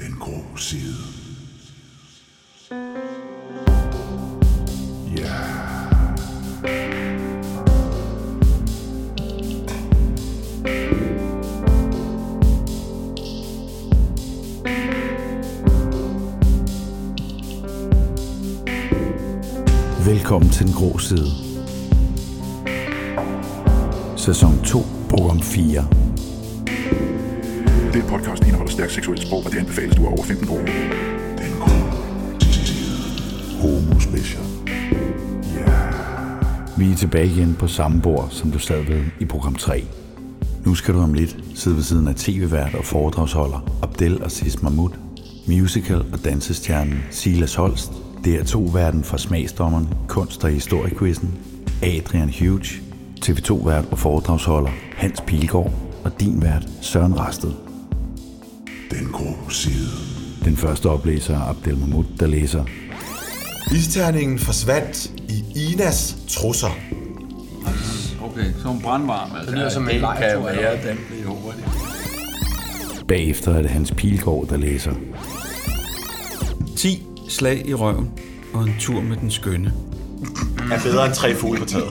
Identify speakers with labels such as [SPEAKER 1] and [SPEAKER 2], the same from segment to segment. [SPEAKER 1] grå side. Ja.
[SPEAKER 2] Velkommen til Den Grå Side. Sæson 2, program 4.
[SPEAKER 3] Den podcast indeholder stærkt seksuelt sprog, og det anbefales du er over 15 år.
[SPEAKER 1] Den grå side. Homo special.
[SPEAKER 2] Vi er tilbage igen på samme bord, som du sad ved i program 3. Nu skal du om lidt sidde ved siden af tv-vært og foredragsholder Abdel Aziz Mahmoud, musical- og dansestjernen Silas Holst, DR2-verden fra smagsdommerne, kunst- og historiequizzen, Adrian Huge, TV2-vært og foredragsholder Hans Pilgaard og din vært Søren Rasted.
[SPEAKER 1] Den grå side.
[SPEAKER 2] Den første oplæser er Abdel Mahmoud, der læser
[SPEAKER 4] Isterningen forsvandt i Inas trusser.
[SPEAKER 5] Okay, så er hun brandvarm. Altså. Det lyder som en lejr, kan være, den blev hurtigt.
[SPEAKER 2] Bagefter er det Hans Pilgaard, der læser.
[SPEAKER 6] 10 slag i røven og en tur med den skønne.
[SPEAKER 4] Er bedre end tre fugle på taget.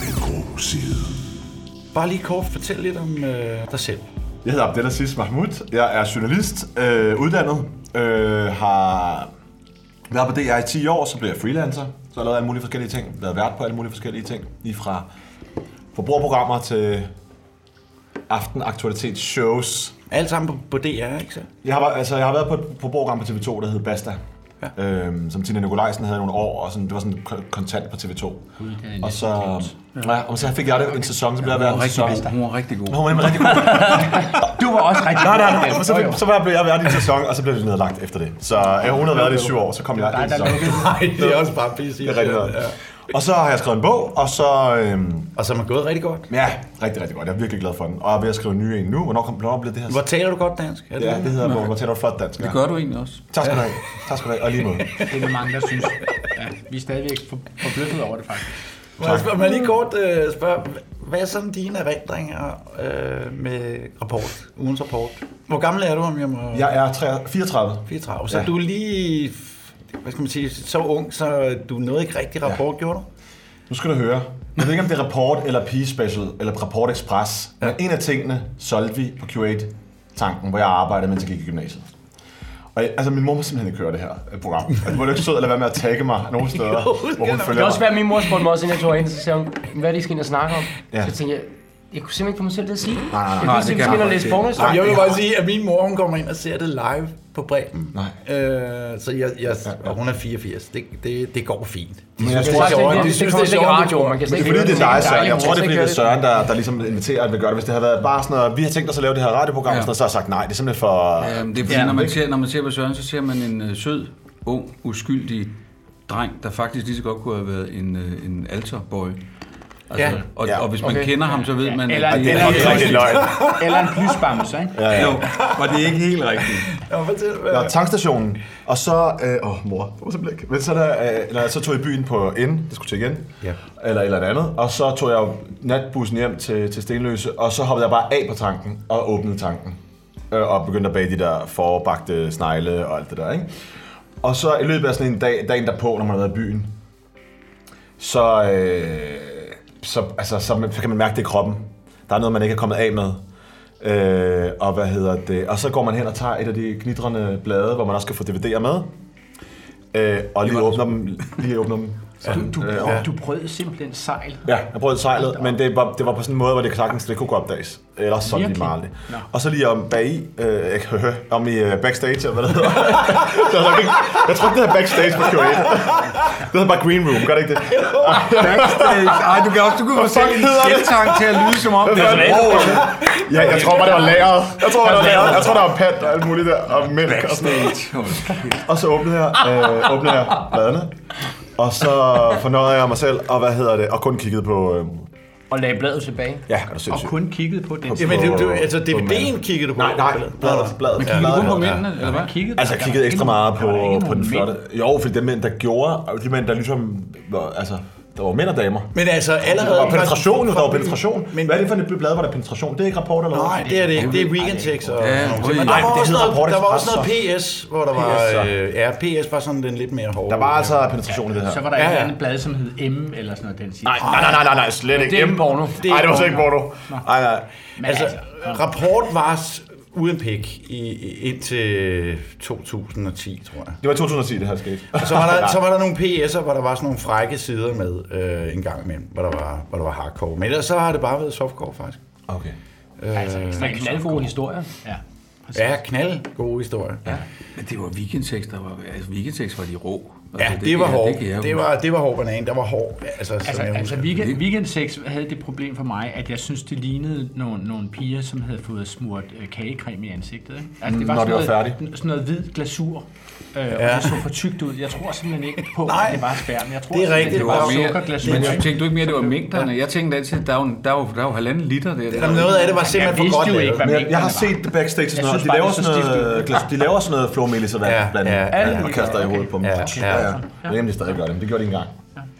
[SPEAKER 1] Den grå side.
[SPEAKER 7] Bare lige kort, fortæl lidt om øh, dig selv.
[SPEAKER 8] Jeg hedder Abdel Aziz Mahmoud. Jeg er journalist, øh, uddannet, øh, har været på DR i 10 år, så blev jeg freelancer. Så har jeg lavet alle mulige forskellige ting, været vært på alle mulige forskellige ting. Lige fra forbrugerprogrammer til aftenaktualitetsshows.
[SPEAKER 7] Alt sammen på, på DR, ikke så?
[SPEAKER 8] Jeg har, været- altså, jeg har været på et forbrugerprogram på TV2, der hed Basta. Ja. Øhm, som Tina Nikolajsen havde nogle år, og sådan, det var sådan kon- kontant på TV2. Og så, ja, og så fik jeg det en sæson, så blev jeg
[SPEAKER 5] Hun
[SPEAKER 8] været
[SPEAKER 5] var
[SPEAKER 8] en
[SPEAKER 5] rigtig
[SPEAKER 8] sæson.
[SPEAKER 5] god. Hun var rigtig god.
[SPEAKER 8] Hun var nemlig rigtig god.
[SPEAKER 5] Du var også rigtig
[SPEAKER 8] Nej, nej, nej. Så, så var jeg, blev jeg været i en sæson, og så blev det nedlagt efter det. Så øh, hun havde været i syv år, så kom jeg i en sæson.
[SPEAKER 7] Nej, det er også bare pisse.
[SPEAKER 8] Det er rigtig godt. Og så har jeg skrevet en bog, og så... Øhm,
[SPEAKER 7] Og som er gået rigtig godt.
[SPEAKER 8] ja, rigtig, rigtig godt. Jeg er virkelig glad for den. Og jeg er ved at skrive en ny en nu. Hvornår kom hvornår blev det her?
[SPEAKER 7] Hvor taler du godt dansk? Er det
[SPEAKER 8] Ja, det hedder Hvor Hvor taler du flot dansk.
[SPEAKER 6] Det
[SPEAKER 8] Ja.
[SPEAKER 6] gør du egentlig også.
[SPEAKER 8] Tak skal du have. Tak skal du have. Og lige måde.
[SPEAKER 9] Det er der mange, der synes. Ja, vi er stadigvæk for- forbløffet over det, faktisk.
[SPEAKER 7] Må jeg spørge- må jeg lige kort øh, spørge, hva- hvad er sådan dine erindringer øh, med rapport, ugens rapport? Hvor gammel er du, om jeg må...
[SPEAKER 8] Jeg er 33, 34.
[SPEAKER 7] 34. Så
[SPEAKER 8] Ja.
[SPEAKER 7] du er lige, hvad skal man sige, så ung, så du nåede ikke rigtig rapport, ja. gjorde du?
[SPEAKER 8] Nu skal du høre. Jeg ved ikke, om det er Rapport eller Pige Special eller Rapport Express. Ja. Men en af tingene solgte vi på Q8-tanken, hvor jeg arbejdede, mens jeg gik i gymnasiet. Og jeg, altså, min mor må simpelthen ikke høre det her øh, program. Altså, hvor er du ikke sød at lade være med at tagge mig nogle steder, hvor hun
[SPEAKER 9] Det kan
[SPEAKER 8] følger
[SPEAKER 9] også
[SPEAKER 8] mig.
[SPEAKER 9] være, at min mor spurgte mig også, inden jeg tog ind, så sagde hun, hvad er det, I skal ind og snakke om?
[SPEAKER 8] Ja.
[SPEAKER 9] Ja. Så tænkte jeg, jeg kunne simpelthen ikke få mig selv til at sige det.
[SPEAKER 8] nej,
[SPEAKER 9] Jeg kunne simpelthen ind og læse bonus.
[SPEAKER 7] Ej, jeg vil bare sige, at min mor hun kommer ind og ser det live på Bremen.
[SPEAKER 8] Nej.
[SPEAKER 7] Øh, så jeg, jeg, og hun er 84. Det, det, det går fint. De
[SPEAKER 8] jeg
[SPEAKER 7] synes,
[SPEAKER 8] tror,
[SPEAKER 7] det er sjovt.
[SPEAKER 9] Det,
[SPEAKER 7] De
[SPEAKER 9] det, det,
[SPEAKER 7] synes,
[SPEAKER 9] det,
[SPEAKER 7] det er
[SPEAKER 9] det, det,
[SPEAKER 7] sjovt.
[SPEAKER 9] radio, man kan slet
[SPEAKER 8] Det er
[SPEAKER 9] ikke
[SPEAKER 8] fordi,
[SPEAKER 9] høre
[SPEAKER 8] det er dig, Søren. Jeg tror, det er
[SPEAKER 9] Man
[SPEAKER 8] fordi, det er
[SPEAKER 9] kan slet ikke høre
[SPEAKER 8] Søren, der, der ligesom inviterer, at vi gør det. Hvis det havde været bare sådan noget, vi har tænkt os at lave det her radioprogram, ja. så har jeg sagt nej. Det er simpelthen for...
[SPEAKER 6] Ja, Øhm, det er fordi, ja, når, man ser, når man ser på Søren, så ser man en øh, sød, ung, uskyldig dreng, der faktisk lige så godt kunne have været en, øh, en alterboy. Altså,
[SPEAKER 7] Ja.
[SPEAKER 6] ja. Og,
[SPEAKER 8] Ja.
[SPEAKER 6] og hvis man
[SPEAKER 9] Okay.
[SPEAKER 6] okay. kender ham, så ved man,
[SPEAKER 9] Eller
[SPEAKER 6] at
[SPEAKER 9] en-
[SPEAKER 6] det
[SPEAKER 8] Det
[SPEAKER 6] er
[SPEAKER 8] er rigtig, rigtig løgn.
[SPEAKER 9] det. Eller en plysbamse, ikke? Ja.
[SPEAKER 6] Jo, og det er ikke helt rigtigt.
[SPEAKER 7] Nå, fortæl, hvad-
[SPEAKER 8] Nå, tankstationen. Og så... Åh, øh, åh, mor. Det var så blik. Men så, der, øh, eller, så tog jeg i byen på N, det skulle til igen.
[SPEAKER 7] Ja.
[SPEAKER 8] Eller et eller andet. Og så tog jeg jo natbussen hjem til, til Stenløse, og så hoppede jeg bare af på tanken og åbnede tanken. Øh, og begyndte at bage de der forbagte snegle og alt det der, ikke? Og så i løbet af sådan en dag, dagen derpå, når man har været i byen, så, øh, så, altså, så, så kan man mærke det i kroppen. Der er noget, man ikke er kommet af med. Øh, og hvad hedder det? Og så går man hen og tager et af de knitrende blade, hvor man også kan få DVD'er med. Øh, og lige åbner dem. Lige åbner dem. Sådan,
[SPEAKER 9] Du,
[SPEAKER 8] øh,
[SPEAKER 9] ja. du brød simpelthen sejl.
[SPEAKER 8] Ja, jeg prøvede sejlet, men det var, det var på sådan en måde, hvor det sagtens det kunne gå opdages. Ellers sådan lige
[SPEAKER 9] Virkelig?
[SPEAKER 8] meget. Og så lige om bag i, øh, ikke, høhø, om i øh, backstage, eller hvad det hedder. det var nok ikke, jeg tror ikke, det hedder backstage på Q8. Det hedder bare green room, gør det ikke det?
[SPEAKER 6] Backstage. Ej, du kan også du kunne få selv en
[SPEAKER 8] hedder det?
[SPEAKER 6] selvtang til at lyde som om, det er
[SPEAKER 8] Wow. Ja, jeg tror bare, det var lageret. Jeg tror, det var lageret. Jeg tror, der var pant og alt muligt der, og mælk og sådan noget. Og så åbnede jeg, øh, åbnede jeg bladene, og så fornøjede jeg mig selv, og hvad hedder det, og kun kiggede på... Øh,
[SPEAKER 9] Og lagde bladet tilbage.
[SPEAKER 8] ja, er du sindssyg?
[SPEAKER 9] Og kun kiggede på den.
[SPEAKER 7] Jamen, du, du,
[SPEAKER 8] på-
[SPEAKER 7] altså,
[SPEAKER 8] på
[SPEAKER 7] DVD'en
[SPEAKER 8] manden.
[SPEAKER 7] kiggede du på?
[SPEAKER 8] Nej, nej, bladet, bladet, bladet.
[SPEAKER 6] Men kigger du
[SPEAKER 8] bladet.
[SPEAKER 6] på mændene, eller hvad?
[SPEAKER 9] Kiggede
[SPEAKER 8] Altså, jeg kiggede ekstra meget på, på den flotte.
[SPEAKER 9] Det
[SPEAKER 8] Jo, fordi dem mænd, der gjorde, og de mænd, der ligesom var, altså, Der var mænd og damer.
[SPEAKER 7] Men altså allerede...
[SPEAKER 8] Og penetration, jo, der var penetration.
[SPEAKER 7] Men-
[SPEAKER 8] Men, Hvad er det for et blad, hvor der er penetration? Det er ikke rapport eller
[SPEAKER 7] Nej, det er det ikke. Det er weekend sex. Og...
[SPEAKER 6] Ja,
[SPEAKER 7] Men der
[SPEAKER 6] nej,
[SPEAKER 7] var,
[SPEAKER 8] det
[SPEAKER 7] også
[SPEAKER 8] hedder
[SPEAKER 7] noget,
[SPEAKER 8] Rapport
[SPEAKER 7] der var også
[SPEAKER 8] Express,
[SPEAKER 7] noget PS, hvor der var... Øh, ja, PS var sådan den lidt mere hårde.
[SPEAKER 8] Der var altså penetration i det her.
[SPEAKER 10] Så var der ja, ja.
[SPEAKER 7] Ja,
[SPEAKER 10] et
[SPEAKER 7] ja.
[SPEAKER 10] andet blad, som hed M eller sådan noget, den siger.
[SPEAKER 8] Nej, nej, nej, nej, nej, nej, slet ikke.
[SPEAKER 10] Det er ikke porno.
[SPEAKER 8] Nej, det var slet ikke porno. Nej, nej.
[SPEAKER 10] Men
[SPEAKER 7] Altså,
[SPEAKER 10] altså,
[SPEAKER 7] rapport var s- uden pik i, i- indtil 2010, tror jeg.
[SPEAKER 8] Det var i 2010, det her skete.
[SPEAKER 7] Og så var, der, så var der nogle PS'er, hvor der var sådan nogle frække sider med øh, en gang imellem, hvor der, var, hvor der var hardcore. Men ellers så har det bare været softcore, faktisk.
[SPEAKER 8] Okay.
[SPEAKER 10] altså, altså knaldgode historier. Ja.
[SPEAKER 7] Ja, knald gode historier. Ja,
[SPEAKER 6] Men det var weekendsex, der var... Altså, weekendsex var de rå.
[SPEAKER 2] Altså,
[SPEAKER 7] ja det, var hård.
[SPEAKER 6] Det, kan jeg
[SPEAKER 7] Det var, det var hård banan. Der var hård, altså, altså
[SPEAKER 10] Altså,
[SPEAKER 7] som jeg
[SPEAKER 10] altså
[SPEAKER 7] husker.
[SPEAKER 10] weekend, weekend sex havde det problem for mig, at jeg synes, det lignede nogle, nogle piger, som havde fået smurt øh, kagecreme i ansigtet. Ikke? Altså, det var
[SPEAKER 8] Når det var
[SPEAKER 10] noget, sådan noget hvid glasur, øh, ja. og det så for tykt ud. Jeg tror simpelthen ikke på,
[SPEAKER 7] Nej.
[SPEAKER 10] at det var sperm. Jeg tror
[SPEAKER 7] Det er
[SPEAKER 10] simpelthen,
[SPEAKER 7] rigtigt.
[SPEAKER 10] Det
[SPEAKER 7] Det var
[SPEAKER 10] var
[SPEAKER 6] mere,
[SPEAKER 10] sukkerglasur.
[SPEAKER 6] men
[SPEAKER 10] ikke?
[SPEAKER 6] tænkte du ikke mere, det var mængderne? Jeg tænkte altid, der er jo, der er jo, der er jo halvanden liter der.
[SPEAKER 7] Jamen, noget af det var
[SPEAKER 10] Jeg
[SPEAKER 7] simpelthen for
[SPEAKER 10] vidste
[SPEAKER 7] godt
[SPEAKER 10] jo ikke,
[SPEAKER 7] lavet.
[SPEAKER 10] hvad
[SPEAKER 8] Men jeg, jeg har
[SPEAKER 10] mængderne var.
[SPEAKER 8] set det backstage og sådan
[SPEAKER 10] Jeg
[SPEAKER 8] noget.
[SPEAKER 10] synes
[SPEAKER 8] De
[SPEAKER 10] bare,
[SPEAKER 8] laver, sådan
[SPEAKER 10] det er så stift
[SPEAKER 8] noget glas, de laver sådan noget flormelis og vand
[SPEAKER 7] Ja,
[SPEAKER 8] blandt
[SPEAKER 7] ja,
[SPEAKER 8] andet,
[SPEAKER 7] ja.
[SPEAKER 8] og kaster i hovedet på dem.
[SPEAKER 7] Ja, ja.
[SPEAKER 8] Jeg ved ikke, om de stadig gør det, men det gjorde de engang.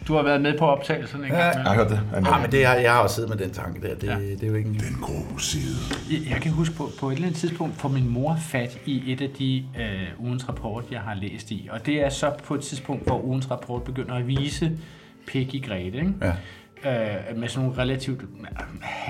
[SPEAKER 10] Du har været med på optagelserne en gang.
[SPEAKER 8] Jeg har hørt det.
[SPEAKER 7] Ja, men det, har- jeg har også siddet med den tanke der. Det, det er jo ikke en...
[SPEAKER 1] Den grå side.
[SPEAKER 10] Jeg- Jeg kan huske på, på et eller andet tidspunkt får min mor fat i et af de øh, ugens rapport, jeg har læst i. Og det er så på et tidspunkt, hvor ugens rapport begynder at vise pik i Grete. Ikke? Ja. Øh, med sådan nogle relativt øh,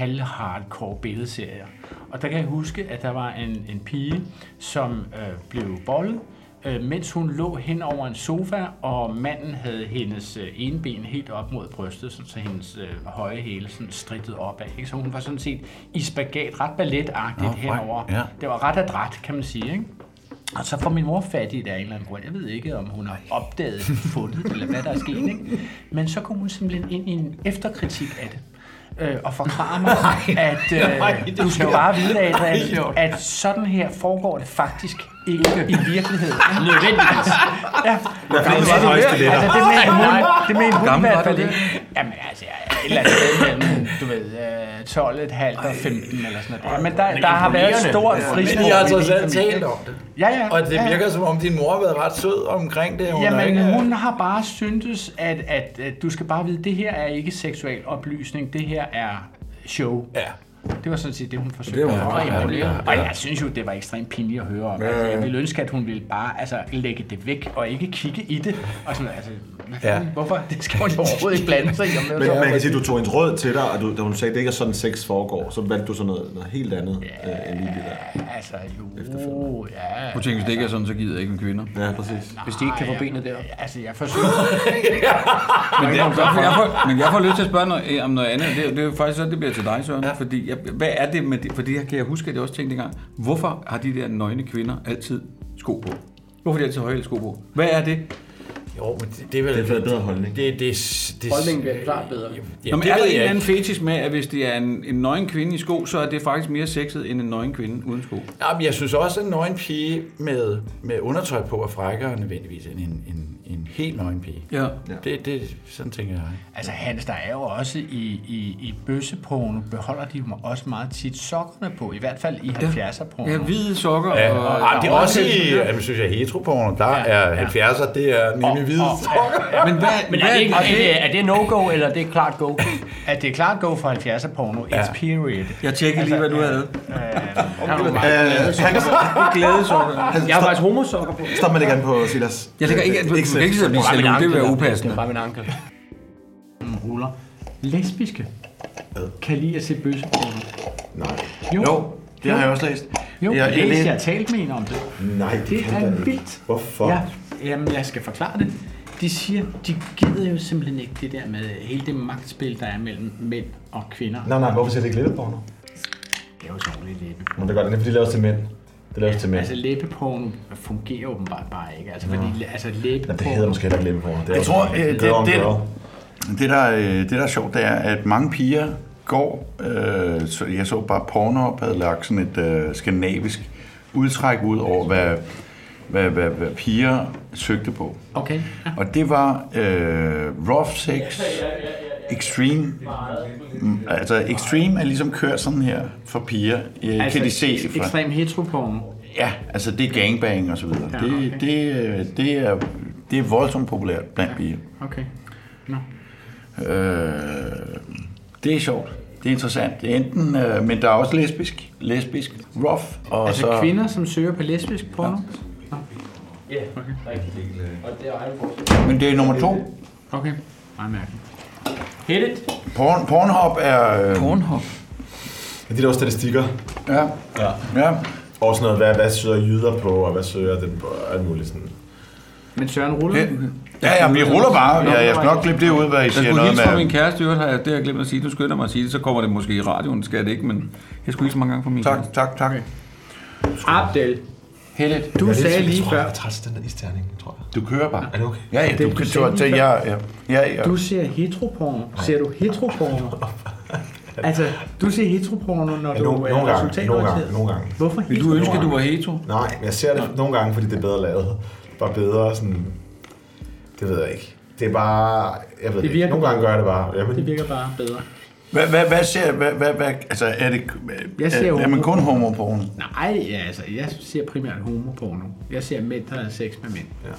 [SPEAKER 10] halv-hardcore billedserier. Og der kan jeg huske, at der var en, en pige, som øh, blev bollet, øh, mens hun lå hen over en sofa, og manden havde hendes øh, ene ben helt op mod brystet, sådan, så hendes øh, høje hæle sådan strittede opad. Ikke? Så hun var sådan set i spagat, ret balletagtigt oh, henover.
[SPEAKER 7] ja.
[SPEAKER 10] Det var ret adræt, kan man sige. Ikke? Og så får min mor fat i det af en eller anden grund. Jeg ved ikke, om hun har opdaget, fundet det, eller hvad der er sket. Ikke? Men så kom hun simpelthen ind i en efterkritik af det. Øh, og forklare mig, at øh, du skal bare vide, Adrian, at sådan her foregår det faktisk ikke i virkeligheden. Nødvendigvis. Ja.
[SPEAKER 8] det var høje stiletter.
[SPEAKER 10] Altså, det mente hun, det mente hun i
[SPEAKER 6] gammel
[SPEAKER 10] hvert
[SPEAKER 6] var
[SPEAKER 10] fald
[SPEAKER 6] du
[SPEAKER 10] ikke. Jamen altså, jeg er et eller andet sted mellem, du ved, øh, 12,5 og 15 eller sådan noget. Ja, men der, der har været et stort frispor.
[SPEAKER 7] Men I har
[SPEAKER 10] i
[SPEAKER 7] trods
[SPEAKER 10] min
[SPEAKER 7] alt
[SPEAKER 10] familie.
[SPEAKER 7] talt om det.
[SPEAKER 10] Ja, ja.
[SPEAKER 7] Og det
[SPEAKER 10] ja, ja.
[SPEAKER 7] virker som om, din mor har været ret sød omkring det. Hun er
[SPEAKER 10] Jamen,
[SPEAKER 7] ikke-
[SPEAKER 10] hun har bare syntes, at, at, at du skal bare vide, det her er ikke seksuel oplysning, det her er show.
[SPEAKER 7] Ja.
[SPEAKER 10] Det var sådan set det, hun forsøgte det var, at ja, ja, ja. Og jeg synes jo, det var ekstremt pinligt at høre om. Altså, jeg ville ønske, at hun ville bare altså, lægge det væk og ikke kigge i det. Og sådan, altså, hvad fanden, ja. hvorfor? Det skal hun jo overhovedet ikke blande sig i. Om det
[SPEAKER 8] Men
[SPEAKER 10] var-
[SPEAKER 8] man kan sige, at du tog en rød til dig, og du, da hun sagde, at det ikke er sådan sex foregår, så valgte du sådan noget, noget helt andet øh, end lige det der.
[SPEAKER 10] Altså, jo, ja.
[SPEAKER 6] Du tænker, hvis det ikke er sådan, så gider jeg ikke med kvinder.
[SPEAKER 8] Ja, præcis.
[SPEAKER 10] Hvis de ikke kan få benet der. Altså, jeg forsøger.
[SPEAKER 6] Men, det, jeg, får, jeg får, men jeg får lyst til at spørge noget, øh, om noget andet. Det, er- det er jo faktisk så, det bliver til dig, Søren. Ja. Fordi, jeg, hvad er det med det? Fordi jeg kan jeg huske, at jeg også tænkte engang, hvorfor har de der nøgne kvinder altid sko på? Hvorfor har de altid høje sko på? Hvad er det?
[SPEAKER 7] Jo, men det, det er vel...
[SPEAKER 8] Det er en bedre holdning.
[SPEAKER 7] Det, det, det, det, Holdningen bliver klart bedre.
[SPEAKER 6] Nå,
[SPEAKER 7] Jamen,
[SPEAKER 6] men
[SPEAKER 7] det
[SPEAKER 6] er der
[SPEAKER 7] ved
[SPEAKER 6] en
[SPEAKER 7] jeg
[SPEAKER 6] eller
[SPEAKER 7] ikke.
[SPEAKER 6] anden fetish med, at hvis det er en, en nøgen kvinde i sko, så er det faktisk mere sexet end en nøgen kvinde uden sko?
[SPEAKER 7] Jamen, jeg synes også, at en nøgen pige med, med undertøj på er frækkere nødvendigvis end en, en, en helt nøgen pige.
[SPEAKER 6] Ja.
[SPEAKER 7] Det, det, sådan tænker jeg.
[SPEAKER 10] Altså Hans, der er jo også i, i, i bøsseporno, beholder de jo også meget tit sokkerne på, i hvert fald i 70'er porno.
[SPEAKER 6] Ja, hvide sokker ja. og...
[SPEAKER 7] Ja, det er også i, jamen, synes jeg, heteroporno, der er 70'er, det er nemlig hvide.
[SPEAKER 6] Men hvad, men hvad,
[SPEAKER 10] ikke-
[SPEAKER 6] er det,
[SPEAKER 10] er det no-go, eller er det klart go? at det er klart go for 70'er porno, ja. it's period.
[SPEAKER 6] Jeg tjekkede lige, hvad
[SPEAKER 10] Altså,
[SPEAKER 6] du havde.
[SPEAKER 8] Øh,
[SPEAKER 6] Glædesokker.
[SPEAKER 10] Jeg har faktisk homosokker på.
[SPEAKER 8] Stop med det gerne på, Silas.
[SPEAKER 6] Jeg tænker ikke, at du
[SPEAKER 8] Ikke
[SPEAKER 6] kan ikke sidde og blive
[SPEAKER 10] min
[SPEAKER 6] selv. Det vil
[SPEAKER 10] ankel,
[SPEAKER 6] være
[SPEAKER 10] der.
[SPEAKER 6] upassende.
[SPEAKER 10] min ankel. Ruller. Lesbiske kan lide at se bøsseporno.
[SPEAKER 8] Nej.
[SPEAKER 10] Jo, jo,
[SPEAKER 2] Det har jeg også læst.
[SPEAKER 10] jo jeg, jeg,
[SPEAKER 2] læste-
[SPEAKER 10] jeg, har talt med en om det.
[SPEAKER 8] Nej, det,
[SPEAKER 10] Det
[SPEAKER 8] kan
[SPEAKER 10] er
[SPEAKER 8] da ikke.
[SPEAKER 10] vildt.
[SPEAKER 8] Hvorfor?
[SPEAKER 10] Ja, jamen, jeg skal forklare det. De siger, de gider jo simpelthen ikke det der med hele det magtspil, der er mellem mænd og kvinder.
[SPEAKER 8] Nej, nej, hvorfor ser det ikke glitterporno?
[SPEAKER 10] Det er jo dårligt læbe.
[SPEAKER 8] Men det gør det, det er, fordi det laves til mænd. Det laves til mænd.
[SPEAKER 10] Altså læbeporno fungerer åbenbart bare ikke. Altså, fordi, altså
[SPEAKER 8] Ja,
[SPEAKER 10] læbeporno...
[SPEAKER 8] det hedder måske heller ikke glitterporno. Det er
[SPEAKER 2] Jeg
[SPEAKER 8] også-
[SPEAKER 2] tror, øh, det,
[SPEAKER 8] er om
[SPEAKER 2] det,
[SPEAKER 8] gøre.
[SPEAKER 2] det, der, øh, det, der er sjovt, det er, at mange piger går... Øh, så jeg så bare Pornhub havde lagt sådan et øh, skandinavisk udtræk ud over, hvad, hvad, hvad, hvad piger søgte på.
[SPEAKER 10] Okay.
[SPEAKER 2] Og det var øh, rough sex, extreme. Mm, Altså extreme er ligesom kørt sådan her for piger. Øh, altså, kan de se
[SPEAKER 10] ek-
[SPEAKER 2] fra,
[SPEAKER 10] Ekstrem heteroporno.
[SPEAKER 2] Ja, altså det er gangbang og så videre.
[SPEAKER 10] Ja,
[SPEAKER 2] Ja, okay. det,
[SPEAKER 10] okay.
[SPEAKER 2] det, øh, det, er, det er voldsomt populært blandt piger.
[SPEAKER 10] Okay. Nå.
[SPEAKER 1] Øh, det er sjovt. Det er interessant. Det er enten, øh, men der er også lesbisk, lesbisk, rough. Og
[SPEAKER 10] altså
[SPEAKER 1] så,
[SPEAKER 10] kvinder, som søger på lesbisk porno?
[SPEAKER 9] Ja, rigtig. Og det er egen
[SPEAKER 1] Men det er nummer to.
[SPEAKER 10] Okay, meget mærkeligt. Hit it.
[SPEAKER 1] Porn, Pornhub er... Øh,
[SPEAKER 10] Pornhub.
[SPEAKER 11] Ja, de der statistikker.
[SPEAKER 1] Ja.
[SPEAKER 11] Ja.
[SPEAKER 1] ja.
[SPEAKER 11] Og sådan noget, hvad, hvad søger jyder på, og hvad søger dem på, og alt muligt sådan.
[SPEAKER 10] Men Søren ruller.
[SPEAKER 1] Ja. Ja, ja, vi ruller bare. Ja, jeg skal nok klippe det ud, hvad I
[SPEAKER 6] Jeg
[SPEAKER 1] siger
[SPEAKER 6] skulle
[SPEAKER 1] noget
[SPEAKER 6] hilse fra min
[SPEAKER 1] med.
[SPEAKER 6] kæreste, i øvrigt har jeg, det har jeg glemt at sige, nu skynder jeg mig at sige det, så kommer det måske i radioen, det skal det ikke, men jeg skulle hilse mange gange fra min
[SPEAKER 1] Tak, tak, tak.
[SPEAKER 10] Abdel. Hellet.
[SPEAKER 11] Jeg er
[SPEAKER 10] Du
[SPEAKER 11] lidt-
[SPEAKER 10] sagde
[SPEAKER 11] jeg
[SPEAKER 10] lige
[SPEAKER 11] tror,
[SPEAKER 10] før,
[SPEAKER 11] Jeg er træt af den der isterning, tror jeg.
[SPEAKER 1] Du kører bare.
[SPEAKER 11] Er det okay?
[SPEAKER 1] Ja, ja,
[SPEAKER 10] Det,
[SPEAKER 1] du
[SPEAKER 10] du
[SPEAKER 1] kan
[SPEAKER 10] sagde
[SPEAKER 1] tage til
[SPEAKER 10] lige
[SPEAKER 1] ja, ja, ja, ja.
[SPEAKER 10] du ser heteroporno. Ser du heteroporno? Altså, du ser heteroporno, når
[SPEAKER 11] Ja,
[SPEAKER 10] du
[SPEAKER 11] nogle, nogle
[SPEAKER 10] er
[SPEAKER 11] gange, nogle
[SPEAKER 10] resultatorienteret.
[SPEAKER 11] gange, nogle gange.
[SPEAKER 10] Hvorfor
[SPEAKER 6] Vil du
[SPEAKER 10] hetero?
[SPEAKER 6] ønske, at du var hetero?
[SPEAKER 11] Nej, men jeg ser det nogle gange, fordi det er bedre lavet. Bare bedre sådan... Det ved jeg ikke. Det er bare... Jeg ved
[SPEAKER 10] Det
[SPEAKER 11] det ikke.
[SPEAKER 10] virker
[SPEAKER 11] Nogle gange gør jeg det bare.
[SPEAKER 10] Det
[SPEAKER 11] Jamen,
[SPEAKER 10] virker bare bedre.
[SPEAKER 1] Hvad, hvad, hvad ser, hvad, hvad, hvad, altså er det,
[SPEAKER 10] Jeg ser
[SPEAKER 1] er, er man
[SPEAKER 10] homo.
[SPEAKER 1] kun homoporno?
[SPEAKER 10] Nej, ja, altså, jeg ser primært homoporno. Jeg ser mænd, der har sex med mænd. Ja.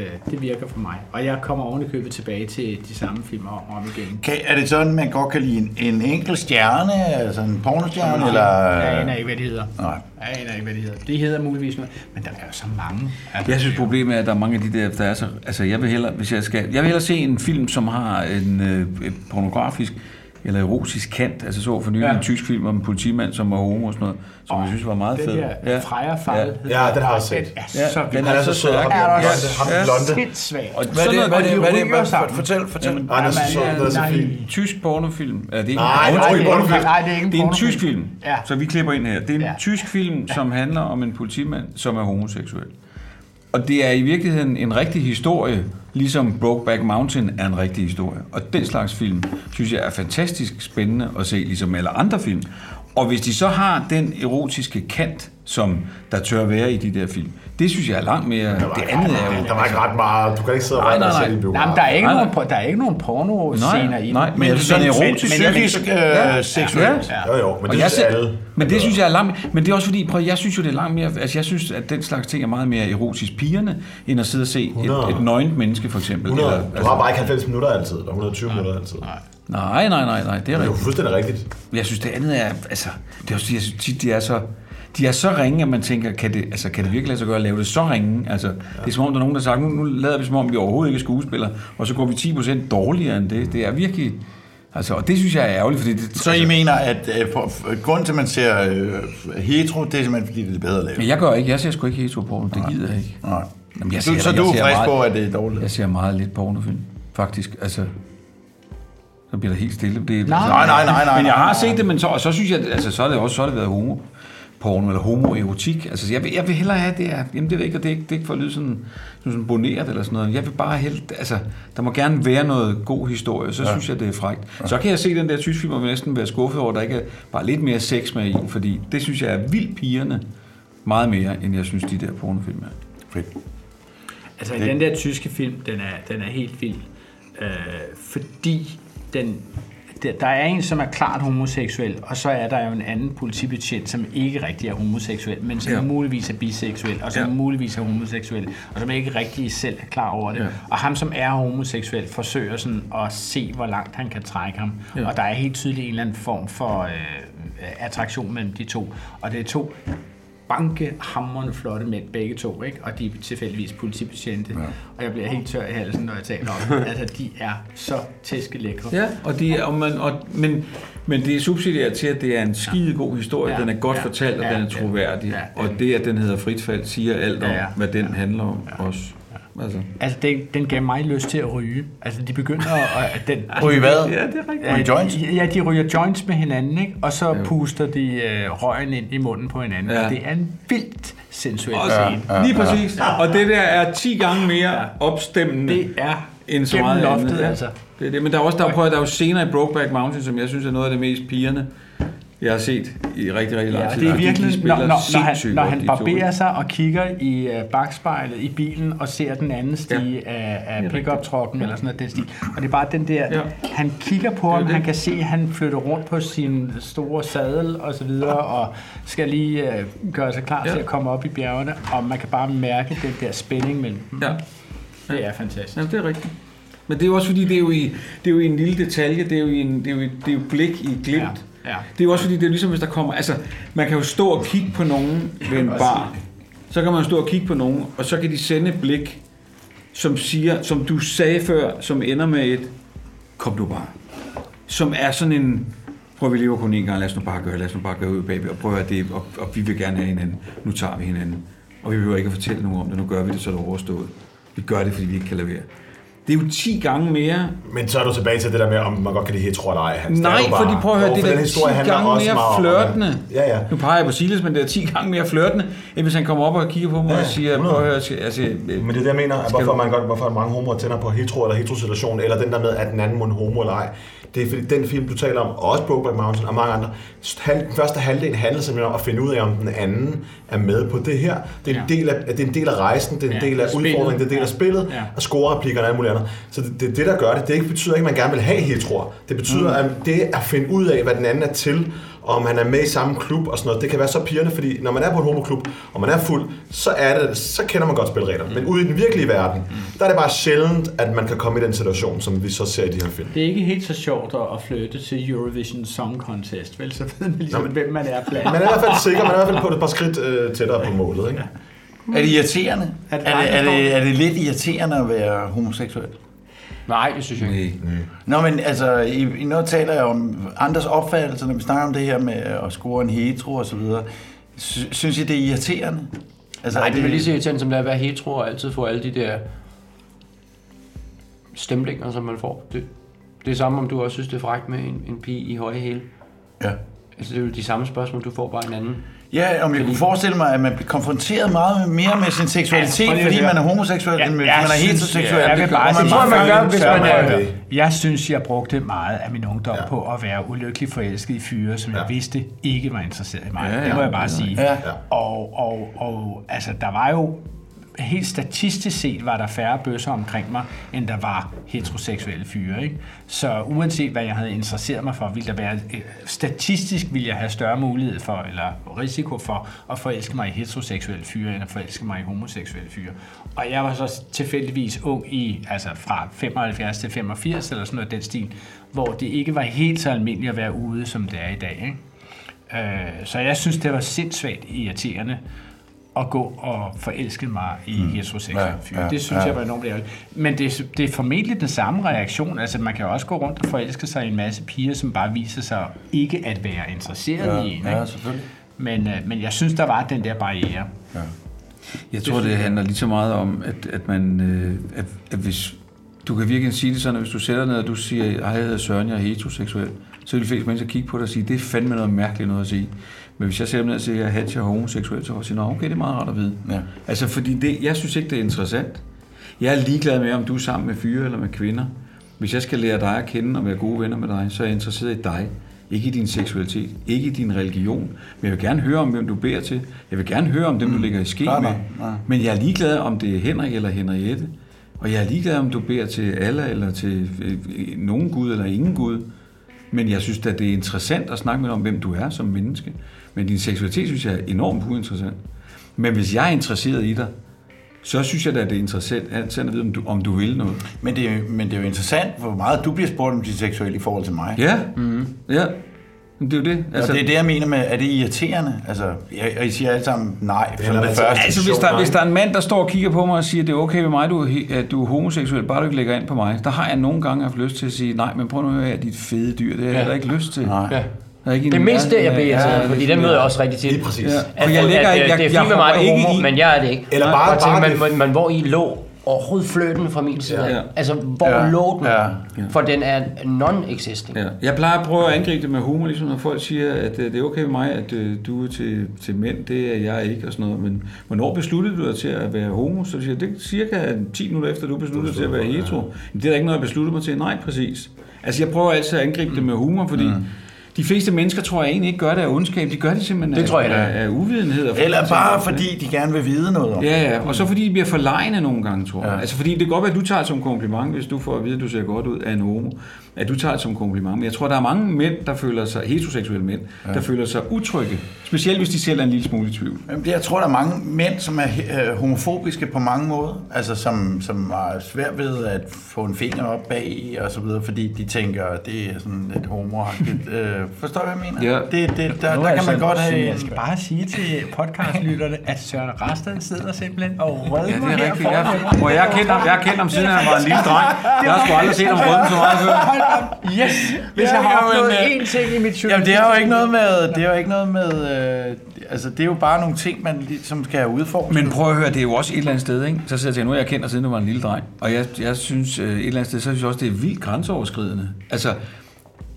[SPEAKER 10] Øh, det virker for mig. Og jeg kommer oven i købet tilbage til de samme filmer om og om igen.
[SPEAKER 1] Kan, er det sådan, man godt kan lide en, en enkelt stjerne, altså en pornostjerne, eller...
[SPEAKER 10] Jeg aner ikke, hvad de hedder.
[SPEAKER 1] Nej.
[SPEAKER 10] Jeg aner ikke, hvad de hedder. Det hedder muligvis noget, men der er jo så mange. Altså,
[SPEAKER 6] Jeg synes, problemet er, at der er mange af de der, der er så... Altså, jeg vil hellere, hvis jeg skal... Jeg vil hellere se en film, som har en øh, pornografisk eller erotisk kant. Altså, så for nylig
[SPEAKER 10] Ja.
[SPEAKER 6] ja. en tysk film om en politimand, som var homo og sådan noget, som jeg synes var meget
[SPEAKER 10] den
[SPEAKER 6] fed.
[SPEAKER 10] der ja. Freja-fejl.
[SPEAKER 11] Ja, den har jeg set.
[SPEAKER 10] Den er altså, så
[SPEAKER 6] den
[SPEAKER 11] Han er så sød. Ham den blonde. Ham den blonde.
[SPEAKER 10] Sindssygt. Og
[SPEAKER 2] Hvad er det? Hvad er det? Hvad er det?
[SPEAKER 10] ryger
[SPEAKER 2] Hvad-
[SPEAKER 10] sammen.
[SPEAKER 2] Fortæl, fortæl.
[SPEAKER 11] Ej, den er så sød.
[SPEAKER 10] øh,
[SPEAKER 11] Den er så fin.
[SPEAKER 6] Tysk pornofilm. Ja, det er ikke
[SPEAKER 11] Nej,
[SPEAKER 6] en
[SPEAKER 11] det er ikke en pornofilm.
[SPEAKER 10] Nej, det er ikke en
[SPEAKER 6] Det er en
[SPEAKER 10] pornofilm.
[SPEAKER 6] tysk film,
[SPEAKER 10] Ja.
[SPEAKER 6] ja. så vi klipper ind her. Det er en
[SPEAKER 10] Ja.
[SPEAKER 6] ja. tysk film, som handler om en politimand, som er homoseksuel. Og det er i virkeligheden en rigtig historie, ligesom Brokeback Mountain er en rigtig historie. Og den slags film, synes jeg er fantastisk spændende at se, ligesom alle andre film. Og hvis de så har den erotiske kant, som der tør være i de der film, det synes jeg er langt mere... Det andet er jo...
[SPEAKER 11] Der var ikke ret meget. Du kan ikke sidde og
[SPEAKER 6] Nej,
[SPEAKER 11] rende
[SPEAKER 6] nej,
[SPEAKER 11] og se
[SPEAKER 6] nej.
[SPEAKER 11] i
[SPEAKER 10] Nej, men
[SPEAKER 11] biografen.
[SPEAKER 10] der er ikke
[SPEAKER 6] Nej,
[SPEAKER 10] nogen, por- der er ikke nogen porno-scener i den.
[SPEAKER 6] nej, men
[SPEAKER 1] Men
[SPEAKER 6] jeg synes, det er en
[SPEAKER 1] sådan
[SPEAKER 6] erotisk...
[SPEAKER 1] men- psykisk, øh, seksuelt.
[SPEAKER 11] Jo, jo, men
[SPEAKER 6] Og
[SPEAKER 11] det
[SPEAKER 6] jeg
[SPEAKER 11] er
[SPEAKER 6] ser-
[SPEAKER 11] alle.
[SPEAKER 6] Men det synes jeg er langt Men det er også fordi, prøv, jeg synes jo, det er langt mere... Altså, jeg synes, at den slags ting er meget mere erotisk pigerne, end at sidde og se et,
[SPEAKER 11] 100.
[SPEAKER 6] et nøgent menneske, for eksempel.
[SPEAKER 11] 100.
[SPEAKER 6] Eller,
[SPEAKER 11] Du har bare ikke 90 minutter altid, eller 120 minutter altid. Nej.
[SPEAKER 6] altså- nej, nej, nej, nej, det er
[SPEAKER 11] Det er jo
[SPEAKER 6] rigtigt.
[SPEAKER 11] fuldstændig rigtigt.
[SPEAKER 6] Jeg synes, det andet er... Altså, det er også, jeg synes tit, de er så... De er så ringe, at man tænker, kan det, altså, kan det virkelig lade sig gøre at lave det så ringe? Altså, Det er som om, der er nogen, der har sagt, nu, nu lader vi som om, vi overhovedet ikke er skuespillere, og så går vi 10% dårligere end det. Det er virkelig... Altså, og det synes jeg er ærgerligt, fordi det,
[SPEAKER 1] Så I mener, at øh, for, for, grunden til, at man ser øh, hetero, det er simpelthen, fordi det er bedre lavet?
[SPEAKER 6] Men jeg gør ikke. Jeg ser sgu ikke heteroporno. Det gider jeg ikke.
[SPEAKER 1] Nej.
[SPEAKER 6] Jamen,
[SPEAKER 1] Så- så du er frisk på, at det er dårligt?
[SPEAKER 6] Jeg ser meget lidt pornofilm, faktisk. Altså, så bliver der helt stille. Det, er-
[SPEAKER 1] Nej, nej, nej, nej.
[SPEAKER 6] Men jeg har
[SPEAKER 1] nej.
[SPEAKER 6] set det, men så, og så synes jeg, at- altså, så er det også så er det været homo porno eller homoerotik. Altså, jeg vil, jeg vil hellere have det her. Jamen, det ved jeg ikke, og det er ikke, det er ikke for at lyde sådan, sådan, sådan boneret eller sådan noget. Jeg vil bare hellere, altså, der må gerne være noget god historie, så ja. synes jeg, det er frægt. Ja. Så kan jeg se den der tysk film, og vil næsten være skuffet over, at der ikke er bare lidt mere sex med i, fordi det synes jeg er vildt pigerne meget mere, end jeg synes, de der pornofilm er.
[SPEAKER 1] Fedt.
[SPEAKER 10] Altså, den der tyske film, den er, den er helt vild. Øh, fordi den, der, der er en, som er klart homoseksuel, og så er der jo en anden politibetjent, som ikke rigtig er homoseksuel, men som ja.
[SPEAKER 6] Ja.
[SPEAKER 10] muligvis er biseksuel, og som ja.
[SPEAKER 6] Ja.
[SPEAKER 10] muligvis er homoseksuel, og som ikke rigtig selv er klar over det. Ja.
[SPEAKER 6] Ja.
[SPEAKER 10] Og ham, som er homoseksuel, forsøger sådan at se, hvor langt han kan trække ham. Ja. Og der er helt tydeligt en eller anden form for øh, attraktion mellem de to. Og det er to bankehammerende flotte mænd, begge to, ikke? og de er tilfældigvis politibetjente. Ja. Og jeg bliver helt tør i halsen, når jeg taler om det. Altså, de er så tæske lækre.
[SPEAKER 6] Ja, og de er, og man, og, men, men det er subsidieret til, at det er en skide god historie,
[SPEAKER 10] Ja,
[SPEAKER 6] ja, den er godt
[SPEAKER 10] ja,
[SPEAKER 6] ja, fortalt, og
[SPEAKER 10] ja,
[SPEAKER 6] den
[SPEAKER 10] ja,
[SPEAKER 6] er troværdig,
[SPEAKER 10] ja,
[SPEAKER 6] ja,
[SPEAKER 10] ja.
[SPEAKER 6] ja, og det, at den hedder Fritfald, siger alt om,
[SPEAKER 10] Ja, ja.
[SPEAKER 6] hvad den handler om også. Altså.
[SPEAKER 10] Altså, det, den gav mig lyst til at ryge. Altså, de begynder at... at den,
[SPEAKER 1] Ryge hvad?
[SPEAKER 6] Ja, det er rigtigt.
[SPEAKER 1] Ryge joints?
[SPEAKER 10] Ja, Ja, de ryger joints med hinanden, ikke? og så puster de øh, røgen ind i munden på hinanden. Ja.
[SPEAKER 6] Ja.
[SPEAKER 10] Og det er en vildt sensuel
[SPEAKER 6] Også,
[SPEAKER 10] scene.
[SPEAKER 6] ja, lige præcis. Ja. Og det der er 10 gange mere ja. opstemmende.
[SPEAKER 10] Det er
[SPEAKER 6] end så
[SPEAKER 10] gennem
[SPEAKER 6] meget
[SPEAKER 10] loftet,
[SPEAKER 6] andet. Ja,
[SPEAKER 10] altså.
[SPEAKER 6] Det er det. Men der er også der, er- prøv, at- der er jo scener i Brokeback Mountain, som jeg synes er noget af det mest pigerne, jeg har set i rigtig, rigtig lang
[SPEAKER 10] Ja,
[SPEAKER 6] tid.
[SPEAKER 10] det er
[SPEAKER 6] Og de- de
[SPEAKER 10] virkelig,
[SPEAKER 6] spiller
[SPEAKER 10] når, når, når han,
[SPEAKER 6] sindssygt
[SPEAKER 10] når
[SPEAKER 6] godt,
[SPEAKER 10] han
[SPEAKER 6] de to.
[SPEAKER 10] barberer sig og kigger i øh, bagspejlet i bilen og ser den anden stige ja. af, af pickup trucken eller sådan noget den stil. Og det er bare den der, ja.
[SPEAKER 6] Ja.
[SPEAKER 10] han kigger på ham,
[SPEAKER 6] det.
[SPEAKER 10] han kan se, at han flytter rundt på sin store sadel og så videre og skal lige øh, gøre sig klar ja.
[SPEAKER 6] Ja.
[SPEAKER 10] til at komme op i bjergene. Og man kan bare mærke den der spænding mellem dem.
[SPEAKER 6] Ja,
[SPEAKER 10] Det er fantastisk.
[SPEAKER 6] ja det er rigtigt. Men det er jo også fordi, det er jo i, det er jo i en lille detalje, det er jo, i en, det er jo, i- det er jo blik i et glimt. Ja. Det er jo også fordi, det er ligesom hvis der kommer, altså man kan jo stå og kigge på nogen ved en bar, så kan man stå og kigge på nogen, og så kan de sende et blik, som siger, som du sagde før, som ender med et, kom du bare, som er sådan en, prøv at vi lever kun en gang, lad os nu bare gøre, lad os nu bare gøre ud, baby, og prøv at høre, det, og, og vi vil gerne have hinanden, nu tager vi hinanden, og vi behøver ikke at fortælle nogen om det, nu gør vi det, så er det overstået. Vi gør det, fordi vi ikke kan lade være. Det er jo 10 gange mere.
[SPEAKER 8] Men så er du tilbage til det der med, om man godt kan lide hetero eller ej. Hans.
[SPEAKER 6] Nej,
[SPEAKER 8] Det er jo bare-
[SPEAKER 6] fordi prøv at høre,
[SPEAKER 8] Jo,
[SPEAKER 6] det
[SPEAKER 8] for
[SPEAKER 6] er
[SPEAKER 8] den
[SPEAKER 6] da 10
[SPEAKER 8] historie handler
[SPEAKER 6] gange
[SPEAKER 8] også
[SPEAKER 6] mere
[SPEAKER 8] meget om,
[SPEAKER 6] flørtende.
[SPEAKER 8] at- Ja, ja.
[SPEAKER 6] Nu peger jeg på Silas, men det er 10 gange mere flørtende, end hvis han kommer op og kigger på mig ja, og siger, prøv at høre, skal- altså... Men
[SPEAKER 8] det er det, jeg mener, at hvorfor, man godt, hvorfor mange homoer tænder på hetero eller heterosituation, eller den der med, at den anden må en homo eller ej. Det er fordi den film, du taler om, og også Brokeback Mountain og mange andre, hal- den første halvdel handler simpelthen om at finde ud af, om den anden er med på det her. Det er en del af, det er en del af rejsen, det er en
[SPEAKER 10] Ja,
[SPEAKER 8] del af
[SPEAKER 10] spillet.
[SPEAKER 8] udfordringen, det er en del af spillet,
[SPEAKER 10] Ja.
[SPEAKER 8] og scorereplikkerne og alt muligt andet. Så det, det er det, der gør det. Det ikke- betyder ikke, at man gerne vil have heteroer. Det betyder, at det at finde ud af, hvad den anden er til, og om han er med i samme klub og sådan noget, det kan være så pigerne, fordi når man er på en homoklub, og man er fuld, så, er det, så kender man godt spilreglerne. Men ude i den virkelige verden, der er det bare sjældent, at man kan komme i den situation, som vi så ser i de her film.
[SPEAKER 10] Det er ikke helt så sjovt at at flytte til Eurovision Song Contest, vel? Så ved man ligesom,
[SPEAKER 8] Nå, men-
[SPEAKER 10] hvem man er blandt.
[SPEAKER 8] Man er i hvert fald sikker, man er i hvert fald på et par skridt øh, tættere på målet. Ikke?
[SPEAKER 7] Er det irriterende? Er
[SPEAKER 10] At
[SPEAKER 7] det, er, det, er,
[SPEAKER 10] andre
[SPEAKER 7] det,
[SPEAKER 10] står-
[SPEAKER 7] er det lidt irriterende at være homoseksuel?
[SPEAKER 10] Nej, det synes jeg
[SPEAKER 6] ikke.
[SPEAKER 7] Nå, men altså, i, i noget taler jeg om andres opfattelse, når vi snakker om det her med at score en hetero og så videre. Sy- synes I, det er irriterende?
[SPEAKER 9] Altså, Nej, det er jo lige så irriterende, som det er at være hetero og altid få alle de der stemplinger, som man får. Det, det er samme, om du også synes, det er frækt med en, en pige i høje hæle.
[SPEAKER 7] Ja.
[SPEAKER 9] Altså, det er jo de samme spørgsmål, du får bare en anden.
[SPEAKER 7] Ja, om jeg kunne forestille mig, at man bliver konfronteret meget mere med sin seksualitet,
[SPEAKER 9] Ja, prøv lige
[SPEAKER 7] ja,
[SPEAKER 9] at
[SPEAKER 7] fordi
[SPEAKER 9] høre.
[SPEAKER 7] man er homoseksuel, ja, end hvis
[SPEAKER 10] jeg
[SPEAKER 7] man er
[SPEAKER 10] synes,
[SPEAKER 7] heteroseksuel.
[SPEAKER 10] Jeg, jeg vil
[SPEAKER 7] Det gør
[SPEAKER 10] bare sige,
[SPEAKER 7] meget
[SPEAKER 10] man
[SPEAKER 7] mere.
[SPEAKER 10] gør, hvis man er...
[SPEAKER 7] Ja.
[SPEAKER 10] Jeg synes, jeg brugte meget af min ungdom ja. på at være ulykkelig forelsket i fyre, som ja. jeg vidste ikke var interesseret i
[SPEAKER 7] Ja,
[SPEAKER 10] mig. Ja,
[SPEAKER 7] ja,
[SPEAKER 10] ja, det må jeg bare
[SPEAKER 7] ja.
[SPEAKER 10] sige.
[SPEAKER 7] Ja.
[SPEAKER 10] Og, og, og altså, der var jo helt statistisk set var der færre bøsser omkring mig, end der var heteroseksuelle fyre. Ikke? Så uanset hvad jeg havde interesseret mig for, ville der være, øh, statistisk ville jeg have større mulighed for, eller risiko for, at forelske mig i heteroseksuelle fyre, end at forelske mig i homoseksuelle fyre. Og jeg var så tilfældigvis ung i, altså fra 75 til 85, eller sådan noget af den stil, hvor det ikke var helt så almindeligt at være ude, som det er i dag. Ikke? Øh, så jeg synes, det var sindssygt irriterende, at gå og forelske mig i mm. heteroseksuelle
[SPEAKER 7] Ja,
[SPEAKER 10] fyre.
[SPEAKER 7] ja,
[SPEAKER 10] det synes
[SPEAKER 7] ja.
[SPEAKER 10] jeg var enormt ærgerligt. Men det, er- det er formentlig den samme reaktion. Altså, man kan jo også gå rundt og forelske sig i en masse piger, som bare viser sig ikke at være interesseret
[SPEAKER 7] Ja,
[SPEAKER 10] i en. Ikke?
[SPEAKER 7] ja, selvfølgelig.
[SPEAKER 10] Men, øh, men jeg synes, der var den der barriere.
[SPEAKER 7] Ja.
[SPEAKER 6] Jeg tror, det handler lige så meget om, at, at man, øh, at, at hvis, du kan virkelig sige det sådan, at hvis du sætter dig ned, og du siger, at jeg hedder Søren, jeg er heteroseksuel, så vil de fleste mennesker kigge på dig og sige, det er fandme noget mærkeligt noget at sige. Men hvis jeg sætter mig ned og siger, at jeg er hatch, jeg er homoseksuel, så vil jeg sige, "Nå, okay, det er meget rart at vide.
[SPEAKER 7] Ja.
[SPEAKER 6] Altså, fordi det, jeg synes ikke, det er interessant. Jeg er ligeglad med, om du er sammen med fyre eller med kvinder. Hvis jeg skal lære dig at kende og være gode venner med dig, så er jeg interesseret i dig. Ikke i din seksualitet, ikke i din religion. Men jeg vil gerne høre om, hvem du beder til. Jeg vil gerne høre om dem, du ligger i ske
[SPEAKER 7] Mm. Nej,
[SPEAKER 6] med.
[SPEAKER 7] nej, nej.
[SPEAKER 6] Men jeg er ligeglad, om det er Henrik eller Henriette. Og jeg er ligeglad, om du beder til Allah eller til øh, øh, nogen Gud eller ingen Gud. Men jeg synes at det er interessant at snakke med dig om, hvem du er som menneske. Men din seksualitet synes jeg er enormt uinteressant. Men hvis jeg er interesseret i dig, så synes jeg da, at det er interessant at vide, om du, om du vil noget.
[SPEAKER 7] Men det, er, jo- men det er jo interessant, hvor meget du bliver spurgt om din seksuelle i forhold til mig.
[SPEAKER 6] Ja, mm-hmm.
[SPEAKER 9] Mhm.
[SPEAKER 6] ja. Men det er jo det.
[SPEAKER 7] Altså, og det er det, jeg mener med, er det irriterende? Altså, jeg, og I siger alle sammen nej, som det første.
[SPEAKER 6] Altså, hvis der, hvis der er en mand, der står og kigger på mig og siger, det er okay med mig, du, er he- at du er homoseksuel, bare du ikke lægger ind på mig, der har jeg nogle gange haft lyst til at sige, nej, men prøv nu at høre her, dit fede dyr, det har jeg
[SPEAKER 9] Ja.
[SPEAKER 6] ja. ikke lyst til.
[SPEAKER 7] Nej.
[SPEAKER 9] Ja.
[SPEAKER 6] Der er ikke en
[SPEAKER 9] Det er mest det, jeg bliver
[SPEAKER 6] Ja,
[SPEAKER 9] irriteret,
[SPEAKER 6] ja,
[SPEAKER 9] fordi
[SPEAKER 6] det-
[SPEAKER 9] den møder jeg også rigtig tit.
[SPEAKER 6] Lige præcis.
[SPEAKER 9] At,
[SPEAKER 6] Og jeg
[SPEAKER 9] at,
[SPEAKER 6] lægger
[SPEAKER 9] at,
[SPEAKER 6] ikke-
[SPEAKER 9] at, det
[SPEAKER 6] jeg-
[SPEAKER 9] er fint
[SPEAKER 6] jeg
[SPEAKER 9] med mig, du
[SPEAKER 6] hopper
[SPEAKER 9] er
[SPEAKER 6] ikke
[SPEAKER 9] homo,
[SPEAKER 6] i-
[SPEAKER 9] men jeg er det ikke.
[SPEAKER 6] Eller
[SPEAKER 9] Og
[SPEAKER 6] bare-
[SPEAKER 9] jeg tænker,
[SPEAKER 6] bare
[SPEAKER 9] man,
[SPEAKER 6] det-
[SPEAKER 9] man, man, hvor I lå overhovedet fløten fra min side.
[SPEAKER 6] Ja.
[SPEAKER 9] Ja.
[SPEAKER 6] Ja.
[SPEAKER 9] Altså, hvor
[SPEAKER 6] Ja.
[SPEAKER 9] lå den?
[SPEAKER 6] Ja.
[SPEAKER 9] For den er non-existing.
[SPEAKER 6] Ja. Jeg plejer at prøve at angribe det med humor, ligesom når folk siger, at øh, det er okay med mig, at øh, du er til, til mænd, det er jeg ikke og sådan noget. Men hvornår besluttede du dig til at være homo? Så siger jeg, det er cirka 10 minutter efter, du besluttede dig til at være hetero. Men det er da ikke noget, jeg besluttede mig til. Nej, præcis. Altså jeg prøver altid at angribe det med humor, fordi mm. De fleste mennesker tror jeg egentlig ikke gør det af ondskab. De gør det simpelthen
[SPEAKER 9] Det
[SPEAKER 6] af,
[SPEAKER 9] tror jeg da.
[SPEAKER 6] af, af uvidenhed. Og
[SPEAKER 9] Eller bare fordi
[SPEAKER 2] de gerne vil vide noget om
[SPEAKER 6] Ja,
[SPEAKER 2] det.
[SPEAKER 6] ja. Og så fordi de bliver forlegne nogle gange, tror jeg. Ja. Altså fordi det kan godt være, at du tager det som kompliment, hvis du får at vide, at du ser godt ud af en homo. At du tager det som kompliment. Men jeg tror, der er mange mænd, der føler sig, heteroseksuelle mænd,
[SPEAKER 2] Ja.
[SPEAKER 6] ja. der føler sig utrygge. Specielt hvis de selv er en lille smule i tvivl.
[SPEAKER 2] Jamen, det- Jeg tror, der er mange mænd, som er øh, homofobiske på mange måder, altså som, som har svært ved at få en finger op bag og så videre, fordi de tænker, at det er sådan lidt homoagtigt. øh, forstår du, hvad jeg mener? Det, det, der,
[SPEAKER 10] Nu er
[SPEAKER 2] der kan man
[SPEAKER 10] altså-
[SPEAKER 2] godt have
[SPEAKER 10] Jeg skal bare sige til podcastlytterne, at Søren Rastad sidder simpelthen og rødmer
[SPEAKER 6] Ja, det er
[SPEAKER 10] her
[SPEAKER 6] rigtigt.
[SPEAKER 10] foran
[SPEAKER 6] Jeg,
[SPEAKER 10] mig.
[SPEAKER 6] og jeg har kendt ham, jeg har kendt ham siden han var en lille dreng. Jeg har sgu aldrig set ham rødme så meget før.
[SPEAKER 10] Yes! Hvis
[SPEAKER 2] Ja,
[SPEAKER 10] jeg har
[SPEAKER 2] jamen,
[SPEAKER 10] opnået
[SPEAKER 2] øh,
[SPEAKER 10] én ting i mit
[SPEAKER 2] Jamen, det er jo ikke noget med... Det er jo ikke noget med øh, altså, det er jo bare nogle ting, man ligesom skal have udformet.
[SPEAKER 6] Men prøv at høre, det er jo også et eller andet sted, ikke? Så sidder jeg og tænker, nu har jeg kendt dig siden du var en lille dreng. Og jeg, jeg synes øh, et eller andet sted, så synes jeg også, det er vildt grænseoverskridende. Altså,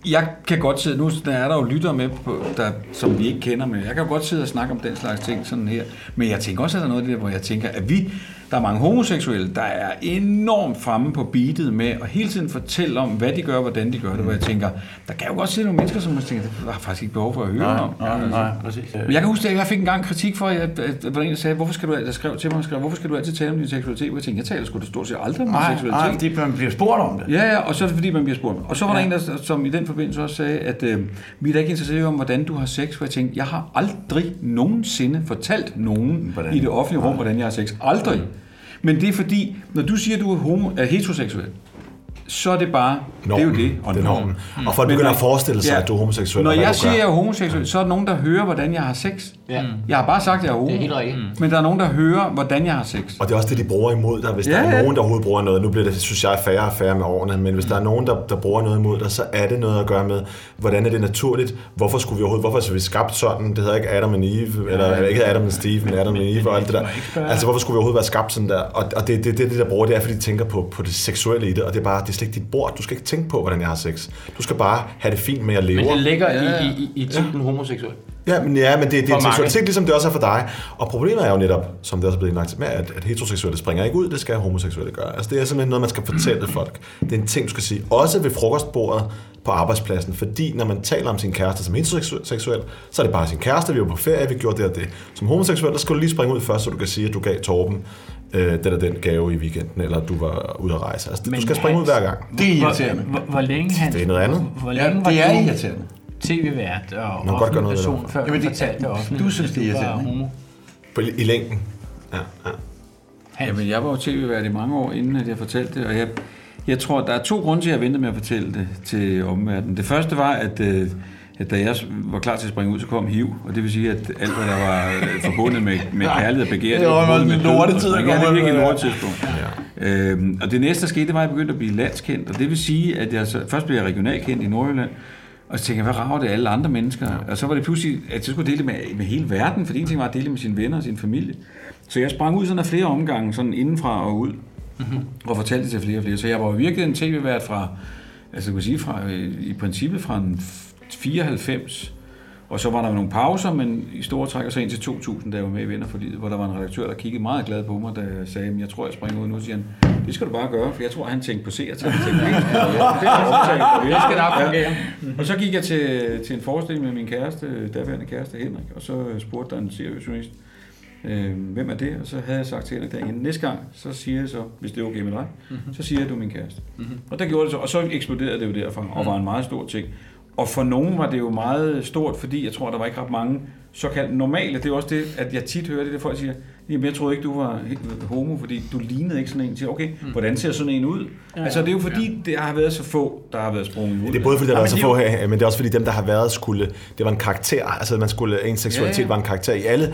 [SPEAKER 6] jeg kan godt sidde, nu er der jo lytter med, på, der, som vi ikke kender, men jeg kan jo godt sidde og snakke om den slags ting sådan her. Men jeg tænker også, at der er noget af det der, hvor jeg tænker, at vi, der er mange homoseksuelle, der er enormt fremme på beatet med at hele tiden fortælle om, hvad de gør, og hvordan de gør det, hvor jeg tænker, der kan jo godt sidde nogle mennesker, som man tænker, det har jeg faktisk ikke behov for at høre
[SPEAKER 2] Nej,
[SPEAKER 6] om.
[SPEAKER 2] nej,
[SPEAKER 6] Altså.
[SPEAKER 2] nej, præcis.
[SPEAKER 6] Men jeg kan huske, at jeg fik en gang kritik for, at, at, at, at, at sagde, hvorfor skal du, al- der skrev til mig, skrev, hvorfor skal du altid tale om din seksualitet? Og jeg tænkte, jeg taler sgu da stort set aldrig om min
[SPEAKER 2] Nej,
[SPEAKER 6] seksualitet.
[SPEAKER 2] nej, det, man bliver spurgt om det.
[SPEAKER 6] Ja, ja, og så er det fordi, man bliver spurgt. Og så var ja. der en, der, som i den forbindelse også sagde, at øh, vi er da ikke interesseret om, hvordan du har sex. For jeg tænkte, jeg har aldrig nogensinde fortalt nogen hvordan? i det offentlige rum, hvordan jeg har sex. Aldrig. Men det er fordi, når du siger, at du er, homo, er heteroseksuel, så er det bare,
[SPEAKER 8] Normen.
[SPEAKER 6] det er jo det.
[SPEAKER 8] Det er normen. Og folk
[SPEAKER 6] Men
[SPEAKER 8] begynder
[SPEAKER 6] når-
[SPEAKER 8] at forestille sig, at du er homoseksuel,
[SPEAKER 6] Når
[SPEAKER 8] og hvad
[SPEAKER 6] jeg
[SPEAKER 8] du
[SPEAKER 6] siger,
[SPEAKER 8] gør.
[SPEAKER 6] at jeg er homoseksuel, så er der nogen, der hører, hvordan jeg har sex. Ja. Jeg har bare sagt, at jeg er homo. Det er helt rigtigt. Men der er nogen, der hører, hvordan jeg har sex.
[SPEAKER 8] Og det er også det, de bruger imod dig. Hvis ja,
[SPEAKER 6] Ja,
[SPEAKER 8] der er
[SPEAKER 6] ja.
[SPEAKER 8] nogen, der overhovedet bruger noget, nu bliver det, synes jeg, færre og færre med årene, men hvis der er nogen, der, der bruger noget imod dig, så er det noget at gøre med, hvordan er det naturligt? Hvorfor skulle vi overhovedet, hvorfor er vi skabt sådan? Det hedder ikke Adam and Eve, eller, eller ikke Adam and Steve, men Adam and Eve og alt det der. Altså, hvorfor skulle vi overhovedet være skabt sådan der? Og, og det, det, det, det, der bruger, det er, fordi de tænker på, på det seksuelle i det, og det er bare, det er slet ikke dit bord. Du skal ikke tænke på, hvordan jeg har sex. Du skal bare have det fint med, at jeg lever.
[SPEAKER 9] Men det ligger i, i, i, i titlen homoseksuel.
[SPEAKER 8] Ja, men, ja, men det, det
[SPEAKER 9] For
[SPEAKER 8] er en
[SPEAKER 9] mange.
[SPEAKER 8] seksualitet, ligesom det også er for dig. Og problemet er jo netop, som det også er blevet indlagt med, at, at heteroseksuelle springer ikke ud, det skal homoseksuelle gøre. Altså det er simpelthen noget, man skal fortælle folk. Det er en ting, du skal sige. Også ved frokostbordet på arbejdspladsen, fordi når man taler om sin kæreste som heteroseksuel, så er det bare sin kæreste, vi var på ferie, vi gjorde det og det. Som homoseksuel, der skal du lige springe ud først, så du kan sige, at du gav Torben øh, den og den gave i weekenden, eller du var ude at rejse. Altså, du skal springe ud hver gang.
[SPEAKER 10] Hvor, hvor, hvor længe han...
[SPEAKER 8] Det er noget andet.
[SPEAKER 10] Hvor længe
[SPEAKER 8] Ja, det
[SPEAKER 10] var
[SPEAKER 8] er
[SPEAKER 10] du
[SPEAKER 8] irriterende.
[SPEAKER 10] TV-vært og
[SPEAKER 8] Man kan godt gøre
[SPEAKER 10] offentlig
[SPEAKER 8] noget ved det.
[SPEAKER 10] person, før
[SPEAKER 8] Jamen,
[SPEAKER 10] du
[SPEAKER 8] det-
[SPEAKER 10] fortalte det offentligt.
[SPEAKER 8] du synes, det er
[SPEAKER 10] at var
[SPEAKER 8] irriterende, ikke?
[SPEAKER 10] homo.
[SPEAKER 8] På, I længden. Ja, ja.
[SPEAKER 6] Jamen, jeg var jo tv-vært i mange år, inden at jeg fortalte det, og jeg, jeg tror, der er to grunde til, at jeg ventede med at fortælle det til omverdenen. Det første var, at, øh, at da jeg var klar til at springe ud, så kom HIV, og det vil sige, at alt, hvad der var øh, forbundet med, med kærlighed og begær,
[SPEAKER 2] Det var
[SPEAKER 6] forbundet
[SPEAKER 2] en
[SPEAKER 6] med død
[SPEAKER 2] lortetid
[SPEAKER 6] og sådan
[SPEAKER 2] at
[SPEAKER 6] noget. Ja,
[SPEAKER 2] komme
[SPEAKER 6] det er
[SPEAKER 2] ud
[SPEAKER 6] virkelig
[SPEAKER 2] med,
[SPEAKER 6] en
[SPEAKER 2] ja.
[SPEAKER 6] lortetidspunkt. Øhm, og det næste, der skete, det var, at jeg begyndte at blive landskendt, og det vil sige, at jeg så, først blev jeg regionalkendt i Nordjylland, og så tænkte jeg, hvad rager det alle andre mennesker? Og så var det pludselig, at jeg skulle dele det med, med hele verden, for en ting var at dele det med sine venner og sin familie. Så jeg sprang ud sådan af flere omgange, sådan indenfra og ud,
[SPEAKER 9] Mhm.
[SPEAKER 6] mm-hmm. og fortalte det til flere og flere. Så jeg var jo virkelig en tv-vært fra, altså jeg kunne sige, fra, øh, i princippet fra en f- 94, og så var der nogle pauser, men i store træk, og så indtil 2000, da jeg var med i Venner for Livet, hvor der var en redaktør, der kiggede meget glad på mig, da jeg sagde, at jeg tror, jeg springer ud nu, siger han, det skal du bare gøre, for jeg tror, han tænkte på seertal. Jeg tænkte, "Ja, ja, ja,
[SPEAKER 9] Det skal nok fungere."
[SPEAKER 8] Mhm.
[SPEAKER 6] Ja. Og så gik jeg til, til en forestilling med min kæreste, øh, daværende kæreste Henrik, og så øh, spurgte der en seriøs journalist, øh, hvem er det? Og så havde jeg sagt til Henrik derinde, næste gang, så siger jeg så, hvis det er okay med dig,
[SPEAKER 8] Mhm.
[SPEAKER 6] mm-hmm. så siger jeg, at du er min kæreste. Mm-hmm. Og der gjorde det så, og så eksploderede det jo derfra, og
[SPEAKER 8] Mhm.
[SPEAKER 6] var en meget stor ting. Og for nogen var det jo meget stort, fordi jeg tror, der var ikke ret mange såkaldt normale. Det er jo også det, at jeg tit hører det, der folk siger, jamen jeg troede ikke, du var he- homo, fordi du lignede ikke sådan en. Jeg Siger, okay, hvordan ser sådan en ud?
[SPEAKER 8] Mhm. Ja.
[SPEAKER 6] Altså det er jo fordi, det har været så få, der har været sprunget ud.
[SPEAKER 8] Det er både fordi, der
[SPEAKER 6] Ja,
[SPEAKER 8] er
[SPEAKER 6] men
[SPEAKER 8] så
[SPEAKER 6] de
[SPEAKER 8] få
[SPEAKER 6] jo-
[SPEAKER 8] her, men det er også fordi, dem, der har været, skulle, det var en karakter. Altså, man skulle, ens seksualitet
[SPEAKER 6] Ja,
[SPEAKER 8] ja, ja.
[SPEAKER 6] ja.
[SPEAKER 8] var en karakter. I alle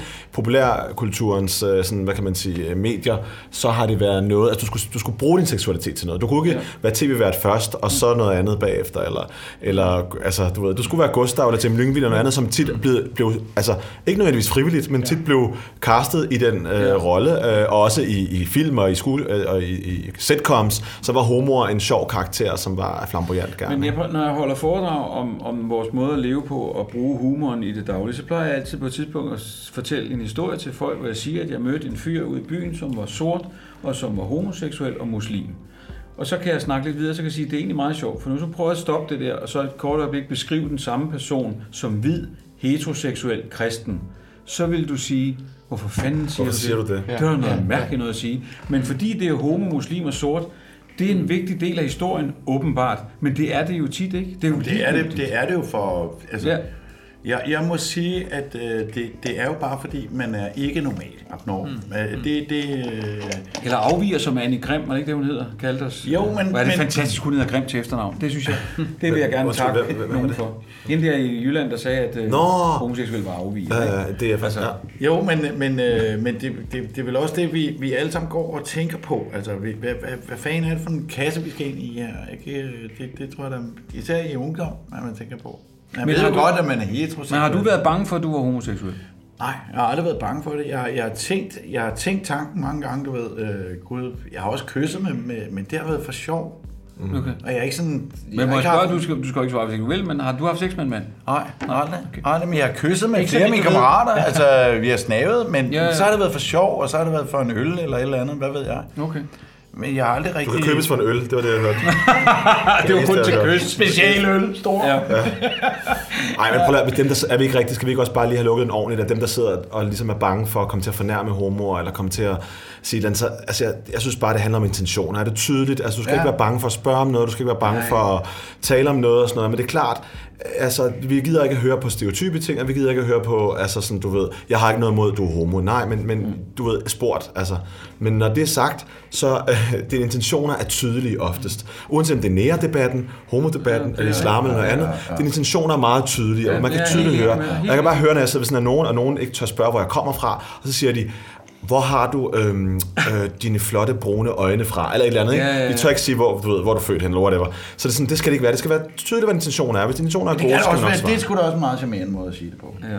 [SPEAKER 8] populærkulturens, øh, sådan, hvad kan man sige, øh, medier, så har det været noget, at altså, du skulle, du skulle bruge din seksualitet til noget. Du kunne ikke
[SPEAKER 6] Ja.
[SPEAKER 8] ja. være tv-vært først, og så noget andet bagefter, eller, eller altså, du ved, du skulle være Gustav eller Tim Lyngvild eller noget andet, som tit blev, blev altså, ikke nødvendigvis frivilligt, men tit blev castet i den øh, rolle, øh, og også i, i film og i, skole, øh, og i, i sitcoms, så var homoer en sjov karakter, som var flamboyant gerne.
[SPEAKER 6] Men jeg, når jeg holder foredrag om, om vores måde at leve på og bruge humoren i det daglige, så plejer jeg altid på et tidspunkt at s- fortælle en historie til folk, hvor jeg siger, at jeg mødte en fyr ude i byen, som var sort og som var homoseksuel og muslim. Og så kan jeg snakke lidt videre, så kan jeg sige, at det er egentlig meget sjovt, for nu så prøver jeg at stoppe det der, og så et kort øjeblik beskrive den samme person som hvid, heteroseksuel kristen. Så vil du sige, hvorfor fanden siger,
[SPEAKER 8] Hvorfor siger
[SPEAKER 6] du
[SPEAKER 8] du det?
[SPEAKER 6] Det var noget
[SPEAKER 8] Ja.
[SPEAKER 6] mærkeligt noget at sige. Men fordi det er homo, muslim og sort, det er en vigtig del af historien, åbenbart. Men det er det jo tit, ikke? Det er jo,
[SPEAKER 1] Det er det,
[SPEAKER 6] ligegyldigt.
[SPEAKER 1] det er det jo for... Altså, ja. jeg, jeg må sige, at øh, det, det er jo bare fordi, man er ikke normal abnorm. Mm. Øh, det, det, øh,
[SPEAKER 6] Eller afviger, som Annie Grimm, var det ikke det, hun hedder? Kaldte os.
[SPEAKER 1] Jo, men-
[SPEAKER 6] Var det
[SPEAKER 1] men-
[SPEAKER 6] fantastisk, hun hedder Grimm til efternavn. Det synes jeg. Det vil jeg gerne
[SPEAKER 8] Undskyld,
[SPEAKER 6] takke
[SPEAKER 8] hvem- hvem var
[SPEAKER 6] nogen
[SPEAKER 8] det?
[SPEAKER 6] for. Hende der i Jylland, der sagde, at øh,
[SPEAKER 8] Nå.
[SPEAKER 6] homoseksuelle var afviger.
[SPEAKER 8] Ja,
[SPEAKER 6] ikke?
[SPEAKER 8] det er faktisk... Ja.
[SPEAKER 1] Jo, men, men, øh, men det, det, det er vel også det, vi, vi alle sammen går og tænker på. Altså, vi, hvad, hvad, hvad fanden er det for en kasse, vi skal ind i her? Ikke? Øh, Det, det tror jeg da, især i ungdom, at man tænker på. Man
[SPEAKER 6] Men
[SPEAKER 1] men ved
[SPEAKER 6] har
[SPEAKER 1] jo
[SPEAKER 6] du-
[SPEAKER 1] godt, at man er heteroseksuel.
[SPEAKER 6] Men har du været bange for, at du var homoseksuel?
[SPEAKER 1] Nej, jeg har aldrig været bange for det. Jeg, jeg, har, tænkt, jeg har tænkt tanken mange gange, du ved, øh, gud, jeg har også kysset med, med, men det har været for sjov. Mm.
[SPEAKER 6] Okay.
[SPEAKER 1] Og jeg er ikke sådan... jeg
[SPEAKER 6] Men
[SPEAKER 1] har
[SPEAKER 6] må jeg
[SPEAKER 1] ikke haft-
[SPEAKER 6] spørge, du skal, du skal ikke svare, hvis ikke du vil, men har du haft sex med en mand?
[SPEAKER 1] Nej, aldrig. Okay. aldrig men jeg har kysset med
[SPEAKER 6] Ikke så
[SPEAKER 1] flere af
[SPEAKER 6] vidt,
[SPEAKER 1] mine
[SPEAKER 6] du ved.
[SPEAKER 1] kammerater. altså, vi har snavet, men
[SPEAKER 6] Ja,
[SPEAKER 1] ja,
[SPEAKER 6] ja.
[SPEAKER 1] ja. så har det været for sjov, og så har det været for en øl eller et eller andet. Hvad ved jeg?
[SPEAKER 6] Okay.
[SPEAKER 1] Men jeg har aldrig
[SPEAKER 8] Du
[SPEAKER 1] rigtig...
[SPEAKER 8] kan købes for en øl, det var det, jeg hørte.
[SPEAKER 1] det var kun til kys.
[SPEAKER 6] Specialøl, stor. Ja.
[SPEAKER 8] Nej, men prøv at, lade- dem, der, er vi ikke rigtigt, skal vi ikke også bare lige have lukket den ordentligt, at dem, der sidder og ligesom er bange for at komme til at fornærme homoer, eller komme til at sige et eller andet, så, altså, jeg, jeg synes bare, det handler om intentioner. Er det tydeligt? Altså, du skal ja.
[SPEAKER 1] Ja.
[SPEAKER 8] ikke være bange for at spørge om noget, du skal ikke være bange Nej. for at tale om noget og sådan noget, men det er klart, altså, vi gider ikke at høre på stereotype ting, og vi gider ikke at høre på, altså sådan, du ved, jeg har ikke noget imod, at du er homo. Nej, men,
[SPEAKER 6] Mm.
[SPEAKER 8] men du ved, sport, altså. Men når det er sagt, så øh, dine intentioner er tydelige oftest. Uanset om det er nære-debatten, homodebatten, eller islam eller noget andet, dine intentioner er meget tydelige, og man
[SPEAKER 6] det
[SPEAKER 8] kan
[SPEAKER 6] er
[SPEAKER 8] tydeligt
[SPEAKER 6] helt
[SPEAKER 8] høre.
[SPEAKER 6] enig med-
[SPEAKER 8] Og
[SPEAKER 6] helt
[SPEAKER 8] jeg kan bare høre, når jeg sidder ved sådan af nogen, og nogen ikke tør spørge, hvor jeg kommer fra, og så siger de, hvor har du øhm, øh, dine flotte brune øjne fra, eller et eller andet. Ikke?
[SPEAKER 6] Ja, ja, ja.
[SPEAKER 8] De tør ikke sige, hvor du, ved, hvor du er født hen, eller whatever. Så det, er sådan, det skal det ikke være. Det skal være tydeligt, hvad intentionen er. Hvis intentioner er
[SPEAKER 1] Det,
[SPEAKER 8] gode,
[SPEAKER 1] kan da
[SPEAKER 8] så skal
[SPEAKER 1] også
[SPEAKER 8] man
[SPEAKER 1] være,
[SPEAKER 8] også svare.
[SPEAKER 1] det er sgu da også en meget charmerende måde at sige det på.
[SPEAKER 6] ja.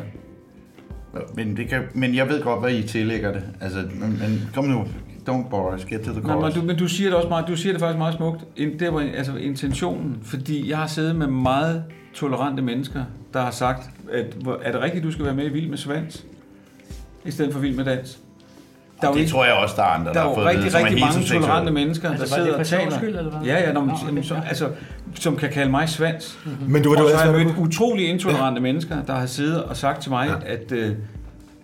[SPEAKER 1] Men, det kan, men jeg ved godt, hvad I tillægger det. Altså, men, men kom nu. Don't bore us. Get to the
[SPEAKER 6] Nej, men,
[SPEAKER 1] chorus.
[SPEAKER 6] du, men du siger det også meget, du siger det faktisk meget smukt. In- Det var altså intentionen, fordi jeg har siddet med meget tolerante mennesker, der har sagt, at hvor- er det rigtigt, du skal være med i Vild med Svans, i stedet for Vild med Dans? Der er jo
[SPEAKER 1] det
[SPEAKER 6] ikke-
[SPEAKER 1] tror jeg også, der er andre,
[SPEAKER 6] der
[SPEAKER 1] der,
[SPEAKER 6] er
[SPEAKER 1] har
[SPEAKER 6] jo
[SPEAKER 1] fået
[SPEAKER 6] rigtig,
[SPEAKER 1] det, som er
[SPEAKER 6] rigtig mange
[SPEAKER 1] heteroseksuelle.
[SPEAKER 6] tolerante mennesker,
[SPEAKER 10] Altså,
[SPEAKER 6] der
[SPEAKER 10] var det
[SPEAKER 6] sidder og
[SPEAKER 10] for
[SPEAKER 6] taler.
[SPEAKER 10] sjovs skyld, eller hvad?
[SPEAKER 6] Ja, ja, når,
[SPEAKER 10] Nå,
[SPEAKER 6] no,
[SPEAKER 10] okay, Hmm.
[SPEAKER 6] så,
[SPEAKER 10] ja.
[SPEAKER 6] altså, som kan kalde mig svans.
[SPEAKER 8] Men du, du,
[SPEAKER 6] Og
[SPEAKER 8] du,
[SPEAKER 6] så har
[SPEAKER 8] du,
[SPEAKER 6] jeg
[SPEAKER 8] du,
[SPEAKER 6] mødt utrolig intolerante mennesker, der har siddet og sagt til mig, at, øh,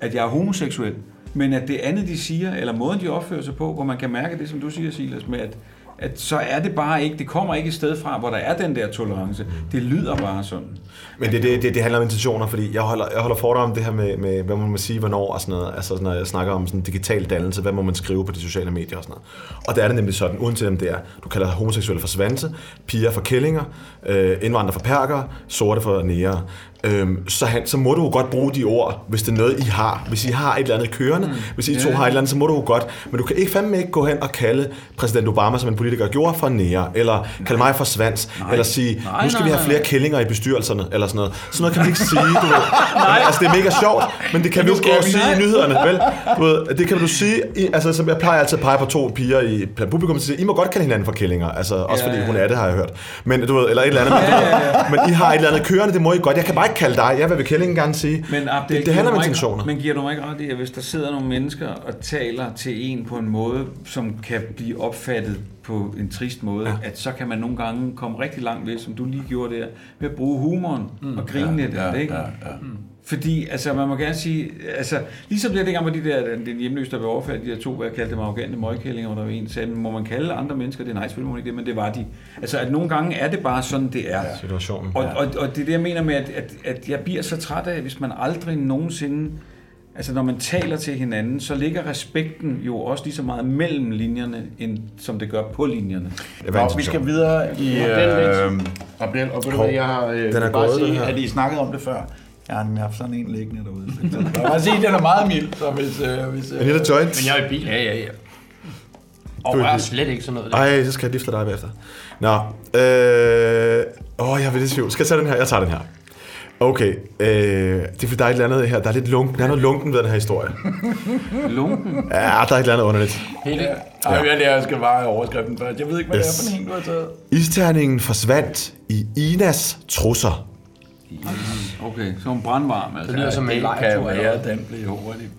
[SPEAKER 6] at jeg er homoseksuel. Men at det andet, de siger, eller måden, de opfører sig på, hvor man kan mærke det, som du siger, Silas, med at, at så er det bare ikke, det kommer ikke et sted fra, hvor der er den der tolerance. Det lyder bare sådan.
[SPEAKER 8] Men det, det, det, det handler om intentioner, fordi jeg holder, jeg holder foredrag om det her med, med, hvad må man sige, hvornår og sådan noget. Altså, når jeg snakker om sådan digital dannelse, hvad må man skrive på de sociale medier og sådan noget. Og der er det nemlig sådan, uanset om det er, du kalder homoseksuelle for svanse, piger for kællinger, øh, indvandrere for perker, sorte for nære. Øhm, så, han, så må du jo godt bruge de ord, hvis det er noget, I har. Hvis I har et eller andet kørende, mm. hvis I to har et eller andet, så må du jo godt. Men du kan ikke fandme ikke gå hen og kalde præsident Obama, som en politiker gjorde, for nære, eller kalde mig for svans, nej. eller sige,
[SPEAKER 6] Nej,
[SPEAKER 8] nu skal
[SPEAKER 6] nej,
[SPEAKER 8] vi have
[SPEAKER 6] nej,
[SPEAKER 8] flere
[SPEAKER 6] nej.
[SPEAKER 8] kællinger i bestyrelserne, eller sådan noget. Sådan noget kan vi ikke sige, du ved. Nej. Altså, det er mega sjovt, men det kan vi jo ikke gå og sige i nyhederne, vel? Du ved, det kan du sige, i, altså, som jeg plejer altid at pege på to piger i blandt publikum, og sige, I må godt kalde hinanden for kællinger, altså, også
[SPEAKER 6] Ja,
[SPEAKER 8] fordi
[SPEAKER 6] ja.
[SPEAKER 8] hun er det, har jeg hørt. Men du ved, eller et eller andet, men, du ved, men I har et eller andet kørende, det må I godt. Jeg kan bare ikke kalde dig, jeg vil kællingen gerne sige.
[SPEAKER 6] Men Abdel,
[SPEAKER 8] det,
[SPEAKER 6] giver
[SPEAKER 8] det handler
[SPEAKER 6] du
[SPEAKER 8] om
[SPEAKER 6] mig ikke-
[SPEAKER 8] intentioner.
[SPEAKER 6] Men giver du mig ikke ret i, at hvis der sidder nogle mennesker og taler til en på en måde, som kan blive opfattet på en trist måde, ja. at så kan man nogle gange komme rigtig langt ved, som du lige gjorde der, ved at bruge humoren mm. og grine lidt af det, ikke? Ja, ja. Fordi, altså, man må gerne sige, altså, ligesom det dengang, hvor de der, den hjemløse, der blev overfaldet, de der to, hvad jeg kaldte dem, arrogante møgkællinger, hvor der var en, sagde, må man kalde andre mennesker det? Nej, selvfølgelig må man ikke det, men det var de. Altså, at nogle gange er det bare sådan, det er. Ja.
[SPEAKER 8] Situationen.
[SPEAKER 6] Og, og, og det er det, jeg mener med, at, at, at jeg bliver så træt af, hvis man aldrig nogensinde... Altså, når man taler til hinanden, så ligger respekten jo også lige så meget mellem linjerne, end, som det gør på linjerne.
[SPEAKER 8] Det
[SPEAKER 1] Nå,
[SPEAKER 8] var
[SPEAKER 1] vi
[SPEAKER 8] intention.
[SPEAKER 1] skal videre i
[SPEAKER 9] Abdel,
[SPEAKER 1] øh, Abdel. Og ved du
[SPEAKER 8] Hov,
[SPEAKER 1] hvad, jeg har øh,
[SPEAKER 8] den
[SPEAKER 1] vil
[SPEAKER 8] er
[SPEAKER 1] bare
[SPEAKER 8] gået, den
[SPEAKER 1] sige,
[SPEAKER 8] her.
[SPEAKER 1] at I snakkede om det før. Jeg har nemlig haft sådan en liggende derude. Så Jeg vil bare sige, at den er meget mild. Så hvis, øh, hvis, øh,
[SPEAKER 8] En lille joint.
[SPEAKER 9] Men jeg er i bil, ja, ja, ja.
[SPEAKER 8] Du
[SPEAKER 9] Og
[SPEAKER 8] er i
[SPEAKER 9] jeg er
[SPEAKER 8] bil.
[SPEAKER 9] slet ikke sådan noget. Der.
[SPEAKER 8] Ej, så skal jeg lige dig bagefter. Nå, øh... Åh, jeg er lidt i tvivl. Skal jeg tage den her? Jeg tager den her. Okay, øh, det er fordi, der er et eller andet her. Der er lidt lunken, der er noget lunken ved den her historie.
[SPEAKER 6] Lunken.
[SPEAKER 8] Ja, der er et eller andet underligt.
[SPEAKER 9] Hele,
[SPEAKER 1] Ej, jeg, jeg skal bare overskriften først. Jeg ved ikke, hvad yes. det er for en, du har taget.
[SPEAKER 8] Isterningen forsvandt i Inas trusser.
[SPEAKER 6] Okay, så en brandvarm, altså.
[SPEAKER 9] det lyder som en
[SPEAKER 1] Det
[SPEAKER 9] lejtur.
[SPEAKER 1] kan
[SPEAKER 9] eller
[SPEAKER 1] være,
[SPEAKER 9] hvad?
[SPEAKER 1] den blev hurtigt.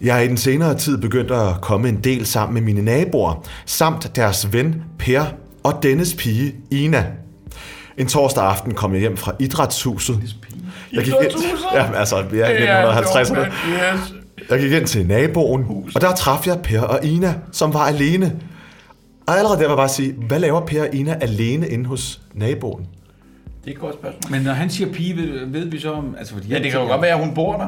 [SPEAKER 8] Jeg er i den senere tid begyndt at komme en del sammen med mine naboer, samt deres ven Per og dennes pige Ina. En torsdag aften kom jeg hjem fra idrætshuset. Jeg gik ind,
[SPEAKER 12] Idrætshuset?
[SPEAKER 8] ja, altså, ja,
[SPEAKER 12] Det er
[SPEAKER 8] 1950'erne.
[SPEAKER 12] sjovt,
[SPEAKER 8] Jeg gik ind til naboen, og der traf jeg Per og Ina, som var alene. Og allerede der var jeg bare at sige, hvad laver Per og Ina alene inde hos naboen?
[SPEAKER 6] Det er et godt spørgsmål. Men når han siger pige, ved, ved vi så om... Altså, fordi
[SPEAKER 1] Ja, det kan jo godt være, at hun bor der.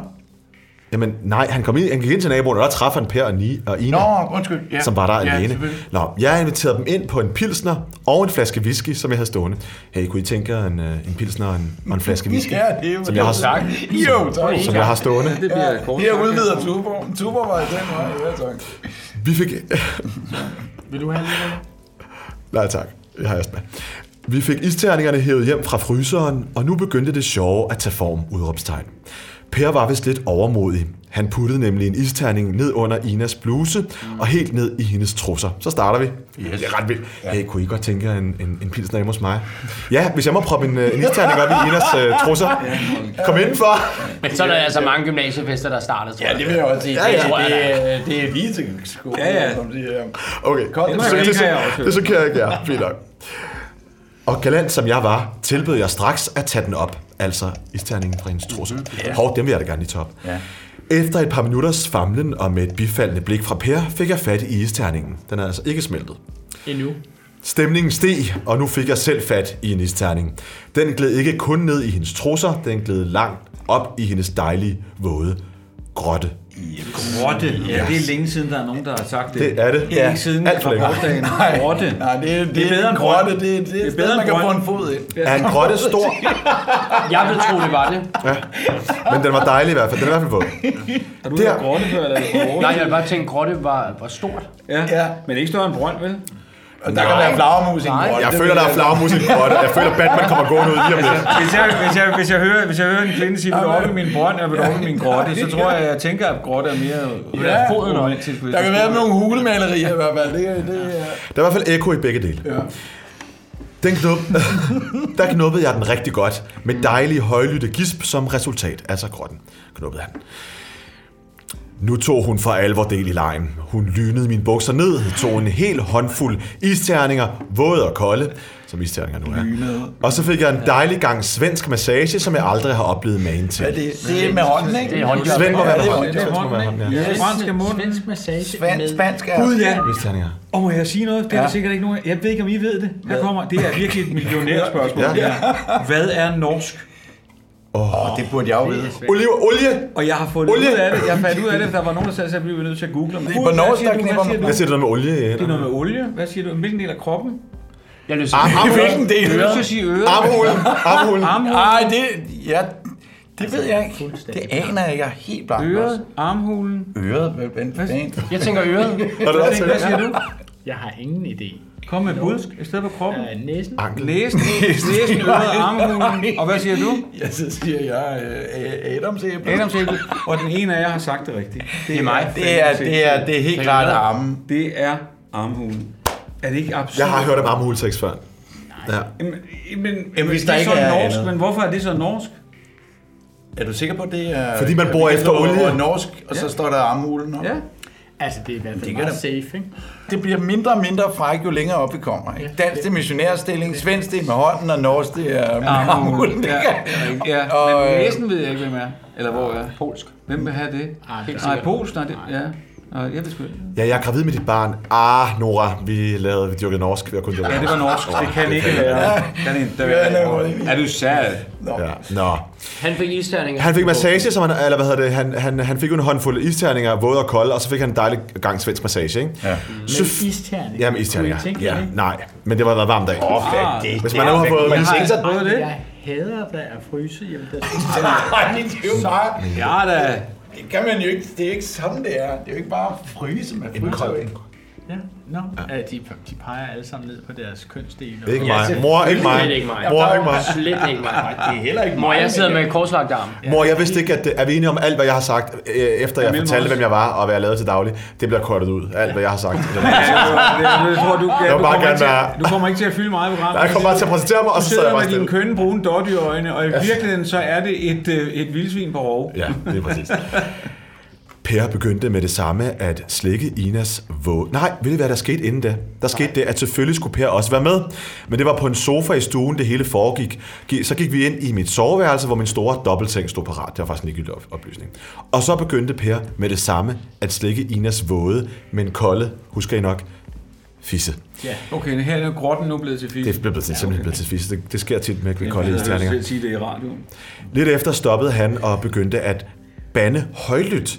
[SPEAKER 8] Jamen nej, han, kom ind, han gik ind til naboen, og der træffer han Per og, Ni, og Ina,
[SPEAKER 1] Nå, undskyld. Ja.
[SPEAKER 8] som var der
[SPEAKER 1] ja,
[SPEAKER 8] alene.
[SPEAKER 1] selvfølgelig.
[SPEAKER 8] Nå, jeg inviterede dem ind på en pilsner og en flaske whisky, som jeg havde stående. Hey, kunne I tænke jer en, øh, en pilsner og en, og en flaske whisky?
[SPEAKER 1] Ja, det er jo
[SPEAKER 8] som jeg har,
[SPEAKER 1] tak. Jo, tak.
[SPEAKER 8] Som jeg har stående.
[SPEAKER 1] Det bliver kort. Her udvider Tuborg. Tuborg var i den vej. Ja, tak.
[SPEAKER 8] Vi fik...
[SPEAKER 10] Vil du have lidt?
[SPEAKER 8] nej tak, jeg har astma. Vi fik isterningerne hævet hjem fra fryseren, og nu begyndte det sjove at tage form, udråbstegn. Per var vist lidt overmodig. Han puttede nemlig en isterning ned under Inas bluse og helt ned i hendes trusser. Så starter vi. Yes. Det er ret vildt. Hey, kunne I godt tænke jer en, en, en pilsner hjemme hos mig? Ja, hvis jeg må proppe en, øh, en isterning op i Inas øh, trusser. Kom indenfor.
[SPEAKER 9] Men så er der altså mange gymnasiefester, der startede, tror
[SPEAKER 1] Ja, det vil jeg også sige.
[SPEAKER 9] Ja, ja, det, det,
[SPEAKER 1] det, det, det er lige til skolen.
[SPEAKER 9] Ja, ja.
[SPEAKER 1] som de her.
[SPEAKER 8] Okay,
[SPEAKER 1] Kom,
[SPEAKER 8] det,
[SPEAKER 1] det
[SPEAKER 8] så,
[SPEAKER 1] chokerer
[SPEAKER 8] det, så,
[SPEAKER 1] jeg også.
[SPEAKER 8] det chokerer ikke jer. Fint nok. Og galant som jeg var, tilbød jeg straks at tage den op. Altså isterningen fra hendes trusse.
[SPEAKER 12] Ja.
[SPEAKER 8] Hov, dem vil jeg da gerne lige tage op.
[SPEAKER 1] Ja.
[SPEAKER 8] Efter et par minutters famlen og med et bifaldende blik fra Per, fik jeg fat i isterningen. Den er altså ikke smeltet.
[SPEAKER 10] Endnu.
[SPEAKER 8] Stemningen steg, og nu fik jeg selv fat i en isterning. Den gled ikke kun ned i hendes trusser, den gled langt op i hendes dejlige, våde grotte.
[SPEAKER 6] Grotte. Ja, det er længe siden, der er nogen, der har sagt det.
[SPEAKER 8] Det er det.
[SPEAKER 6] Det er
[SPEAKER 8] Ja.
[SPEAKER 6] ikke siden
[SPEAKER 8] Alt for
[SPEAKER 6] fra
[SPEAKER 8] længe.
[SPEAKER 6] gårdsdagen.
[SPEAKER 1] Nej.
[SPEAKER 6] Grotte.
[SPEAKER 1] Nej, det er, det,
[SPEAKER 6] Det er bedre
[SPEAKER 1] en
[SPEAKER 6] end
[SPEAKER 1] grotte.
[SPEAKER 6] grøn.
[SPEAKER 1] Det, det, det er et
[SPEAKER 6] bedre
[SPEAKER 1] sted,
[SPEAKER 6] end
[SPEAKER 1] man kan få
[SPEAKER 6] grøn.
[SPEAKER 1] en fod ind.
[SPEAKER 8] Er en grotte stor?
[SPEAKER 9] Jeg vil tro, det var det.
[SPEAKER 8] Ja. Men den var dejlig i hvert fald. Den er i hvert fald våd.
[SPEAKER 6] Har du hørt grotte før, eller er det fra Aarhus?
[SPEAKER 9] Nej, jeg ville bare tænke, grotte var, var stort.
[SPEAKER 6] Ja. Men ikke større end brønd, vel?
[SPEAKER 1] Og der kan være flagermus i en
[SPEAKER 9] Nej.
[SPEAKER 1] grotte.
[SPEAKER 8] Jeg
[SPEAKER 1] det
[SPEAKER 8] føler,
[SPEAKER 1] ved
[SPEAKER 8] der er flagermus i en grotte. Jeg føler, Batman kommer gående ud lige om lidt.
[SPEAKER 6] Hvis jeg, hvis jeg, hvis jeg, hører, hvis jeg hører en kvinde sige, vil du op i min brønd, eller vil du op i min grotte, så tror jeg, jeg tænker, at grotte er mere...
[SPEAKER 1] Ja.
[SPEAKER 6] foden romantisk. hvis
[SPEAKER 1] Der kan
[SPEAKER 6] det
[SPEAKER 1] være
[SPEAKER 6] skulle
[SPEAKER 1] nogle hulemalerier i hvert fald. Det, det er...
[SPEAKER 8] Der er i hvert fald ekko i begge dele. Ja. Den knup, der knuppede jeg den rigtig godt, med dejlig højlytte gisp som resultat. Altså grotten knuppede han. Nu tog hun for alvor del i lejen. Hun lynede mine bukser ned, tog en hel håndfuld isterninger, våde og kolde, som isterninger nu er. Og så fik jeg en dejlig gang svensk massage, som jeg aldrig har oplevet magen til.
[SPEAKER 1] Det, det er med hånden, ikke?
[SPEAKER 9] Det er håndjob.
[SPEAKER 8] Svend må være med hånd.
[SPEAKER 6] Det er
[SPEAKER 8] Svend må være med hånd,
[SPEAKER 6] hånden,
[SPEAKER 8] ja.
[SPEAKER 6] ikke? Fransk er munden.
[SPEAKER 10] Svensk massage med...
[SPEAKER 1] Spansk er...
[SPEAKER 6] Gud ja.
[SPEAKER 8] Isterninger.
[SPEAKER 6] Og må jeg sige noget? Det er ja. der sikkert ikke nogen af- Jeg ved ikke, om I ved det. Her kommer, det er virkelig et millionærspørgsmål.
[SPEAKER 8] Ja.
[SPEAKER 6] Ja. Ja. Hvad er norsk?
[SPEAKER 1] Åh, det burde jeg jo vide.
[SPEAKER 8] Oliv, olie!
[SPEAKER 6] Og jeg har fundet
[SPEAKER 8] Olie.
[SPEAKER 6] ud af det. Jeg fandt ud af det, for der var nogen, der sagde, at jeg blev nødt til at google. Men,
[SPEAKER 1] på norsk, der knipper
[SPEAKER 6] man.
[SPEAKER 8] Hvad siger du der med olie? i
[SPEAKER 6] Det er
[SPEAKER 8] hænderne?
[SPEAKER 6] noget med olie. Hvad siger du? Hvilken del af kroppen?
[SPEAKER 9] Jeg lyst til
[SPEAKER 1] Hvilken del?
[SPEAKER 6] Jeg har lyst til at sige øret.
[SPEAKER 8] Armhulen. Armhulen.
[SPEAKER 6] Armhul,
[SPEAKER 1] Nej, det... Ja, det ved jeg ikke. Det aner jeg ikke. Jeg er helt blank.
[SPEAKER 6] øret, armhulen.
[SPEAKER 1] Øret, hvad fanden?
[SPEAKER 9] Jeg tænker øret.
[SPEAKER 8] Har du også tænkt?
[SPEAKER 6] Hvad siger du?
[SPEAKER 10] Jeg har ingen idé.
[SPEAKER 6] Kom med budsk i stedet for kroppen.
[SPEAKER 10] Øh, næsen.
[SPEAKER 8] Ankel.
[SPEAKER 6] Næsen, næsen, øret, armhulen. Og hvad siger du?
[SPEAKER 1] Jeg så siger jeg øh, Adams æble.
[SPEAKER 6] Adams æble. Og den ene af jer har sagt det rigtigt. Det er mig.
[SPEAKER 1] Det er, det er, det er helt klart armen.
[SPEAKER 6] Det er armhulen. Er det ikke absurd?
[SPEAKER 8] Jeg har hørt om armhulsex før. Ja.
[SPEAKER 6] Jamen, men,
[SPEAKER 1] hvis
[SPEAKER 6] men hvis
[SPEAKER 1] der
[SPEAKER 6] det er
[SPEAKER 1] ikke
[SPEAKER 6] så
[SPEAKER 1] er
[SPEAKER 6] norsk,
[SPEAKER 1] andet.
[SPEAKER 6] men hvorfor er det så norsk?
[SPEAKER 1] Er du sikker på, det er...
[SPEAKER 8] Fordi man bor
[SPEAKER 1] at det
[SPEAKER 8] efter
[SPEAKER 1] står
[SPEAKER 8] olie.
[SPEAKER 1] over norsk, og så står der armhulen op.
[SPEAKER 6] Ja.
[SPEAKER 10] Altså, det er i hvert fald
[SPEAKER 1] Det kan
[SPEAKER 10] meget
[SPEAKER 1] da-
[SPEAKER 10] safe, ikke?
[SPEAKER 1] Det bliver mindre og mindre fræk, jo længere op vi kommer. Ikke? Dansk, det er missionærstilling, svensk, det er med hånden, og norsk, det er med armhulen. Det
[SPEAKER 6] Ja,
[SPEAKER 1] kan-
[SPEAKER 6] ja.
[SPEAKER 1] Og,
[SPEAKER 6] men
[SPEAKER 1] øh,
[SPEAKER 6] næsen ved jeg ikke, hvem er. Eller hvor er. Polsk. Hvem vil have det?
[SPEAKER 10] Ej, det er
[SPEAKER 6] Nej,
[SPEAKER 10] sikkert.
[SPEAKER 6] polsk, nej, det, ja. Nej, jeg vil sgu ikke.
[SPEAKER 8] ja, jeg er gravid med dit barn. Ah, Nora, vi lavede vi dyrkede norsk. Vi har kun dyrket
[SPEAKER 6] Ja, det var norsk. Det kan ikke være. Kan ikke være. Er du sad?
[SPEAKER 8] Ja. Nå.
[SPEAKER 9] Han fik isterninger.
[SPEAKER 8] Han fik massage, som han, eller hvad hedder det, han, han, han fik jo en håndfuld isterninger, våde og kolde, og så fik han en dejlig gang svensk massage, ikke? Ja.
[SPEAKER 10] Med isterninger.
[SPEAKER 8] Ja, med isterninger.
[SPEAKER 10] Kunne I tænke jer
[SPEAKER 8] Ja,
[SPEAKER 10] det?
[SPEAKER 8] nej, men det var været varmt dag. Oh,
[SPEAKER 1] Ah, det,
[SPEAKER 8] Hvis man nu har fået...
[SPEAKER 1] Man
[SPEAKER 6] Har
[SPEAKER 1] tænker sig,
[SPEAKER 6] jeg prøvet det?
[SPEAKER 10] Jeg hader da at fryse hjemme. Der
[SPEAKER 1] nej, det er jo bare...
[SPEAKER 6] Ja, da.
[SPEAKER 1] Det kan man jo ikke. Det er ikke sådan, det er. Det er jo ikke bare at fryse, man fryser jo ikke.
[SPEAKER 10] ja, no. ja. De, de peger alle sammen ned på deres kønsdel.
[SPEAKER 8] Ikke mig. Mor, ikke mig.
[SPEAKER 9] Slet ikke mig.
[SPEAKER 8] Mor, ikke mig.
[SPEAKER 9] Slet ikke mig.
[SPEAKER 1] Det er heller ikke
[SPEAKER 9] Mor,
[SPEAKER 1] mig,
[SPEAKER 9] jeg sidder
[SPEAKER 1] men-
[SPEAKER 9] med en korslagt arm.
[SPEAKER 8] Mor, jeg vidste ikke, at det, er vi enige om alt, hvad jeg har sagt, øh, efter jeg
[SPEAKER 6] mellem
[SPEAKER 8] fortalte,
[SPEAKER 6] os.
[SPEAKER 8] hvem jeg var, og hvad jeg lavede til daglig? Det bliver kortet ud, alt, hvad jeg har sagt.
[SPEAKER 6] Jeg tror, du, ja,
[SPEAKER 8] Jeg vil
[SPEAKER 6] du,
[SPEAKER 8] bare
[SPEAKER 6] kommer
[SPEAKER 8] gerne
[SPEAKER 6] ikke til,
[SPEAKER 8] være-
[SPEAKER 6] du kommer ikke til at fylde meget i programmet.
[SPEAKER 8] Jeg kom bare til at præsentere mig, og
[SPEAKER 6] Du
[SPEAKER 8] så sad jeg
[SPEAKER 6] sidder
[SPEAKER 8] bare
[SPEAKER 6] med dine
[SPEAKER 8] stille.
[SPEAKER 6] kønne brune dottyøjne, og i virkeligheden så er det et, øh, et vildsvin på rov.
[SPEAKER 8] Ja, det er præcis. Per begyndte med det samme at slikke Inas våge. Nej, ved I hvad der skete inden det? Der skete det, at selvfølgelig skulle Per også være med. Men det var på en sofa i stuen, det hele foregik. Gi- Så gik vi ind i mit soveværelse, hvor min store dobbeltseng stod parat. Det var faktisk en ligegyldig op- oplysning. Og så begyndte Per med det samme at slikke Inas våde, men kolde, husker I nok, fisse.
[SPEAKER 6] Ja. Okay, her er grotten nu blevet til fisk.
[SPEAKER 8] Det blev til, simpelthen blevet til fisse. Det, det sker tit med, med kolde
[SPEAKER 6] Jeg
[SPEAKER 8] indstillinger.
[SPEAKER 6] vil sige det i radioen.
[SPEAKER 8] Lidt efter stoppede han og begyndte at bande højlydt.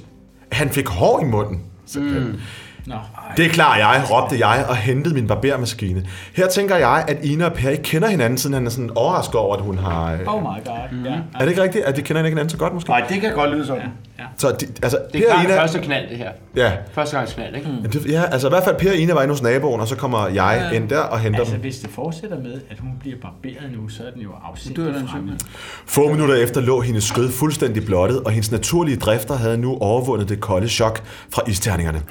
[SPEAKER 8] Han fik hår i munden. Simpelthen. Mm.
[SPEAKER 10] Nå.
[SPEAKER 8] Det klarer jeg, råbte jeg og hentede min barbermaskine. Her tænker jeg, at Ina og Per ikke kender hinanden, siden han er sådan overrasket over, at hun har... øh,
[SPEAKER 10] Oh my god. Mm. Ja.
[SPEAKER 8] Er det ikke rigtigt, at de kender ikke hinanden så godt måske?
[SPEAKER 1] Nej, det kan godt lyde sådan.
[SPEAKER 10] Ja.
[SPEAKER 8] Så de, altså,
[SPEAKER 9] Det er Mm.
[SPEAKER 8] per og
[SPEAKER 9] klart
[SPEAKER 8] Ina,
[SPEAKER 9] første knald, det her.
[SPEAKER 8] Ja.
[SPEAKER 9] Første gangs knald, ikke?
[SPEAKER 8] Jamen, det- ja, altså i hvert fald Per og Ina var inde hos naboen, og så kommer jeg ind der og henter
[SPEAKER 10] Altså,
[SPEAKER 8] dem.
[SPEAKER 10] hvis det fortsætter med, at hun bliver barberet nu, så er den jo afsindig
[SPEAKER 6] dør den
[SPEAKER 10] fremme.
[SPEAKER 8] Få minutter efter lå hendes skød fuldstændig blottet, og hendes naturlige drifter havde nu overvundet det kolde chok fra isterningerne.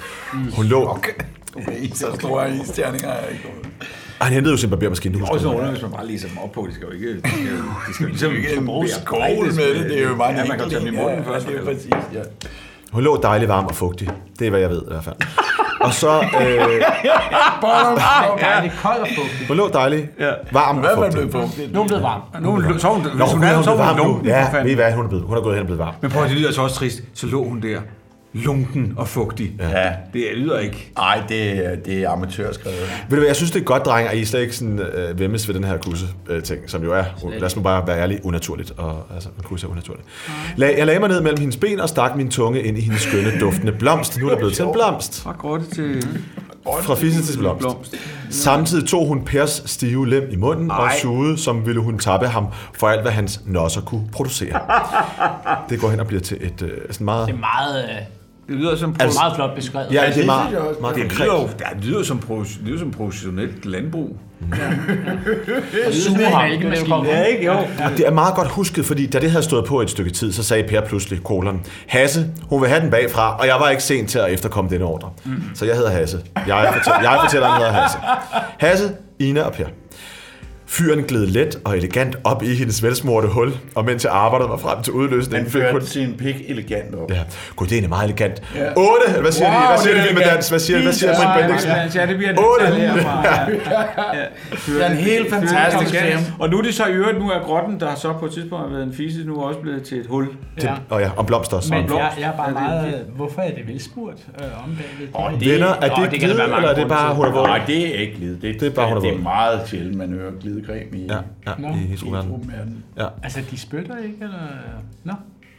[SPEAKER 8] Hun lå... Okay.
[SPEAKER 5] Okay, så store isterninger er ikke
[SPEAKER 8] Og han hentede jo sin barbermaskine, du
[SPEAKER 5] Det er også
[SPEAKER 8] husker.
[SPEAKER 5] noget underligt, hvis man bare læser dem op på. Det skal jo ikke... Det skal jo, det skal jo ligesom
[SPEAKER 1] ikke
[SPEAKER 5] ikke
[SPEAKER 1] bruge
[SPEAKER 5] bruge
[SPEAKER 1] skål
[SPEAKER 5] skål
[SPEAKER 1] med det, det er jo meget
[SPEAKER 5] Ja, man kan
[SPEAKER 1] enkelt
[SPEAKER 5] tage dem i
[SPEAKER 1] en,
[SPEAKER 5] munden
[SPEAKER 1] ja,
[SPEAKER 5] først.
[SPEAKER 1] det er
[SPEAKER 5] vel?
[SPEAKER 1] præcis, ja.
[SPEAKER 8] Hun lå dejlig varm og fugtig. Det er, hvad jeg ved i hvert fald. Og så... Øh,
[SPEAKER 10] Nej, det er koldt og fugtigt.
[SPEAKER 8] hun lå dejlig, varm og
[SPEAKER 1] Hvad er man
[SPEAKER 8] fugtig.
[SPEAKER 1] blevet fugtigt?
[SPEAKER 10] Nu er hun blevet varm.
[SPEAKER 6] Nu er hun- så er hun,
[SPEAKER 8] Nå,
[SPEAKER 6] hvis
[SPEAKER 8] hun,
[SPEAKER 6] hun
[SPEAKER 8] hun,
[SPEAKER 6] er,
[SPEAKER 8] hun
[SPEAKER 6] så
[SPEAKER 8] blevet
[SPEAKER 6] er
[SPEAKER 8] varm
[SPEAKER 6] hun lunken.
[SPEAKER 8] nu.
[SPEAKER 6] for
[SPEAKER 8] Ja,
[SPEAKER 6] fanden.
[SPEAKER 8] ved I hvad? Hun er blevet. Hun er gået hen og blevet varm.
[SPEAKER 6] Men prøv at høre, det lyder altså også trist. Så lå hun der, lunken og fugtig.
[SPEAKER 1] Ja.
[SPEAKER 6] Det lyder ikke.
[SPEAKER 1] Ej, det, er- det er amatørskrevet.
[SPEAKER 8] Ved du hvad, jeg synes, det er godt, drenge, at I slet ikke sådan, øh, vemmes ved den her kusse-ting, som jo er, lad os nu bare være ærlige, unaturligt. Og, altså, en kusse er unaturligt. La, jeg lagde mig ned mellem hendes ben og stak min tunge ind i hendes skønne, duftende blomst. Nu er der blevet til en blomst.
[SPEAKER 6] Fra grotte til
[SPEAKER 8] Fra fisse til blomst. Samtidig tog hun Pers stive lem i munden og sugede, som ville hun tappe ham for alt, hvad hans nosser kunne producere. Det går hen og bliver til et øh, sådan meget...
[SPEAKER 10] Det er meget, øh,
[SPEAKER 6] Det lyder som
[SPEAKER 10] altså, meget flot beskrevet.
[SPEAKER 8] Ja, det
[SPEAKER 1] det
[SPEAKER 8] er
[SPEAKER 1] synes jeg også.
[SPEAKER 8] meget, meget
[SPEAKER 6] det
[SPEAKER 8] konkret.
[SPEAKER 6] lyder, jo, ja, det lyder som, pro, det lyder som professionelt landbrug.
[SPEAKER 10] Suger ham. Det er jo kommet.
[SPEAKER 6] Ja, ikke? Jo.
[SPEAKER 8] Og det er meget godt husket, fordi da det havde stået på et stykke tid, så sagde Per pludselig kolon, Hasse, hun vil have den bagfra, og jeg var ikke sent til at efterkomme den ordre. Mm. Så jeg hedder Hasse. Jeg fortæller, jeg fortæller han hedder Hasse. Hasse, Ina og Per. Fyren gled let og elegant op i hendes velsmorte hul, og mens jeg arbejdede mig frem til udløsningen,
[SPEAKER 1] Han
[SPEAKER 8] fik hun...
[SPEAKER 1] førte sin pik elegant op.
[SPEAKER 8] Ja, gud, det er egentlig meget elegant. Ja. 8! Hvad siger wow, de? Hvad siger
[SPEAKER 1] det
[SPEAKER 8] de
[SPEAKER 1] er
[SPEAKER 8] Vild med
[SPEAKER 1] elegant.
[SPEAKER 8] dans? Hvad siger, hvad
[SPEAKER 1] Lige
[SPEAKER 8] siger Britt Bendiksen?
[SPEAKER 6] Ja, det bliver en
[SPEAKER 8] Otte.
[SPEAKER 6] detalje herfra. Ja. Ja.
[SPEAKER 7] Det er en helt fantastisk
[SPEAKER 6] Fyren kom
[SPEAKER 7] film.
[SPEAKER 6] Og nu er det så i øvrigt, nu er grotten, der så på et tidspunkt har været en fisse, nu er også blevet til et hul.
[SPEAKER 10] Ja.
[SPEAKER 8] Og ja, om blomster også.
[SPEAKER 10] Men jeg,
[SPEAKER 6] blomst.
[SPEAKER 10] jeg er bare
[SPEAKER 6] Ja, det er
[SPEAKER 10] meget... Hvorfor er det velsmurt øh, om bagved?
[SPEAKER 1] Åh, det-
[SPEAKER 8] Venner, er
[SPEAKER 10] Nå,
[SPEAKER 8] det,
[SPEAKER 10] det kan
[SPEAKER 8] det
[SPEAKER 10] der være mange
[SPEAKER 8] eller er det
[SPEAKER 10] grunde
[SPEAKER 8] bare,
[SPEAKER 10] til.
[SPEAKER 8] hun er våd?
[SPEAKER 1] Nej, det er ikke glid. Det,
[SPEAKER 8] Det er bare, hun er
[SPEAKER 1] det er
[SPEAKER 8] våd.
[SPEAKER 1] meget sjældent, man hører glidecreme i.
[SPEAKER 8] Ja, ja,
[SPEAKER 10] Nå.
[SPEAKER 8] i heteroverdenen.
[SPEAKER 10] Altså, de spytter ikke, eller... Nå.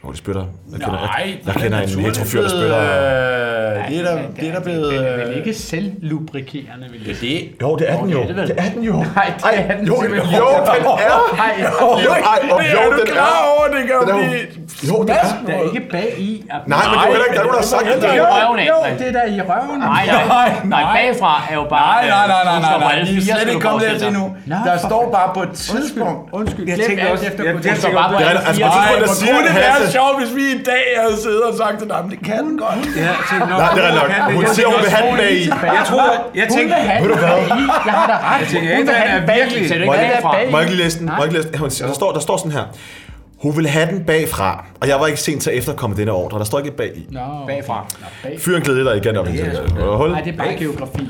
[SPEAKER 8] Åh, de spytter. Jeg kender,
[SPEAKER 1] Nej,
[SPEAKER 8] jeg, jeg kender en
[SPEAKER 1] naturen er
[SPEAKER 8] heterofyr, der
[SPEAKER 1] blevet,
[SPEAKER 8] spytter.
[SPEAKER 1] øh, Det er der, det er der blevet...
[SPEAKER 10] Det er
[SPEAKER 1] øh,
[SPEAKER 10] vel ikke selvlubrikerende, vil jeg sige.
[SPEAKER 1] Det er
[SPEAKER 8] Jo, det er den jo.
[SPEAKER 10] det er det vel.
[SPEAKER 8] Det er den jo.
[SPEAKER 10] Nej, det er den
[SPEAKER 8] jo,
[SPEAKER 10] simpelthen
[SPEAKER 8] jo,
[SPEAKER 10] ikke.
[SPEAKER 8] den er.
[SPEAKER 10] Nej,
[SPEAKER 8] Jo, ej, og jo, den er.
[SPEAKER 1] over, det kan
[SPEAKER 8] Den er jo, jo, den er.
[SPEAKER 10] der er ikke bag i. at-
[SPEAKER 8] Nej, men det er jo heller ikke, der er nogen, der har sagt det.
[SPEAKER 10] Det er i røven af.
[SPEAKER 6] Jo, det er der i røven.
[SPEAKER 10] Nej, nej, nej, bagfra er jo bare...
[SPEAKER 1] Nej,
[SPEAKER 9] øh,
[SPEAKER 1] nej, nej, nej, nej, nej.
[SPEAKER 10] Gustav Adolf
[SPEAKER 1] Vi er
[SPEAKER 10] fire,
[SPEAKER 1] slet
[SPEAKER 10] skal
[SPEAKER 1] ikke
[SPEAKER 10] du
[SPEAKER 1] kommet dertil
[SPEAKER 10] forestille
[SPEAKER 1] nu.
[SPEAKER 10] dig. Nå,
[SPEAKER 1] Der
[SPEAKER 10] for
[SPEAKER 1] står
[SPEAKER 10] fanden.
[SPEAKER 1] bare på et tidspunkt...
[SPEAKER 6] Undskyld, jeg
[SPEAKER 1] tænker
[SPEAKER 6] tænkte
[SPEAKER 1] også
[SPEAKER 6] også
[SPEAKER 1] efter
[SPEAKER 6] efter, jeg
[SPEAKER 10] Gustav
[SPEAKER 6] tænker
[SPEAKER 10] Adolf
[SPEAKER 8] Det
[SPEAKER 6] også
[SPEAKER 8] er rigtigt, altså på
[SPEAKER 1] Ej,
[SPEAKER 8] tidspunkt,
[SPEAKER 10] fire.
[SPEAKER 8] der
[SPEAKER 1] hvor
[SPEAKER 8] siger
[SPEAKER 1] kunne
[SPEAKER 8] det,
[SPEAKER 1] det være
[SPEAKER 8] Hasse.
[SPEAKER 1] sjovt, hvis vi i dag havde siddet og sagt til ham, det kan den godt.
[SPEAKER 6] Ja, jeg tænkte nok.
[SPEAKER 8] Nej, det er rigtigt nok.
[SPEAKER 6] Jeg tænkte
[SPEAKER 8] Hun
[SPEAKER 6] også-
[SPEAKER 8] siger, hun vil have den bag i.
[SPEAKER 6] Jeg tror, jeg
[SPEAKER 10] Hun
[SPEAKER 6] tænkte,
[SPEAKER 10] vil have den bag i. Jeg har da ret.
[SPEAKER 6] Jeg tænker,
[SPEAKER 10] Hun vil
[SPEAKER 6] Adrian
[SPEAKER 10] have den
[SPEAKER 6] er
[SPEAKER 10] bag i,
[SPEAKER 6] virkelig-
[SPEAKER 10] så det er
[SPEAKER 8] Må
[SPEAKER 10] ikke
[SPEAKER 8] jeg,
[SPEAKER 10] bagfra.
[SPEAKER 8] må jeg ikke lige læse den? Må jeg ikke læse den? Hun siger- Der står, der står sådan her. Hun vil have den bagfra, og jeg var ikke sent til at efterkomme denne ordre. Der står ikke bag i.
[SPEAKER 10] Nå, bagfra. Nå, bag.
[SPEAKER 8] Fyren gled lidt og igen op i hendes hul.
[SPEAKER 10] Nej, det er bare geografi.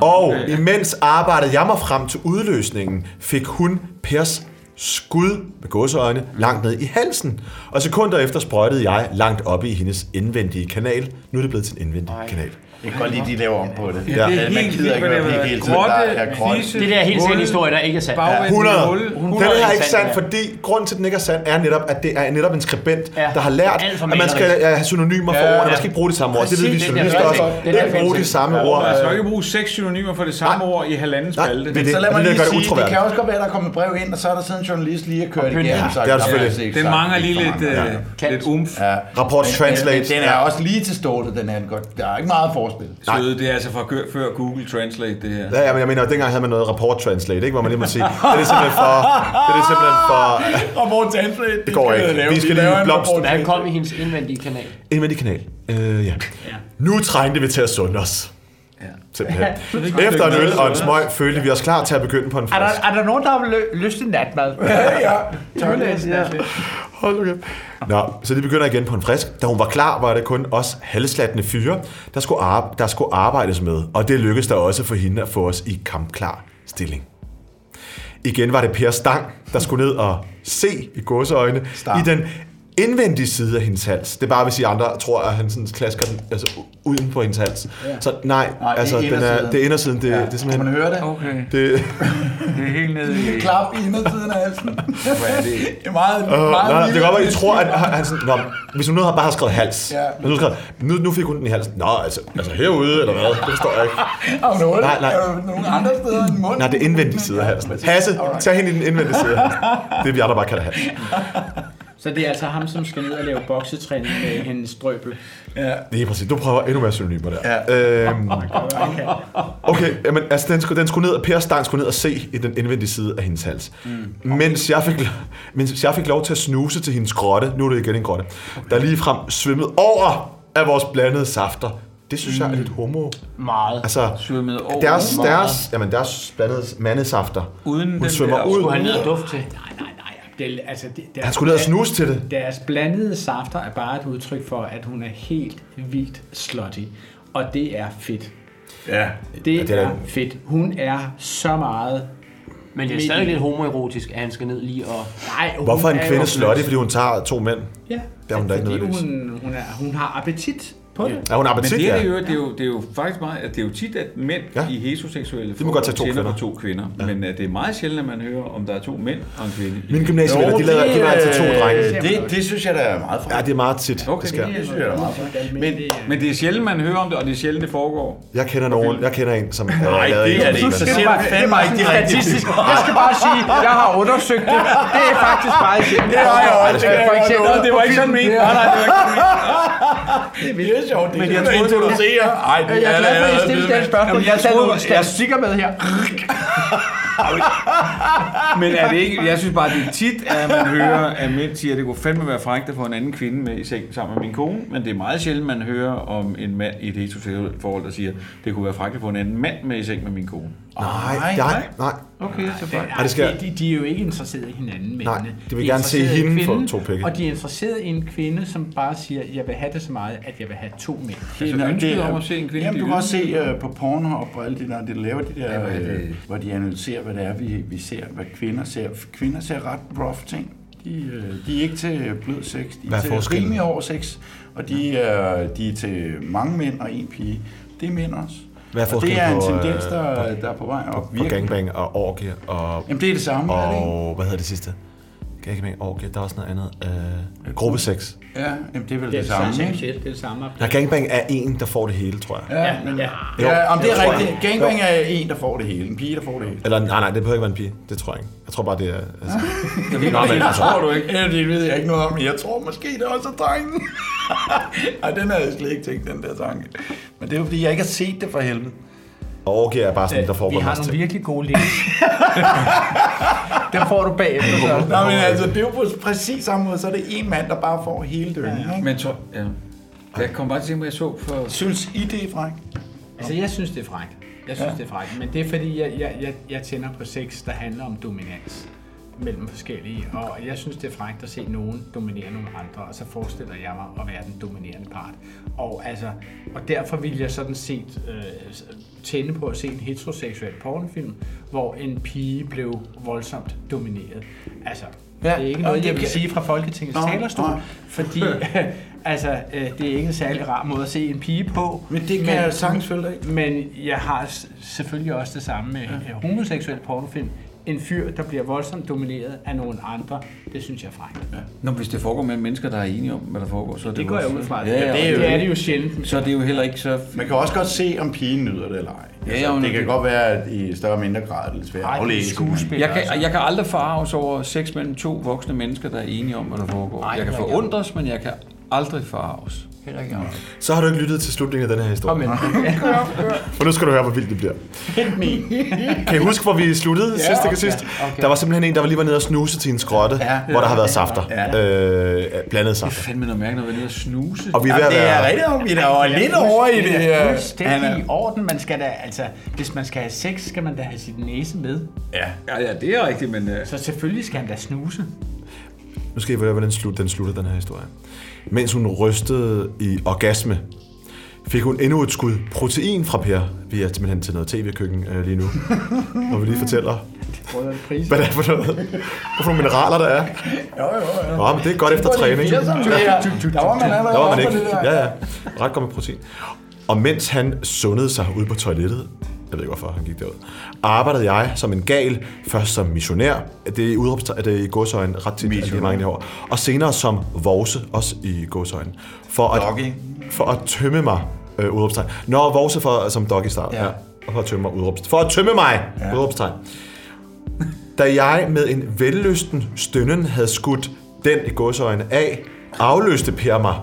[SPEAKER 8] Og imens arbejdede jeg mig frem til udløsningen, fik hun Pers skud med gåseøjne langt ned i halsen. Og sekunder efter sprøjtede jeg langt oppe i hendes indvendige kanal. Nu er det blevet til en indvendig kanal.
[SPEAKER 1] Jeg kan godt lide, at de laver om på det.
[SPEAKER 6] Ja, det er
[SPEAKER 1] Man
[SPEAKER 6] helt
[SPEAKER 1] gider
[SPEAKER 6] vildt,
[SPEAKER 1] ikke
[SPEAKER 6] hvad det
[SPEAKER 1] være
[SPEAKER 6] har
[SPEAKER 1] pik
[SPEAKER 6] været.
[SPEAKER 1] hele tiden. Der er
[SPEAKER 6] Grotte,
[SPEAKER 1] grotte.
[SPEAKER 6] fisse,
[SPEAKER 10] Det der er helt sikkert en
[SPEAKER 6] hul,
[SPEAKER 10] historie, der ikke er sand.
[SPEAKER 6] bagvendt
[SPEAKER 8] 100.
[SPEAKER 6] hul.
[SPEAKER 8] 100. Den her er ikke sand,
[SPEAKER 10] det der.
[SPEAKER 8] fordi grunden til, at den ikke er sand, er netop, at det er netop en skribent,
[SPEAKER 10] Ja,
[SPEAKER 8] der har lært,
[SPEAKER 10] alt for
[SPEAKER 8] at man skal
[SPEAKER 10] malerisk.
[SPEAKER 8] ja, have synonymer for
[SPEAKER 1] Ja,
[SPEAKER 8] ordene.
[SPEAKER 1] ja.
[SPEAKER 8] Man skal ikke bruge de samme ord. Det ved vi
[SPEAKER 1] Præcis, det er
[SPEAKER 8] journalister
[SPEAKER 1] det,
[SPEAKER 8] også.
[SPEAKER 1] det er det,
[SPEAKER 8] Ikke
[SPEAKER 1] det er
[SPEAKER 8] bruge de
[SPEAKER 1] det.
[SPEAKER 8] samme ord.
[SPEAKER 6] Man skal jo ikke bruge seks synonymer for det samme ord i halvanden
[SPEAKER 8] Øh, Nej,
[SPEAKER 6] spalte.
[SPEAKER 8] men
[SPEAKER 1] Så
[SPEAKER 8] det-
[SPEAKER 1] lad mig
[SPEAKER 8] det
[SPEAKER 1] lige
[SPEAKER 8] gør det
[SPEAKER 1] sige, det
[SPEAKER 8] utroværdigt.
[SPEAKER 1] kan også godt være, der er kommet et brev ind, og så er der siden en journalist lige har kørt igennem.
[SPEAKER 8] Ja,
[SPEAKER 1] sagt,
[SPEAKER 8] det er der
[SPEAKER 1] "Nå,
[SPEAKER 8] selvfølgelig.
[SPEAKER 1] altså ikke
[SPEAKER 6] Den
[SPEAKER 1] sagt,
[SPEAKER 6] mangler
[SPEAKER 1] det er
[SPEAKER 6] lige
[SPEAKER 1] for
[SPEAKER 6] lidt,
[SPEAKER 1] mange."
[SPEAKER 6] øh, lidt umf.
[SPEAKER 1] Ja.
[SPEAKER 8] Rapport
[SPEAKER 1] Men-
[SPEAKER 8] Translate.
[SPEAKER 1] men- men Den er også lige til stålet, den her. Den går- Der er ikke meget forskel.
[SPEAKER 6] Søde, det er altså fra gør- før Google Translate, det her.
[SPEAKER 8] Ja, ja, men jeg mener, at dengang havde man noget rapport translate, ikke? hvor man lige må sige, det er det simpelthen for... Det er det simpelthen for...
[SPEAKER 1] Og hvor Translate, det
[SPEAKER 8] går ikke. Vi skal lige blomst-
[SPEAKER 1] blomstre.
[SPEAKER 10] Han kom i hendes indvendige kanal.
[SPEAKER 8] Indvendig kanal. Øh, ja. Nu trængte vi til at sunde os. Simpelthen. Efter en øl og en smøg følte vi os klar til at begynde på en
[SPEAKER 7] Er der,
[SPEAKER 8] frisk.
[SPEAKER 7] er der nogen, der har lø- lyst til natmad?
[SPEAKER 1] Ja, ja.
[SPEAKER 10] Tørlæs, ja.
[SPEAKER 8] Hold nu kæft. Nå, så det begynder igen på en frisk. Da hun var klar, var det kun os halslattende fyre, der skulle, ar- der skulle arbejdes med, og det lykkedes der også for hende at få os i kampklar stilling. Igen var det Per Stang, der skulle ned og se i godseøjne i den indvendige side af hendes hals. Det er bare, hvis I andre tror, at han sådan klasker den altså, uden på hendes hals.
[SPEAKER 5] Ja.
[SPEAKER 8] Ja. Så nej,
[SPEAKER 5] Nej,
[SPEAKER 8] nej
[SPEAKER 5] det er
[SPEAKER 8] altså, det, er den er,
[SPEAKER 5] indersiden.
[SPEAKER 8] det er indersiden. Det, ja. det er simpelthen,
[SPEAKER 5] Kan man høre det?
[SPEAKER 6] Okay.
[SPEAKER 8] Det,
[SPEAKER 6] Det er helt nede i...
[SPEAKER 5] Klap i indersiden af halsen. Hvor
[SPEAKER 6] er det?
[SPEAKER 5] Det er meget,
[SPEAKER 8] Øh, nej,
[SPEAKER 5] meget
[SPEAKER 8] nej, det kan godt være, I
[SPEAKER 5] lille.
[SPEAKER 8] tror, at han han sådan, Nå, hvis hun nu havde bare havde skrevet hals.
[SPEAKER 5] Ja.
[SPEAKER 8] Ja. Hvis hun skrev, nu, nu fik hun den i halsen. Nå, altså, altså herude, eller hvad? Det forstår jeg ikke.
[SPEAKER 5] Og nogle,
[SPEAKER 8] Nej, nej.
[SPEAKER 5] øh, nogle andre steder end munden.
[SPEAKER 8] Nej, det er indvendige side af halsen. Hasse, tag hende i den indvendige side af halsen. Det er vi andre bare kalder hals.
[SPEAKER 10] Så det er altså ham, som skal ned og lave boksetræning med hendes drøbel.
[SPEAKER 5] Ja.
[SPEAKER 8] Lige præcis. Du prøver endnu mere synonymer der. Ja. Øhm, okay, jamen, altså, den skulle, den skulle ned, og Per Stang skulle ned og se i den indvendige side af hendes hals. Mm. Mens, jeg fik, mens jeg fik lov til at snuse til hendes grotte, nu er det igen en grotte, okay. der ligefrem svømmede over af vores blandede safter. Det synes mm. jeg er lidt homo.
[SPEAKER 10] Meget.
[SPEAKER 8] Altså,
[SPEAKER 6] svømmede over.
[SPEAKER 8] deres,
[SPEAKER 10] Meget.
[SPEAKER 8] deres, jamen, deres blandede mandesafter.
[SPEAKER 6] Uden
[SPEAKER 8] Hun svømmer ud.
[SPEAKER 10] Skulle han ned og dufte til? Nej, nej, nej. Det, er- altså, det, deres,
[SPEAKER 8] Han skulle ned og snuse til det.
[SPEAKER 10] Deres blandede safter er bare et udtryk for, at hun er helt vildt slutty. Og det er fedt.
[SPEAKER 1] Ja.
[SPEAKER 10] Det,
[SPEAKER 8] Ja,
[SPEAKER 10] ja,
[SPEAKER 8] det
[SPEAKER 10] det
[SPEAKER 8] er
[SPEAKER 10] er,
[SPEAKER 8] da-
[SPEAKER 10] er fedt. Hun er så meget...
[SPEAKER 9] Men det er
[SPEAKER 10] midt
[SPEAKER 9] stadig
[SPEAKER 10] i-
[SPEAKER 9] lidt homoerotisk, at han skal ned lige og...
[SPEAKER 10] Nej, hun
[SPEAKER 8] Hvorfor er en
[SPEAKER 10] jo-
[SPEAKER 8] kvinde slutty, fordi hun tager to mænd?
[SPEAKER 10] Ja,
[SPEAKER 8] Det er hun da ikke
[SPEAKER 10] fordi
[SPEAKER 8] nødvendigvis.
[SPEAKER 10] hun, hun, er, hun har appetit på det.
[SPEAKER 8] Er hun
[SPEAKER 6] Men
[SPEAKER 8] appetit,
[SPEAKER 6] det, er det,
[SPEAKER 8] ja?
[SPEAKER 6] jo, det, er jo, det er jo faktisk meget, at det er jo tit, at mænd
[SPEAKER 8] Ja.
[SPEAKER 6] ja. i heteroseksuelle
[SPEAKER 8] De må godt tage to
[SPEAKER 6] forhold tænder
[SPEAKER 8] kvinder.
[SPEAKER 6] på to kvinder. Ja. Men at det er meget sjældent, at man hører, om der er to mænd og en kvinde.
[SPEAKER 8] Mine gymnasievenner, de lader, de lader altid to drenge.
[SPEAKER 1] Det, det synes jeg, der er meget
[SPEAKER 8] Ja,
[SPEAKER 1] fra.
[SPEAKER 8] det er meget tit,
[SPEAKER 6] Okay.
[SPEAKER 8] det sker.
[SPEAKER 1] Det synes jeg, der er meget fra.
[SPEAKER 6] Men, men det er sjældent, man hører om det, og det er sjældent, det foregår.
[SPEAKER 8] Jeg kender nogen, jeg kender en, som har
[SPEAKER 1] Nej,
[SPEAKER 8] lavet
[SPEAKER 1] det
[SPEAKER 8] en-
[SPEAKER 1] er det ikke. Så siger du fandme ikke det rigtige.
[SPEAKER 6] Jeg skal bare sige, at jeg har undersøgt det. Det er faktisk meget sjældent. Det har jeg også. For eksempel, det var ikke sådan ment. Nej, nej, det var ikke sådan
[SPEAKER 10] Det er sjovt.
[SPEAKER 1] Men jeg troede, du siger. Ej, det er
[SPEAKER 10] glad for, at I stillede det spørgsmål.
[SPEAKER 6] Jamen, jeg
[SPEAKER 10] Jeg tager
[SPEAKER 6] troede-
[SPEAKER 10] nogle statistikker med her.
[SPEAKER 6] Men er det ikke, jeg synes bare, det er tit, at man hører, at mænd siger, at det kunne fandme være frækt at få en anden kvinde med i seng sammen med min kone, men det er meget sjældent, man hører om en mand i et heteroseksuelt forhold, der siger, det kunne være frækt at få en anden mand med i seng med min kone.
[SPEAKER 8] Nej, nej, nej.
[SPEAKER 6] Okay, så frækt.
[SPEAKER 8] Ej, det skal-
[SPEAKER 10] de, de er jo ikke interesserede i hinanden, men
[SPEAKER 8] Nej, de vil gerne se hende få to pikke.
[SPEAKER 10] Og de er interesserede i en kvinde, som bare siger, jeg vil have det så meget, at jeg vil have to mænd.
[SPEAKER 6] Altså, ønsket om at se en kvinde.
[SPEAKER 1] Jamen, du
[SPEAKER 6] blive
[SPEAKER 1] kan også
[SPEAKER 6] ydmyget.
[SPEAKER 1] se øh, på Pornhub og alt det der, det laver de der, øh, hvor de analyserer, hvad det er, vi, vi ser, hvad kvinder ser. Kvinder ser ret rough ting. De, øh, de er ikke til blød sex, de er,
[SPEAKER 8] Hvad er
[SPEAKER 1] til
[SPEAKER 8] forskellen?
[SPEAKER 1] rimelig hård sex, og de, øh, de er til mange mænd og en pige. Det er mænd også.
[SPEAKER 8] Hvad er
[SPEAKER 1] og det er
[SPEAKER 8] forskellen
[SPEAKER 1] en
[SPEAKER 8] på, øh,
[SPEAKER 1] tendens, der, der er på vej op.
[SPEAKER 8] Og gangbang og orgie og...
[SPEAKER 1] Jamen, det er det samme, er det ikke?
[SPEAKER 8] Og hvad hedder det sidste? Gangbang, orgie, der er også noget andet. Øh, gruppeseks.
[SPEAKER 1] Ja, jamen, det er vel det,
[SPEAKER 10] Det er
[SPEAKER 1] det
[SPEAKER 10] det
[SPEAKER 1] samme,
[SPEAKER 10] samme,
[SPEAKER 1] ikke?
[SPEAKER 10] det er det samme.
[SPEAKER 8] Nej, gangbang er en, der får det hele, tror jeg.
[SPEAKER 1] Ja, men,
[SPEAKER 10] ja.
[SPEAKER 1] ja.
[SPEAKER 8] Jo,
[SPEAKER 1] om det
[SPEAKER 8] det
[SPEAKER 1] er
[SPEAKER 8] tror jeg.
[SPEAKER 1] rigtigt. Gangbang er en, der får det hele. En pige, der får det hele.
[SPEAKER 8] Eller nej, nej, det behøver ikke være en pige. Det tror jeg ikke. Jeg tror bare, det er... Altså, Nå, men, altså,
[SPEAKER 1] Tror du ikke? Ja, det ved jeg ikke noget om, men jeg tror måske, det også er drengen. Ej, den havde jeg slet ikke tænkt, den der tanke. Men det er jo, fordi jeg ikke har set det for helvede.
[SPEAKER 8] og orgie er bare sådan, der
[SPEAKER 10] Vi
[SPEAKER 8] foregår en
[SPEAKER 10] har
[SPEAKER 8] masse
[SPEAKER 10] nogle
[SPEAKER 8] ting.
[SPEAKER 10] virkelig gode links. Dem får du bagefter, så.
[SPEAKER 1] Nej, men altså, det er jo på præcis samme måde, så er det en mand, der bare får hele døgnet. Ja.
[SPEAKER 6] Men tror, ja. Jeg kom bare til at tænke, hvad jeg så for...
[SPEAKER 1] Synes I det, Frank?
[SPEAKER 10] Altså, jeg synes, det er frækt. Jeg synes, det er frækt. Men det er, fordi jeg, jeg, jeg, jeg tænder på sex, der handler om dominans mellem forskellige. Og jeg synes, det er frækt at se nogen dominere nogle andre, og så forestiller jeg mig at være den dominerende part. Og, altså, og derfor vil jeg sådan set øh, tænde på at se en heteroseksuel pornofilm, hvor en pige blev voldsomt domineret. Altså,
[SPEAKER 1] Ja,
[SPEAKER 10] ja, det er ikke
[SPEAKER 1] og
[SPEAKER 10] noget,
[SPEAKER 1] det
[SPEAKER 10] jeg vil
[SPEAKER 1] kan-
[SPEAKER 10] sige fra Folketingets
[SPEAKER 1] Nå,
[SPEAKER 10] talerstol,
[SPEAKER 1] nej.
[SPEAKER 10] fordi altså, øh, det er ikke en særlig rar måde at se en pige på.
[SPEAKER 1] Men det kan jeg sagtens følge dig i.
[SPEAKER 10] Men jeg har s- selvfølgelig også det samme med ja. homoseksuel pornofilm. En fyr, der bliver voldsomt domineret af nogen andre, det synes jeg er frækt. Ja.
[SPEAKER 6] Nå, hvis det foregår mellem mennesker, der er enige om, hvad der foregår, så er det,
[SPEAKER 10] Det
[SPEAKER 6] jo
[SPEAKER 10] går jeg
[SPEAKER 6] også-
[SPEAKER 10] ud fra.
[SPEAKER 6] Ja, ja,
[SPEAKER 10] og
[SPEAKER 1] det er
[SPEAKER 10] det,
[SPEAKER 1] jo-
[SPEAKER 10] det er det jo sjældent.
[SPEAKER 6] Så er det jo heller ikke så...
[SPEAKER 1] øh, Man kan også godt se, om pigen nyder det eller ej.
[SPEAKER 6] Ja,
[SPEAKER 1] altså,
[SPEAKER 6] jo,
[SPEAKER 1] det
[SPEAKER 6] men
[SPEAKER 1] kan
[SPEAKER 6] det-
[SPEAKER 1] godt være, at i større og mindre grad er det lidt svært
[SPEAKER 10] Ej,
[SPEAKER 1] at
[SPEAKER 10] det er
[SPEAKER 1] aflæse.
[SPEAKER 10] skuespil.
[SPEAKER 6] Jeg
[SPEAKER 10] Altså.
[SPEAKER 6] kan, jeg kan aldrig farves over sex mellem to voksne mennesker, der er enige om, hvad der foregår.
[SPEAKER 10] Nej,
[SPEAKER 6] jeg kan
[SPEAKER 10] heller ikke.
[SPEAKER 6] forundres, men jeg kan aldrig farves. Heller ikke.
[SPEAKER 8] Så har du ikke lyttet til slutningen af den her historie.
[SPEAKER 10] Men,
[SPEAKER 8] For nu skal du høre, hvor vildt det bliver. Kan I huske, hvor vi sluttede ja, sidste okay, sidst? Okay. Der var simpelthen en, der var lige var nede og snuse til en skrotte, ja, hvor der har været safter. Ja. Øh, blandet
[SPEAKER 6] Det er
[SPEAKER 8] safter.
[SPEAKER 6] fandme noget mærkeligt, når vi er nede og snuse.
[SPEAKER 8] Og vi er ved
[SPEAKER 1] Ja,
[SPEAKER 8] at
[SPEAKER 1] det er
[SPEAKER 8] være...
[SPEAKER 1] rigtigt, om vi er da over lidt over i det.
[SPEAKER 10] Det er
[SPEAKER 1] øh,
[SPEAKER 10] fuldstændig
[SPEAKER 1] Anna.
[SPEAKER 10] i orden. Man skal da, altså, hvis man skal have sex, skal man da have sit næse med.
[SPEAKER 1] Ja,
[SPEAKER 6] Ja, ja, det er rigtigt, men... Uh...
[SPEAKER 10] Så selvfølgelig skal han da snuse.
[SPEAKER 8] Nu skal I høre, hvordan slut, den slutter, den her historie. Mens hun rystede i orgasme, fik hun endnu et skud protein fra Per. Vi er simpelthen til noget tv-køkken øh, lige nu, hvor vi lige fortæller, hvad det er for noget. Hvad for nogle mineraler der er.
[SPEAKER 7] Jo, jo, jo.
[SPEAKER 8] Nå, men det er godt efter træning.
[SPEAKER 7] Der var man allerede
[SPEAKER 8] Der var man
[SPEAKER 7] oppe på
[SPEAKER 8] ikke.
[SPEAKER 7] det der.
[SPEAKER 8] Ja, ja. Ret godt med protein. Og mens han sundede sig ude på toilettet, jeg ved ikke, hvorfor han gik derud, arbejdede jeg som en gal, først som missionær, det er i, udråbstegn- er det i godsøjne ret tit, at det er mange det år, og senere som vorse, også i godsøjne, for at, for at tømme mig, øh, udråbstegn. Nå, vorse for, som doggy start, ja. ja. Og for at tømme mig, udråbstegn. For at tømme mig, ja. udråbstegn. Da jeg med en vellysten stønnen havde skudt den i godsøjne af, afløste Per mig,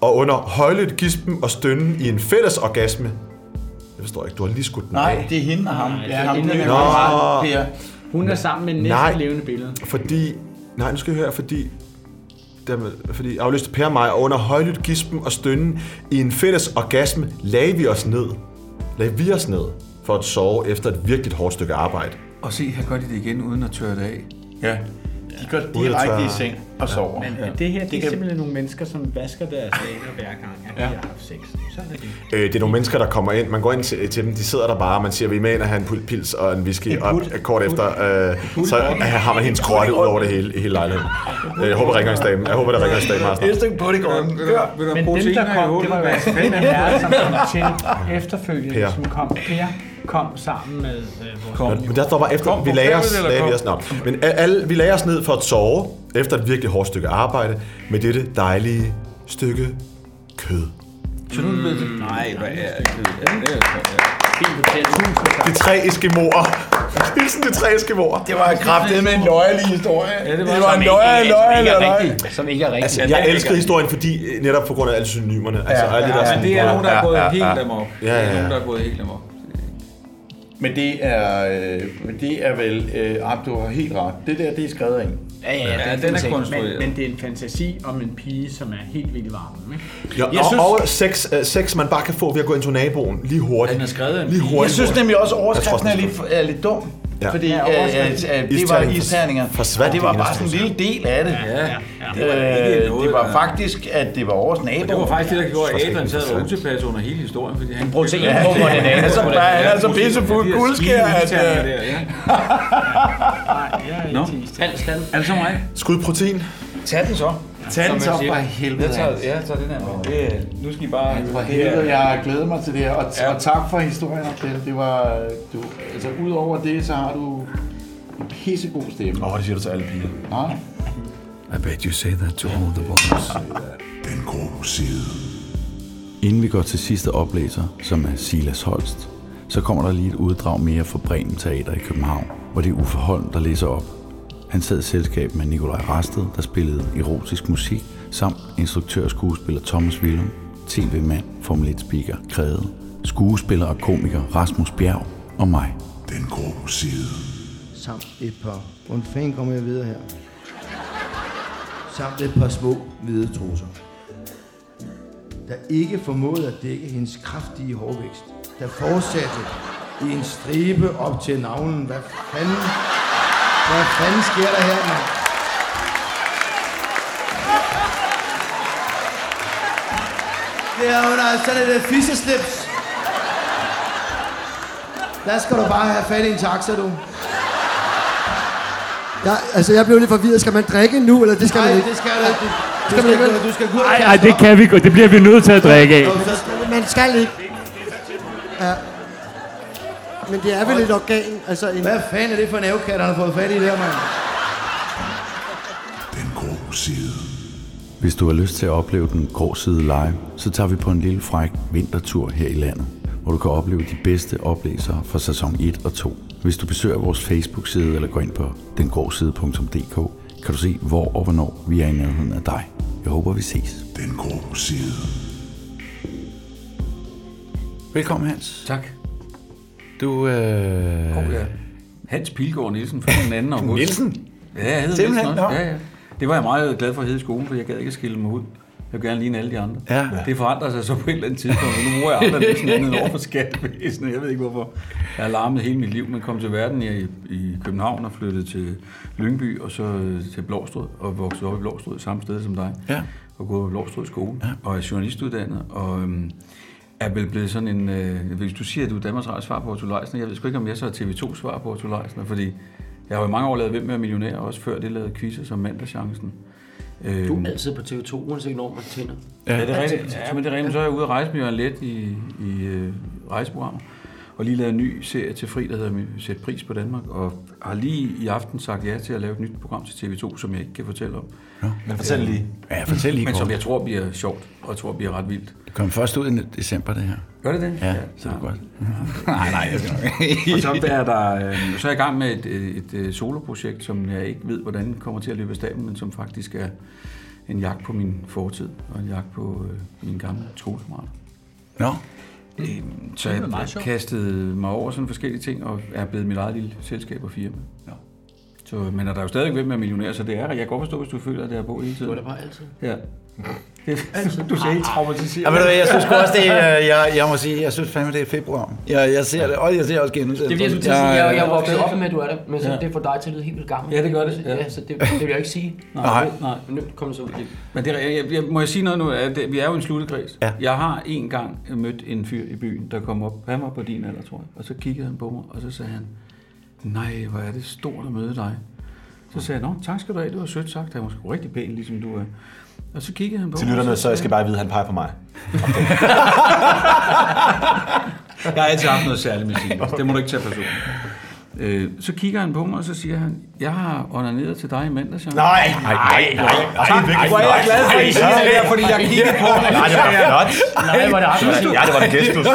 [SPEAKER 8] og under højlydt gispen og stønnen i en fælles orgasme. Jeg forstår ikke, du har lige skudt den
[SPEAKER 10] Nej,
[SPEAKER 8] af.
[SPEAKER 10] det er hende og ham.
[SPEAKER 8] det er ham, den
[SPEAKER 10] og
[SPEAKER 8] kammerat,
[SPEAKER 10] Per. Hun er sammen med næsten
[SPEAKER 8] Nej.
[SPEAKER 10] levende billede.
[SPEAKER 8] Fordi, nej, nu skal jeg høre, fordi, dermed, fordi afløste Per mig, og under højlydt gispen og stønnen i en fælles orgasme lagde vi os ned. Lagde vi os ned for at sove efter et virkelig hårdt stykke arbejde.
[SPEAKER 6] Og se, her gør de det igen, uden at tørre det af.
[SPEAKER 1] Ja.
[SPEAKER 6] De
[SPEAKER 1] går
[SPEAKER 8] direkte i seng
[SPEAKER 1] og sover.
[SPEAKER 10] Men ja. det her, det, er simpelthen nogle mennesker, som vasker deres vaner hver gang, at ja. de har haft sex. Sådan er det.
[SPEAKER 8] Øh, det er nogle mennesker, der kommer ind. Man går ind til, til dem, de sidder der bare, og man siger, vi er med ind og have en pul- pils og en whisky, og kort efter, øh, så har man hendes krotte ud over det hele, i hele lejligheden. Øh, Jeg håber, ringgangsdamen. Jeg håber, der ringer en dame meget snart.
[SPEAKER 7] stykke på det går.
[SPEAKER 6] Vil
[SPEAKER 10] Men dem, der kom, det var jo altså den herre, som kom til efterfølgende,
[SPEAKER 8] Per.
[SPEAKER 10] som kom. Per kom sammen med øh, vores
[SPEAKER 8] Nå, Men der står bare efter, vi lagde os, lagde vi os, nå. Men a- alle, vi lagde os ned for at sove, efter et virkelig hårdt stykke arbejde, med dette dejlige stykke kød.
[SPEAKER 6] Så nu ved det. Nej, hvad er det? Ja, det er så, ja.
[SPEAKER 8] De tre eskimoer. Hilsen de tre eskimoer.
[SPEAKER 7] Det var kraftet med en løjerlig historie. Ja,
[SPEAKER 6] det
[SPEAKER 7] var, det var en løjerlig løjerlig løjerlig.
[SPEAKER 9] Som ikke er rigtig.
[SPEAKER 8] Altså, jeg elsker historien, fordi øh, netop på grund af alle synonymerne. Altså,
[SPEAKER 6] Ja,
[SPEAKER 8] alle de der
[SPEAKER 6] ja,
[SPEAKER 8] sådan-
[SPEAKER 6] men det er nogen, der er
[SPEAKER 1] Ja,
[SPEAKER 6] gået
[SPEAKER 1] ja,
[SPEAKER 6] helt
[SPEAKER 1] ja.
[SPEAKER 6] amok.
[SPEAKER 8] Ja,
[SPEAKER 6] Det
[SPEAKER 8] ja,
[SPEAKER 6] er nogen,
[SPEAKER 8] ja.
[SPEAKER 6] der er gået helt amok.
[SPEAKER 1] Men det er, øh, men det er vel, øh, ah, du har helt ret. Det der, det er skrevet af en.
[SPEAKER 10] Ja, ja,
[SPEAKER 6] Ja,
[SPEAKER 10] ja,
[SPEAKER 6] den er
[SPEAKER 10] fantasi.
[SPEAKER 6] konstrueret.
[SPEAKER 10] Men, men det er en fantasi om en pige, som er helt vildt varm. Ikke?
[SPEAKER 8] Ja, jeg og, synes... og sex, øh, sex, man bare kan få ved at gå ind til naboen lige hurtigt.
[SPEAKER 6] Den er skrevet af en
[SPEAKER 8] lige
[SPEAKER 6] pige.
[SPEAKER 8] hurtigt.
[SPEAKER 7] Jeg synes nemlig også, at overskriften
[SPEAKER 8] Jeg
[SPEAKER 7] er
[SPEAKER 8] tror,
[SPEAKER 7] lidt, er lidt dum.
[SPEAKER 8] Ja.
[SPEAKER 7] Ja. Fordi
[SPEAKER 10] Ja,
[SPEAKER 7] ja,
[SPEAKER 1] altså,
[SPEAKER 10] overskriften.
[SPEAKER 7] øh, øh, det var
[SPEAKER 8] Isterningen
[SPEAKER 7] isterninger,
[SPEAKER 8] forsvandt
[SPEAKER 7] og det var
[SPEAKER 8] i
[SPEAKER 7] bare sådan en lille del af det.
[SPEAKER 6] Ja, ja.
[SPEAKER 7] Det var,
[SPEAKER 1] Øh,
[SPEAKER 6] ikke noget,
[SPEAKER 7] det var
[SPEAKER 6] der-
[SPEAKER 7] faktisk, at det var vores nabo.
[SPEAKER 6] Det var faktisk det, der gjorde, at
[SPEAKER 8] Trods alt
[SPEAKER 6] Adrian sad og var
[SPEAKER 8] interessant.
[SPEAKER 6] utilpas under hele historien, fordi han...
[SPEAKER 7] protein på hvor den er. Altså, der er altså pissefuld guldskær, at... øh,
[SPEAKER 10] Nej, jeg er ikke
[SPEAKER 6] Nå.
[SPEAKER 10] til
[SPEAKER 9] Alt stand.
[SPEAKER 6] Er det så mig?
[SPEAKER 8] Skud protein.
[SPEAKER 7] Tag den så.
[SPEAKER 1] Tag den så for
[SPEAKER 6] Jeg
[SPEAKER 1] helvede.
[SPEAKER 6] tager, ja, jeg tager den her med. Det, er- nu skal I bare...
[SPEAKER 1] For helvede, jeg har glædet mig til det her, og,
[SPEAKER 6] Ja.
[SPEAKER 1] ja. og tak for historien om det. Det var, øh, du, altså udover det, så har du en pissegod stemme.
[SPEAKER 8] Åh, oh, det siger du til alle piger.
[SPEAKER 1] Nej.
[SPEAKER 2] I bet you say that to all the boys.
[SPEAKER 12] Den grå side.
[SPEAKER 2] Inden vi går til sidste oplæser, som er Silas Holst, så kommer der lige et uddrag mere fra Bremen Teater i København, hvor det er Uffe Holm, der læser op. Han sad i selskab med Nikolaj Rasted, der spillede erotisk musik, samt instruktør og skuespiller Thomas Willum, tv-mand, Formel 1-speaker Krede, skuespiller og komiker Rasmus Bjerg og mig.
[SPEAKER 12] Den grå side.
[SPEAKER 13] samt et par... Hvordan fanden kommer jeg videre her? Samt et par små hvide trusser, der ikke formåede at dække hendes kraftige hårvækst, der fortsatte i en stribe op til navlen. Hvad fanden, hvad fanden sker der her, mand? Det er under sådan et øh, fisseslips. Der skal du bare have fat i en taxa, du.
[SPEAKER 14] Jeg, altså, jeg blev lidt forvirret. Skal man drikke nu, eller det skal man
[SPEAKER 13] Nej,
[SPEAKER 14] ikke?
[SPEAKER 13] det skal du ikke. Du
[SPEAKER 14] Skal man
[SPEAKER 13] skal,
[SPEAKER 14] ikke?
[SPEAKER 13] gå- du skal gå ud og
[SPEAKER 15] Nej,
[SPEAKER 13] kaste
[SPEAKER 15] nej, det
[SPEAKER 13] op.
[SPEAKER 15] kan vi godt. Det bliver vi nødt til at drikke af.
[SPEAKER 13] Og så skal du-
[SPEAKER 14] Man skal ikke. Ja. Men det er vel et organ, altså en...
[SPEAKER 13] Hvad fanden er det for en afkat, han har fået fat i der, mand?
[SPEAKER 12] Den grå side.
[SPEAKER 2] Hvis du har lyst til at opleve den grå side live, så tager vi på en lille fræk vintertur her i landet, hvor du kan opleve de bedste oplæsere fra sæson 1 og 2. Hvis du besøger vores Facebook-side eller går ind på dengråside.dk, kan du se, hvor og hvornår vi er i nærheden af dig. Jeg håber, vi ses.
[SPEAKER 12] Den grå side.
[SPEAKER 2] Velkommen, Hans.
[SPEAKER 6] Tak.
[SPEAKER 2] Du, øh...
[SPEAKER 6] Oh, ja. Hans Pilgaard Nielsen fra den anden august.
[SPEAKER 7] Nielsen?
[SPEAKER 6] Ja, jeg hedder
[SPEAKER 7] Simpelthen,
[SPEAKER 6] Nielsen også.
[SPEAKER 7] nå.
[SPEAKER 6] Ja, ja. Det var jeg meget glad for at hedde i skolen, for jeg gad ikke at skille mig ud. Jeg vil gerne ligne alle de andre.
[SPEAKER 2] Ja.
[SPEAKER 6] Det forandrer sig så på et eller andet tidspunkt, og nu bruger jeg andre næsten andet over for skattevæsenet. Jeg ved ikke, hvorfor jeg har larmet hele mit liv, men kom til verden i, i København og flyttede til Lyngby og så øh, til Blåstrød og voksede op i Blåstrød samme sted som dig.
[SPEAKER 2] Ja.
[SPEAKER 6] Og gået på Blåstrød skole ja. og er journalistuddannet og øhm, er vel blevet sådan en... Øh, hvis du siger, at du er Danmarks Radio svar på Otto Leisner, jeg ved sgu ikke, om jeg så er TV2 svar på Otto Leisner, fordi jeg har jo i mange år lavet Hvem er millionær, og også før det lavede quizzer som mandagschancen.
[SPEAKER 9] Du er altid på TV2, uanset når man tænder.
[SPEAKER 6] Ja, det er
[SPEAKER 9] Altid
[SPEAKER 6] rigtigt.
[SPEAKER 9] på TV2.
[SPEAKER 6] Ja, men det er rigtigt. Så er jeg ude at rejse med Jørgen Let i, i øh, rejseprogrammer. Og lige lavet en ny serie til fri, der hedder Sæt pris på Danmark. Og har lige i aften sagt ja til at lave et nyt program til TV2, som jeg ikke kan fortælle om.
[SPEAKER 2] Nå, men fortæl lige. Ja, fortæl lige
[SPEAKER 6] Men som
[SPEAKER 2] kort.
[SPEAKER 6] jeg tror bliver sjovt, og jeg tror bliver ret vildt.
[SPEAKER 2] Det kom først ud i december, det her.
[SPEAKER 6] Gør det det?
[SPEAKER 2] Ja,
[SPEAKER 6] Ja.
[SPEAKER 2] så er det godt. nej, nej, jeg skal nok.
[SPEAKER 6] og så er, der, øh, så er jeg i gang med et, øh, et, øh, soloprojekt, som jeg ikke ved, hvordan kommer til at løbe af staben, men som faktisk er en jagt på min fortid, og en jagt på øh, min gamle skolekammerat.
[SPEAKER 2] Nå.
[SPEAKER 6] Øhm, så
[SPEAKER 2] Det
[SPEAKER 6] jeg
[SPEAKER 2] lyder meget sjovt.
[SPEAKER 6] kastede mig over sådan forskellige ting, og er blevet mit eget lille selskab og firma.
[SPEAKER 2] Ja.
[SPEAKER 6] Så, men er der jo stadig hvem er millionær, så det er, jeg kan godt forstå, hvis du føler, at det er på hele tiden.
[SPEAKER 9] Du er der bare altid.
[SPEAKER 6] Ja. Det, du ser helt traumatiseret.
[SPEAKER 2] Ja, ved du hvad, jeg synes sgu også, det er, jeg, jeg må sige, jeg synes fandme, det er februar. Jeg, jeg ser det, og jeg ser også genudsendelsen.
[SPEAKER 9] Det er fordi, jeg skulle til at sige, jeg, jeg er vokset op med, at du er der, men så,
[SPEAKER 6] Ja.
[SPEAKER 9] det får dig til at lyde helt vildt gammel.
[SPEAKER 6] Ja, det gør det,
[SPEAKER 9] Ja,
[SPEAKER 6] ja.
[SPEAKER 9] så det, det vil jeg ikke sige.
[SPEAKER 6] Nej.
[SPEAKER 9] Det-
[SPEAKER 6] Nej.
[SPEAKER 9] Men nu kommer det så ud i-
[SPEAKER 6] Men det, er- jeg, jeg, må jeg sige noget nu? At det- Vi er jo en sluttekreds.
[SPEAKER 2] Ja.
[SPEAKER 6] Jeg har en gang mødt en fyr i byen, der kom op. Han var på din alder, tror jeg. Og så kiggede han på mig, og så sagde han, nej, hvor er det stort at møde dig. Så sagde jeg, nå, tak skal du have, det var sødt sagt. Han var sgu rigtig pæn, ligesom du er. Og så kiggede han på
[SPEAKER 8] Til
[SPEAKER 6] mig. og
[SPEAKER 8] lytterne, så jeg
[SPEAKER 6] sagde
[SPEAKER 8] skal bare vide, at han peger på mig.
[SPEAKER 6] Jeg har altid haft noget særligt med Silas. Det må du ikke tage personligt. Øh, så kigger han på mig, og så siger han, jeg har onaneret til dig i mandags. Jacob."
[SPEAKER 8] Nej, nej, nej, nej,
[SPEAKER 6] Tak,
[SPEAKER 8] nej,
[SPEAKER 6] hvor er jeg
[SPEAKER 8] nej,
[SPEAKER 6] glad for, at I
[SPEAKER 8] nej,
[SPEAKER 6] siger det her,
[SPEAKER 8] nej,
[SPEAKER 6] fordi jeg
[SPEAKER 8] nej,
[SPEAKER 6] kiggede på
[SPEAKER 8] nej, nej, det var flot. Nej, hvor er det
[SPEAKER 6] Synes du-
[SPEAKER 8] aggressivt. Ja, det var en gestus.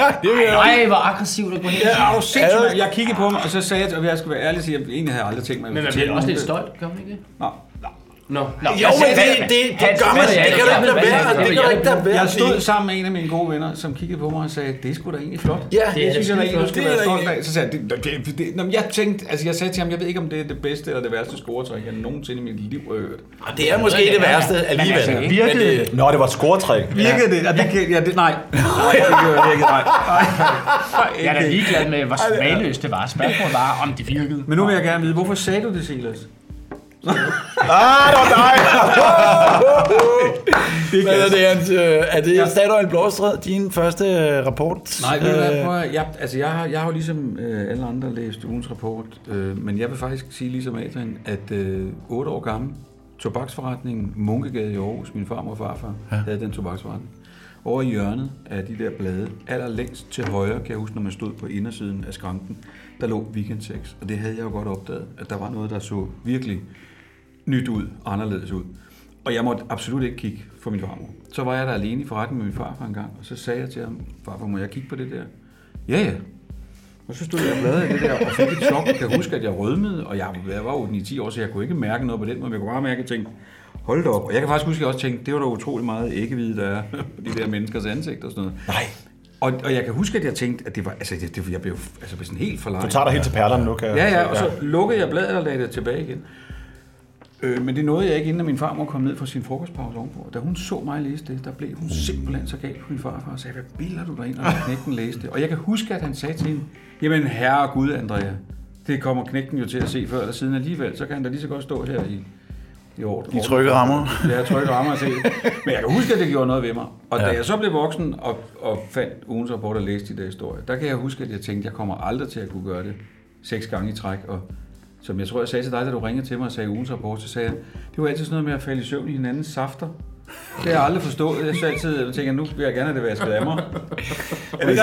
[SPEAKER 6] Ja, det vil jeg
[SPEAKER 9] Nej, hvor aggressivt du går hen.
[SPEAKER 6] Ja, er du sindssyg, mand? Jeg kiggede på ham, og så sagde jeg, og jeg skal være ærlig og sige, at jeg egentlig havde aldrig tænkt mig, at
[SPEAKER 9] Men man bliver også lidt stolt, gør man ikke det?
[SPEAKER 6] Nej.
[SPEAKER 9] Nå.
[SPEAKER 6] Jo,
[SPEAKER 9] Nå.
[SPEAKER 6] men det-
[SPEAKER 9] Hans,
[SPEAKER 6] det- det
[SPEAKER 9] Hans,
[SPEAKER 6] gør man.
[SPEAKER 9] hvad er
[SPEAKER 6] Det kan du ikke lade være.
[SPEAKER 9] Hvad er
[SPEAKER 6] Det kan du ikke lade
[SPEAKER 9] Jeg
[SPEAKER 6] Jeg
[SPEAKER 9] stod
[SPEAKER 6] stod sammen med en af mine gode venner, som kiggede på mig og sagde, det er sgu da egentlig flot.
[SPEAKER 9] Ja, det er
[SPEAKER 6] det synes jeg da egentlig,
[SPEAKER 9] skide
[SPEAKER 6] du
[SPEAKER 9] flot.
[SPEAKER 6] skal
[SPEAKER 9] Det er
[SPEAKER 6] være
[SPEAKER 9] da
[SPEAKER 6] stolt af. Så sagde jeg, det, det, det, det. Nå, men jeg tænkte, altså jeg sagde til ham, jeg ved ikke, om det er det bedste eller det værste scoretræk, jeg nogensinde i mit liv har hørt.
[SPEAKER 8] Og det er måske det værste alligevel. Men det- Nå, det var et scoretræk.
[SPEAKER 6] Virkede det? Ja, det, kan- ja, det nej. Nej, det gjorde virkelig nej.
[SPEAKER 10] Jeg er da ligeglad med, hvor smagløst det var. Spørgsmålet var, om det virkede.
[SPEAKER 6] Men nu vil jeg gerne vide, hvorfor sagde du det, Silas?
[SPEAKER 8] Ah, det var dig!
[SPEAKER 6] Hvad
[SPEAKER 7] er det, Hans? Øh, Er det Statoil Blåstred, din første øh, rapport?
[SPEAKER 6] Nej, ved du hvad,
[SPEAKER 7] Øh,
[SPEAKER 6] prøv at, jeg, altså jeg, har, jeg har jo ligesom øh, alle andre læst ugens rapport, øh, men jeg vil faktisk sige ligesom Adrian, at øh, 8 år gammel, tobaksforretningen Munkegade i Aarhus, min farmor og farfar ja. havde den tobaksforretning. Over i hjørnet af de der blade, allerlængst til højre, kan jeg huske, når man stod på indersiden af skranken, der lå Weekend 6, og det havde jeg jo godt opdaget, at der var noget, der så virkelig nyt ud, anderledes ud. Og jeg måtte absolut ikke kigge for min farmor. Så var jeg der alene i forretten med min farfar en gang, og så sagde jeg til ham, farfar, må jeg kigge på det der? Ja, ja. Og så stod jeg og bladrede i det der, og fik et chok. Jeg kan huske, at jeg rødmede, og jeg, jeg var jo 9-10 år, så jeg kunne ikke mærke noget på den måde, men jeg kunne bare mærke, at jeg tænkte, hold da op. Og jeg kan faktisk huske, at jeg også tænkte, det var da utrolig meget æggevide, der er på de der menneskers ansigt og sådan noget. Nej. Og, og jeg kan huske, at jeg tænkte, at det var, altså, det, det, jeg blev altså, blev sådan helt forlegen.
[SPEAKER 8] Du tager dig helt til perlerne nu, kan jeg-
[SPEAKER 6] Ja, ja, og så lukkede jeg bladet og lagde det tilbage igen. Øh, men det nåede jeg ikke, inden at min farmor kom ned fra sin frokostpause ovenpå. Og Da hun så mig læse det, der blev hun simpelthen så gal på min farfar og sagde, hvad bilder du dig ind, og knægten læste det. Og jeg kan huske, at han sagde til hende, jamen herre Gud, Andrea, det kommer knægten jo til at se før eller siden alligevel, så kan han da lige så godt stå her i, i orden.
[SPEAKER 2] I trygge rammer.
[SPEAKER 6] Ja, trygge rammer at se. Men jeg kan huske, at det gjorde noget ved mig. Og ja. da jeg så blev voksen og, og fandt ugens rapport og læste de der historier, der kan jeg huske, at jeg tænkte, at jeg kommer aldrig til at kunne gøre det seks gange i træk. Og som jeg tror, jeg sagde til dig, da du ringede til mig og sagde ugens rapport, så sagde jeg, det var altid sådan noget med at falde i søvn i hinandens safter. Det har jeg aldrig forstået. Jeg så altid jeg tænker, nu vil jeg gerne have det vasket af mig. Er det ikke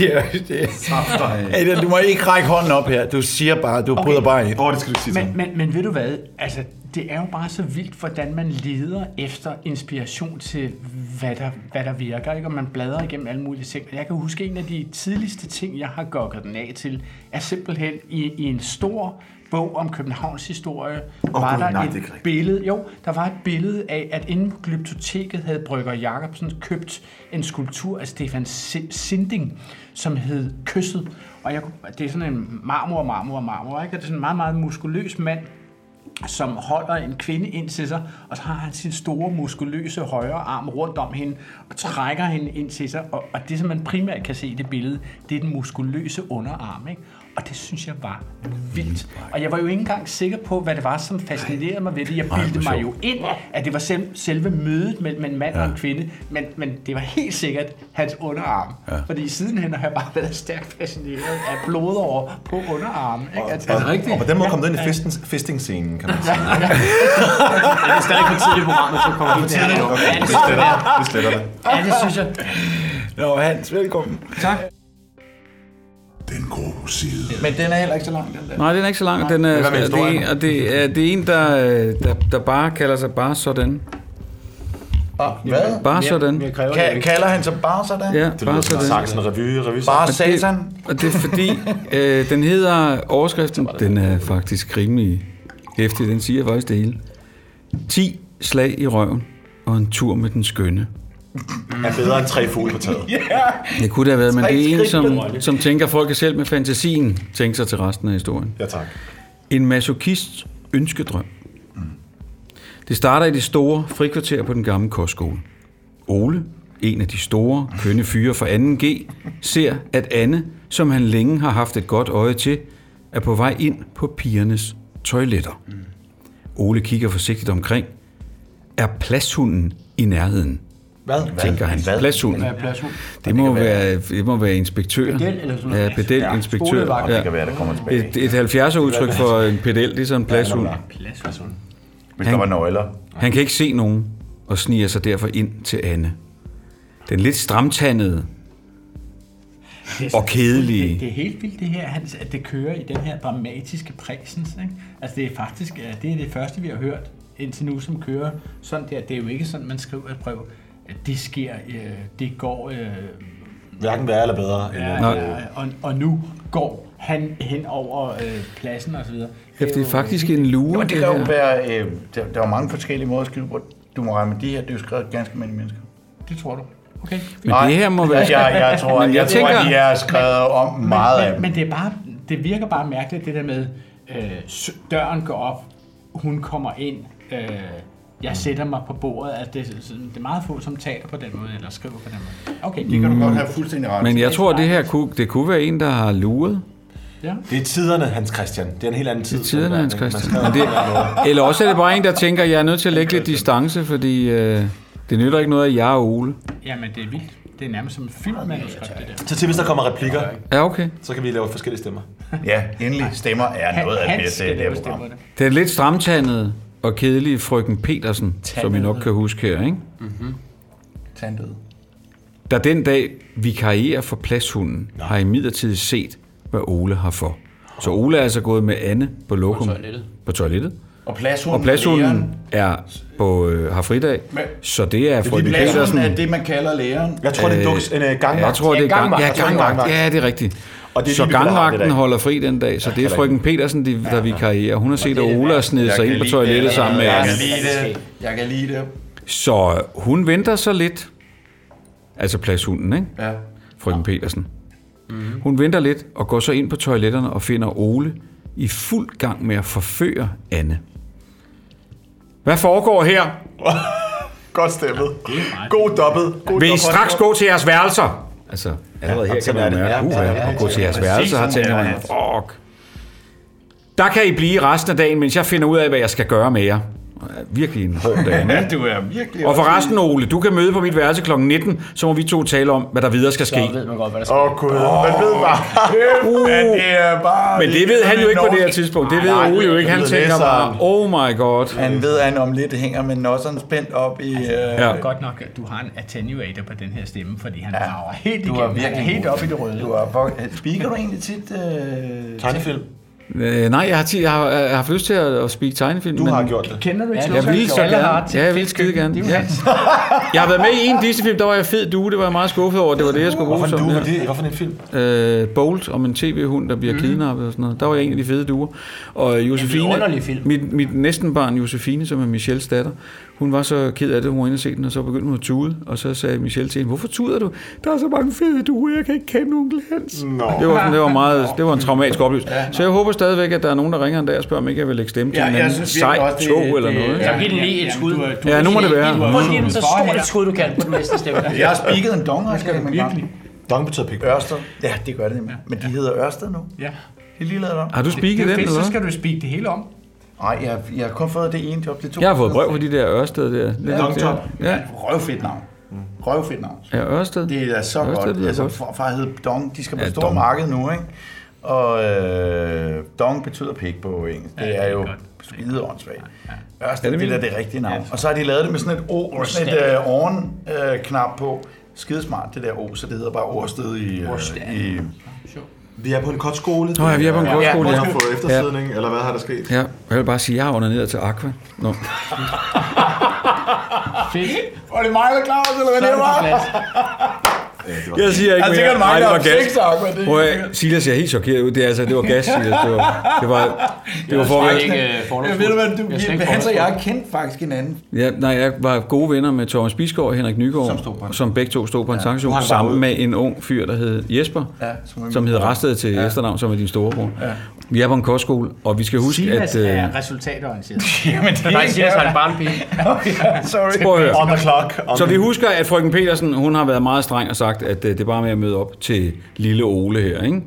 [SPEAKER 2] ja, det er. Adrian, du må ikke række hånden op her. Du siger bare, du bryder bare ind. Åh, oh, det skal du sige
[SPEAKER 10] Men, men, men ved du hvad? Altså, det er jo bare så vildt, hvordan man leder efter inspiration til, hvad der, hvad der virker, ikke? og man bladrer igennem alle mulige ting. Og jeg kan huske, en af de tidligste ting, jeg har gokket den af til, er simpelthen i, i en stor bog om Københavns historie,
[SPEAKER 1] Åh,
[SPEAKER 10] var
[SPEAKER 1] Gud,
[SPEAKER 10] der
[SPEAKER 1] nej,
[SPEAKER 10] et
[SPEAKER 1] det er ikke rigtigt.
[SPEAKER 10] billede, jo, der var et billede af, at inden på glyptoteket havde Brygger Jacobsen købt en skulptur af Stefan Si- Sinding, som hed Kysset. Og jeg, kunne- det er sådan en marmor, marmor, marmor, ikke? Og det er sådan en meget, meget muskuløs mand, som holder en kvinde ind til sig, og så har han sin store, muskuløse højre arm rundt om hende, og trækker hende ind til sig, og, og det, som man primært kan se i det billede, det er den muskuløse underarm, ikke? Og det synes jeg var vildt. Og jeg var jo ikke engang sikker på, hvad det var, som fascinerede mig ved det. Jeg
[SPEAKER 2] Nej, hvor
[SPEAKER 10] bildte mig jo
[SPEAKER 2] sjovt.
[SPEAKER 10] ind, at det var selv, selve mødet mellem en mand ja. og en kvinde, men, men det var helt sikkert hans underarm. Ja. Fordi sidenhen har jeg bare været stærkt fascineret af blodår på underarmen. Ikke? At-
[SPEAKER 8] og, Og på den måde kom du ind i
[SPEAKER 10] Ja.
[SPEAKER 8] festens, festing-scenen, kan man
[SPEAKER 10] Ja.
[SPEAKER 8] sige.
[SPEAKER 10] Ja.
[SPEAKER 8] det er stadig for tidligt i programmet, så kommer vi
[SPEAKER 10] Det
[SPEAKER 8] til
[SPEAKER 10] er
[SPEAKER 8] det.
[SPEAKER 10] det.
[SPEAKER 8] Okay,
[SPEAKER 10] Ja, det
[SPEAKER 8] vi sletter
[SPEAKER 10] er
[SPEAKER 8] det. Vi sletter det.
[SPEAKER 10] Ja, det synes jeg.
[SPEAKER 7] Nå, Hans, velkommen.
[SPEAKER 6] Tak.
[SPEAKER 12] Den grå side.
[SPEAKER 7] Men den er heller ikke så lang, den der.
[SPEAKER 6] Nej, den er ikke så lang. Den er,
[SPEAKER 7] Hvad med
[SPEAKER 6] det, er en,
[SPEAKER 7] historien?
[SPEAKER 6] og det, er, det er en, der, øh, der, der bare kalder sig bare sådan.
[SPEAKER 16] Hvad?
[SPEAKER 6] Bare sådan.
[SPEAKER 16] Ka- kalder han sig bare sådan?
[SPEAKER 6] Ja, bare sådan. Og
[SPEAKER 16] Bare
[SPEAKER 6] det-
[SPEAKER 16] satan.
[SPEAKER 6] Og det er fordi, øh, den hedder overskriften, den er faktisk rimelig hæftig, den siger faktisk det hele. 10 slag i røven og en tur med den skønne.
[SPEAKER 8] Er bedre end tre fugle på taget.
[SPEAKER 6] Det kunne det have været, men
[SPEAKER 8] Tre
[SPEAKER 6] det er en,
[SPEAKER 8] skridt
[SPEAKER 6] som,
[SPEAKER 8] med røg.
[SPEAKER 6] som tænker, at folk kan selv med fantasien tænke sig til resten af historien.
[SPEAKER 8] Ja, tak.
[SPEAKER 6] En masochists ønskedrøm. Det starter i det store frikvarter på den gamle kostskole. Ole, en af de store, kønne fyre fra 2G, ser, at Anne, som han længe har haft et godt øje til, er på vej ind på pigernes toiletter. Ole kigger forsigtigt omkring. Er pladshunden i nærheden?
[SPEAKER 8] Hvad?
[SPEAKER 6] Tænker han.
[SPEAKER 8] Hvad?
[SPEAKER 6] Pladshunden.
[SPEAKER 8] Hvad er pladshunden?
[SPEAKER 6] Det må, være, det må være inspektør.
[SPEAKER 8] Pedel eller sådan noget.
[SPEAKER 6] Ja, pedel,
[SPEAKER 8] Ja,
[SPEAKER 6] inspektør.
[SPEAKER 8] skolevagt. Det kan være, der kommer tilbage.
[SPEAKER 6] Et, et 70'er udtryk for en pedel, det er sådan en pladshund.
[SPEAKER 8] Pladshund.
[SPEAKER 1] Hvis der var nøgler.
[SPEAKER 6] Han kan ikke se nogen, og sniger sig derfor ind til Anne. Den lidt stramtandede
[SPEAKER 10] Det er så-
[SPEAKER 6] og kedelige
[SPEAKER 10] Det, det er helt vildt det her, Hans, at det kører i den her dramatiske præsens. Ikke? Altså det er faktisk ja, det, er det første, vi har hørt indtil nu, som kører sådan der. Det er jo ikke sådan, man skriver et brev, at det sker, øh, det går... Øh,
[SPEAKER 8] Hverken værre eller bedre. end-
[SPEAKER 10] ja, ja, og, og nu går han hen over øh, pladsen og så videre. jo-
[SPEAKER 6] lue.
[SPEAKER 1] Jo, det kan jo være, øh, der, der er jo mange forskellige måder at skrive på. Du må regne med de her, det er jo skrevet af ganske mange mennesker.
[SPEAKER 10] Det tror du. Okay.
[SPEAKER 6] Men det her må være-
[SPEAKER 1] Jeg, jeg tror,
[SPEAKER 6] Men
[SPEAKER 1] jeg,
[SPEAKER 6] jeg
[SPEAKER 1] jeg tænker, tror,
[SPEAKER 6] tænker-
[SPEAKER 1] at de er skrevet om meget
[SPEAKER 10] men,
[SPEAKER 1] af dem.
[SPEAKER 10] Men det, er bare, det virker bare mærkeligt, det der med, øh, s- døren går op, hun kommer ind, øh, jeg sætter mig på bordet. Altså, det, er sådan- det er meget få, som taler på den måde, eller skriver på den måde. Okay, det kan du godt have
[SPEAKER 1] fuldstændig
[SPEAKER 6] Men jeg tror, det her kunne, det kunne være en, der har luret.
[SPEAKER 10] Ja.
[SPEAKER 8] Det er tiderne, Hans Christian. Det er en helt anden tid. Det er
[SPEAKER 6] tiderne, Hans Christian. Men det,
[SPEAKER 8] det,
[SPEAKER 6] eller også er det bare en, der tænker, at jeg er nødt til at lægge lidt distance, fordi øh, det nytter ikke noget, at jeg er Ole.
[SPEAKER 10] Jamen, det er vildt. Det er nærmest som en filmmanuskript, det der.
[SPEAKER 8] Så til, hvis der kommer replikker,
[SPEAKER 6] Ja, okay.
[SPEAKER 8] så kan vi lave forskellige stemmer.
[SPEAKER 1] Ja, endelig. Stemmer er noget af det
[SPEAKER 8] Hans
[SPEAKER 1] bedste i
[SPEAKER 8] skal
[SPEAKER 1] det her
[SPEAKER 8] lave
[SPEAKER 1] program.
[SPEAKER 6] Den lidt stramtandede og kedelige frøken Petersen, som I nok kan huske her, ikke?
[SPEAKER 9] Mm-hmm. Tandød.
[SPEAKER 6] Der den dag vikarierer for pladshunden, har I midlertid set, hvad Ole har for. Så Ole er altså gået med Anne på lokum.
[SPEAKER 1] toilettet.
[SPEAKER 6] På toilettet.
[SPEAKER 1] Og pladshunden
[SPEAKER 6] og pladshunden
[SPEAKER 1] læreren.
[SPEAKER 6] er på, øh, har fridag,
[SPEAKER 1] Men-
[SPEAKER 6] så det er frøken
[SPEAKER 1] Pladsen
[SPEAKER 6] Petersen.
[SPEAKER 1] er det, man kalder læreren.
[SPEAKER 8] Jeg tror, det er en, duks, en øh, gangvagt.
[SPEAKER 6] Jeg tror, det er gang, ja, gangvagt. Ja, det er rigtigt.
[SPEAKER 8] Og det er
[SPEAKER 6] så
[SPEAKER 8] Lillebælt, der har det
[SPEAKER 6] gangvagten
[SPEAKER 8] der.
[SPEAKER 6] holder fri den dag, så det er
[SPEAKER 8] kan
[SPEAKER 6] frøken Petersen, de, der vikarierer. Hun har set, at Ole har snedet
[SPEAKER 1] Jeg
[SPEAKER 6] sig
[SPEAKER 1] kan
[SPEAKER 6] ind på
[SPEAKER 1] lide
[SPEAKER 6] toilettet
[SPEAKER 1] det.
[SPEAKER 6] sammen med
[SPEAKER 1] Jeg
[SPEAKER 6] Anne.
[SPEAKER 1] kan lide det. Jeg kan lide det.
[SPEAKER 6] Så hun venter så lidt. Altså pladshunden, ikke?
[SPEAKER 1] Ja.
[SPEAKER 6] Frøken Petersen. Hun venter lidt og går så ind på toiletterne og finder Ole i fuld gang med at forføre Anne. Hvad foregår her?
[SPEAKER 8] Godt stemmet. God dobbelt. God
[SPEAKER 6] Vil I
[SPEAKER 8] dobbelt.
[SPEAKER 6] straks gå til jeres værelser? Altså, allerede
[SPEAKER 8] Ja,
[SPEAKER 6] her kan
[SPEAKER 8] sådan er
[SPEAKER 6] man
[SPEAKER 8] det.
[SPEAKER 6] mærke,
[SPEAKER 8] Ja,
[SPEAKER 6] uha,
[SPEAKER 8] ja, ja,
[SPEAKER 6] at gå til jeres
[SPEAKER 8] præcis
[SPEAKER 6] værelser, har
[SPEAKER 8] sådan
[SPEAKER 6] tænkt
[SPEAKER 8] er
[SPEAKER 6] man,
[SPEAKER 8] det.
[SPEAKER 6] fuck. Der kan I blive resten af dagen, mens jeg finder ud af, hvad jeg skal gøre med jer. Ja, Virkelig en hård dag. ikke?
[SPEAKER 1] Ja, du er virkelig...
[SPEAKER 6] Og forresten, Ole, du kan møde på mit værelse kl. 19, så må vi to tale om, hvad der videre skal ske.
[SPEAKER 10] Så ved man godt, hvad der sker.
[SPEAKER 1] Åh, gud. Man ved bare...
[SPEAKER 6] Uh.
[SPEAKER 1] Men det er bare...
[SPEAKER 6] Men det ved han jo ikke på det her tidspunkt. Det ved
[SPEAKER 1] Nej,
[SPEAKER 6] Ole jo ikke. Han
[SPEAKER 1] det ved
[SPEAKER 6] tænker bare,
[SPEAKER 1] læseren.
[SPEAKER 6] oh my god.
[SPEAKER 16] Han ved, at han om lidt hænger med nosseren spændt op i... Øh,
[SPEAKER 10] Ja. Godt nok, at du har en attenuator på den her stemme, fordi han ja. rager helt
[SPEAKER 16] Du
[SPEAKER 10] igennem.
[SPEAKER 16] er
[SPEAKER 10] Han er
[SPEAKER 16] virkelig
[SPEAKER 10] helt
[SPEAKER 16] god.
[SPEAKER 10] op i det røde.
[SPEAKER 16] Du er fuck... øh, Speaker du egentlig tit? Øh,
[SPEAKER 8] Tegnefilm.
[SPEAKER 6] Øh, nej, jeg har, ti- jeg, har, jeg har haft lyst til at, at speak tegnefilm.
[SPEAKER 8] Du
[SPEAKER 6] men
[SPEAKER 8] har gjort det.
[SPEAKER 10] Kender du ikke
[SPEAKER 6] Jeg ville så gerne. Ja, jeg ville skide gerne. Ja. Jeg har været med i en Disney-film, der var jeg fed due. Det var jeg meget skuffet over. Det var det, jeg skulle bruge
[SPEAKER 8] Hvorfor
[SPEAKER 6] som.
[SPEAKER 8] en due?
[SPEAKER 6] ja.
[SPEAKER 8] Var det- hvorfor en film?
[SPEAKER 6] Øh, Bolt om en tv-hund, der bliver kidnappet og sådan noget. Der var jeg en af de fede duer. Og Josefine,
[SPEAKER 10] vidunderlig film.
[SPEAKER 6] Mit, mit næsten barn Josefine, som er Michelles datter, Hun var så ked af det, hun var inde og se den, og så begyndte hun at tude, og så sagde Michelle til hende, hvorfor tuder du? Der er så mange fede duer, jeg kan ikke kende onkel Hans.
[SPEAKER 8] Nå.
[SPEAKER 6] Det var, sådan, det var, meget, det var en traumatisk oplevelse. Så jeg håber stadigvæk, at der er nogen, der ringer en dag og spørger, om ikke jeg vil lægge stemme til
[SPEAKER 17] Ja,
[SPEAKER 6] en
[SPEAKER 17] jeg
[SPEAKER 6] anden
[SPEAKER 17] synes virkelig
[SPEAKER 6] sej
[SPEAKER 17] også, det-
[SPEAKER 6] tog
[SPEAKER 17] det-
[SPEAKER 6] eller noget.
[SPEAKER 17] Ja,
[SPEAKER 6] ikke?
[SPEAKER 17] ja, giv den lige et skud.
[SPEAKER 6] du- Ja, nu må det være.
[SPEAKER 17] Prøv give den så
[SPEAKER 6] Hvor
[SPEAKER 17] stort
[SPEAKER 6] er
[SPEAKER 17] et skud, du kan på den næste stemme.
[SPEAKER 16] Jeg har spiket en donger, skal
[SPEAKER 17] det
[SPEAKER 16] man
[SPEAKER 17] virkelig.
[SPEAKER 8] Dong betyder pik.
[SPEAKER 16] Ørsted. Ja, det gør det nemlig. Men de hedder Ørsted nu.
[SPEAKER 17] Ja.
[SPEAKER 16] Det er lige lavet om.
[SPEAKER 6] Har du
[SPEAKER 16] Det-
[SPEAKER 6] spiket
[SPEAKER 16] det er
[SPEAKER 6] den,
[SPEAKER 16] fedt,
[SPEAKER 6] eller
[SPEAKER 16] Så
[SPEAKER 6] hvad?
[SPEAKER 16] skal
[SPEAKER 17] du spike det hele om.
[SPEAKER 16] Nej, jeg, jeg har kun fået det ene job. Det er to.
[SPEAKER 6] Jeg har fået brev fra de der Ørsted der.
[SPEAKER 16] Ja, Dong Top.
[SPEAKER 6] Ja.
[SPEAKER 16] Røvfedt navn. Røvfedt navn.
[SPEAKER 6] Ja, Ørsted.
[SPEAKER 16] Det er så
[SPEAKER 6] Mm. Ørsted
[SPEAKER 16] Ørsted, godt.
[SPEAKER 6] lyder
[SPEAKER 16] Altså,
[SPEAKER 6] godt.
[SPEAKER 16] for, for at hedde Dong, de skal på
[SPEAKER 6] Ja,
[SPEAKER 16] ja, store
[SPEAKER 6] Dong.
[SPEAKER 16] marked nu, ikke? Og øh, Dong betyder pik på engelsk. Det er jo skide åndssvagt. Ørsted,
[SPEAKER 6] Er
[SPEAKER 16] det,
[SPEAKER 6] det
[SPEAKER 16] det er
[SPEAKER 6] vildt?
[SPEAKER 16] det rigtige navn. Og så har de lavet det med sådan et O, og sådan et
[SPEAKER 6] Ørsted.
[SPEAKER 16] øh, oven-knap på. Skidesmart, det der O, så det hedder bare Ørsted i...
[SPEAKER 8] Ørsted.
[SPEAKER 16] Øh, i
[SPEAKER 8] Vi er på en kotskole.
[SPEAKER 6] Nå ja, vi er på en kostskole,
[SPEAKER 8] ja.
[SPEAKER 6] ja.
[SPEAKER 8] Måske fået eftersidning, eller hvad har der sket?
[SPEAKER 6] Ja, jeg vil bare sige, jeg har undernæret til Aqua. Nå.
[SPEAKER 16] Var det mig, der klarede det, eller hvad det var?
[SPEAKER 6] Jeg siger ikke
[SPEAKER 16] Altså, det
[SPEAKER 6] mere.
[SPEAKER 16] kan du mange,
[SPEAKER 6] Nej, det
[SPEAKER 16] der
[SPEAKER 6] var
[SPEAKER 16] har sex, Aqua,
[SPEAKER 6] gas.
[SPEAKER 16] det er
[SPEAKER 6] Prøv
[SPEAKER 16] helt
[SPEAKER 6] at, Silas ser helt chokeret ud. Det, er, altså, det var gas, Silas. Det var, det var, det var for
[SPEAKER 9] øh,
[SPEAKER 16] Jeg ved, hvad du...
[SPEAKER 17] Jeg er slet
[SPEAKER 16] vi-
[SPEAKER 17] ikke
[SPEAKER 16] Hans og
[SPEAKER 17] fordomsfuld.
[SPEAKER 16] jeg kendte faktisk hinanden.
[SPEAKER 6] Ja, nej, jeg var gode venner med Thomas Bisgaard og Henrik Nygaard, som, stod på som begge to stod på en ja,
[SPEAKER 16] nu har
[SPEAKER 6] sanktion,
[SPEAKER 16] han bare
[SPEAKER 6] sammen
[SPEAKER 16] ud.
[SPEAKER 6] med en ung fyr, der hed Jesper,
[SPEAKER 16] Ja, som er
[SPEAKER 6] som,
[SPEAKER 16] min
[SPEAKER 6] som hed
[SPEAKER 16] bror.
[SPEAKER 6] Rasted til ja. efternavn, som er din storebror. Ja. Vi er på en kostskole, og vi skal huske,
[SPEAKER 10] Silas
[SPEAKER 6] at... øh,
[SPEAKER 10] er resultatorienteret.
[SPEAKER 16] Jamen, det
[SPEAKER 10] Nej,
[SPEAKER 16] er-
[SPEAKER 10] Silas er en barnpige.
[SPEAKER 16] Sorry.
[SPEAKER 6] Prøv at høre.
[SPEAKER 8] On the clock. On
[SPEAKER 6] Så vi husker, at frøken Petersen, hun har været meget streng og sagt, at øh, det er bare med at møde op til lille Ole her, ikke?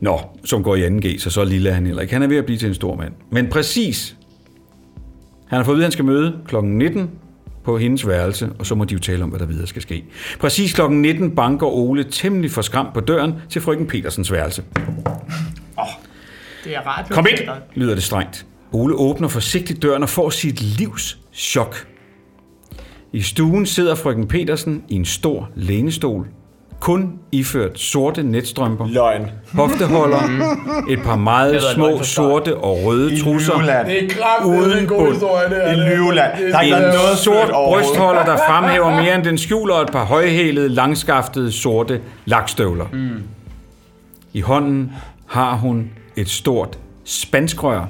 [SPEAKER 6] Nå, som går i 2G, så så lille er han heller ikke. Han er ved at blive til en stor mand. Men præcis, han har fået at vide, at han skal møde kl. 19 på hendes værelse, og så må de jo tale om, hvad der videre skal ske. Præcis kl. 19 banker Ole temmelig for skram på døren til frøken Petersens værelse.
[SPEAKER 17] Det er rart.
[SPEAKER 6] Kom ind, lyder det strengt. Ole åbner forsigtigt døren og får sit livs chok. I stuen sidder frøken Petersen i en stor lænestol, kun iført sorte netstrømper,
[SPEAKER 8] Løgn.
[SPEAKER 6] hofteholder, et par meget
[SPEAKER 8] Det lyder
[SPEAKER 6] små
[SPEAKER 8] løgn for
[SPEAKER 6] sorte og røde trusser,
[SPEAKER 8] Lyveland. Det er
[SPEAKER 6] uden bund.
[SPEAKER 8] I Lyveland. Der er ikke
[SPEAKER 6] en
[SPEAKER 8] været noget
[SPEAKER 6] sort
[SPEAKER 8] sødt overhovedet.
[SPEAKER 6] brystholder, der fremhæver mere end den skjuler, og et par højhælede, langskaftede, sorte lakstøvler. Mm. I hånden har hun et stort spanskrør,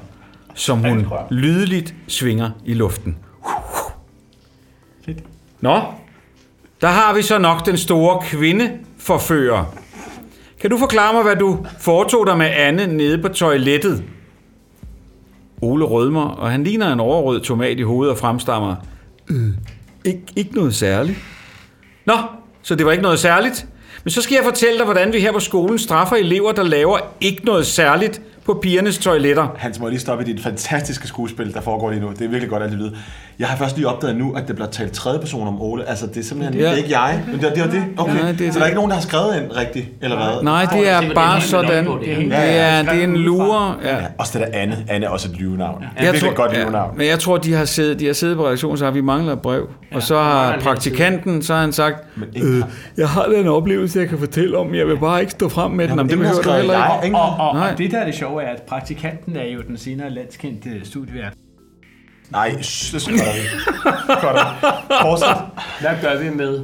[SPEAKER 6] som hun lydeligt svinger i luften. Nå, der har vi så nok den store kvindeforfører. Kan du forklare mig, hvad du foretog dig med Anne nede på toilettet? Ole rødmer, og han ligner en overrød tomat i hovedet og fremstammer. Øh, ikke, ikke noget særligt. Nå, så det var ikke noget særligt. Men så skal jeg fortælle dig, hvordan vi her på skolen straffer elever, der laver ikke noget særligt på pigernes toiletter.
[SPEAKER 8] Hans, må jeg lige stoppe i dit fantastiske skuespil, der foregår lige nu. Det er virkelig godt, at det ved. Jeg har først lige opdaget nu, at der bliver talt tredje person om Ole. Altså, det er simpelthen
[SPEAKER 6] Ja.
[SPEAKER 8] ja. det er ikke jeg. Men det, det var det. Okay.
[SPEAKER 6] Nej,
[SPEAKER 8] Nej,
[SPEAKER 6] det er
[SPEAKER 8] det, så der
[SPEAKER 6] det.
[SPEAKER 8] er ikke nogen, der har skrevet ind rigtigt, eller hvad?
[SPEAKER 6] Nej, det er bare sådan. Det er, det er en lure. Ja.
[SPEAKER 8] Og så er der Anne. Anne er også et lyvenavn. Ja. Det er
[SPEAKER 6] Jeg
[SPEAKER 8] virkelig
[SPEAKER 6] tror-
[SPEAKER 8] et godt
[SPEAKER 6] ja,
[SPEAKER 8] lyvenavn.
[SPEAKER 6] Men jeg tror, de har siddet, de har siddet på redaktionen, så har vi mangler et brev. Ja, og så har praktikanten, så har han sagt, øh, jeg har da en oplevelse, jeg kan fortælle om, jeg vil bare ikke stå frem med den, om det behøver du heller ikke.
[SPEAKER 10] Og, og, og,
[SPEAKER 6] Nej.
[SPEAKER 10] og det der er det sjove er, at praktikanten er jo den senere landskendte studievært.
[SPEAKER 8] Nej, shh, det skal vi. Godt. Fortsæt.
[SPEAKER 17] Hvad gør vi med?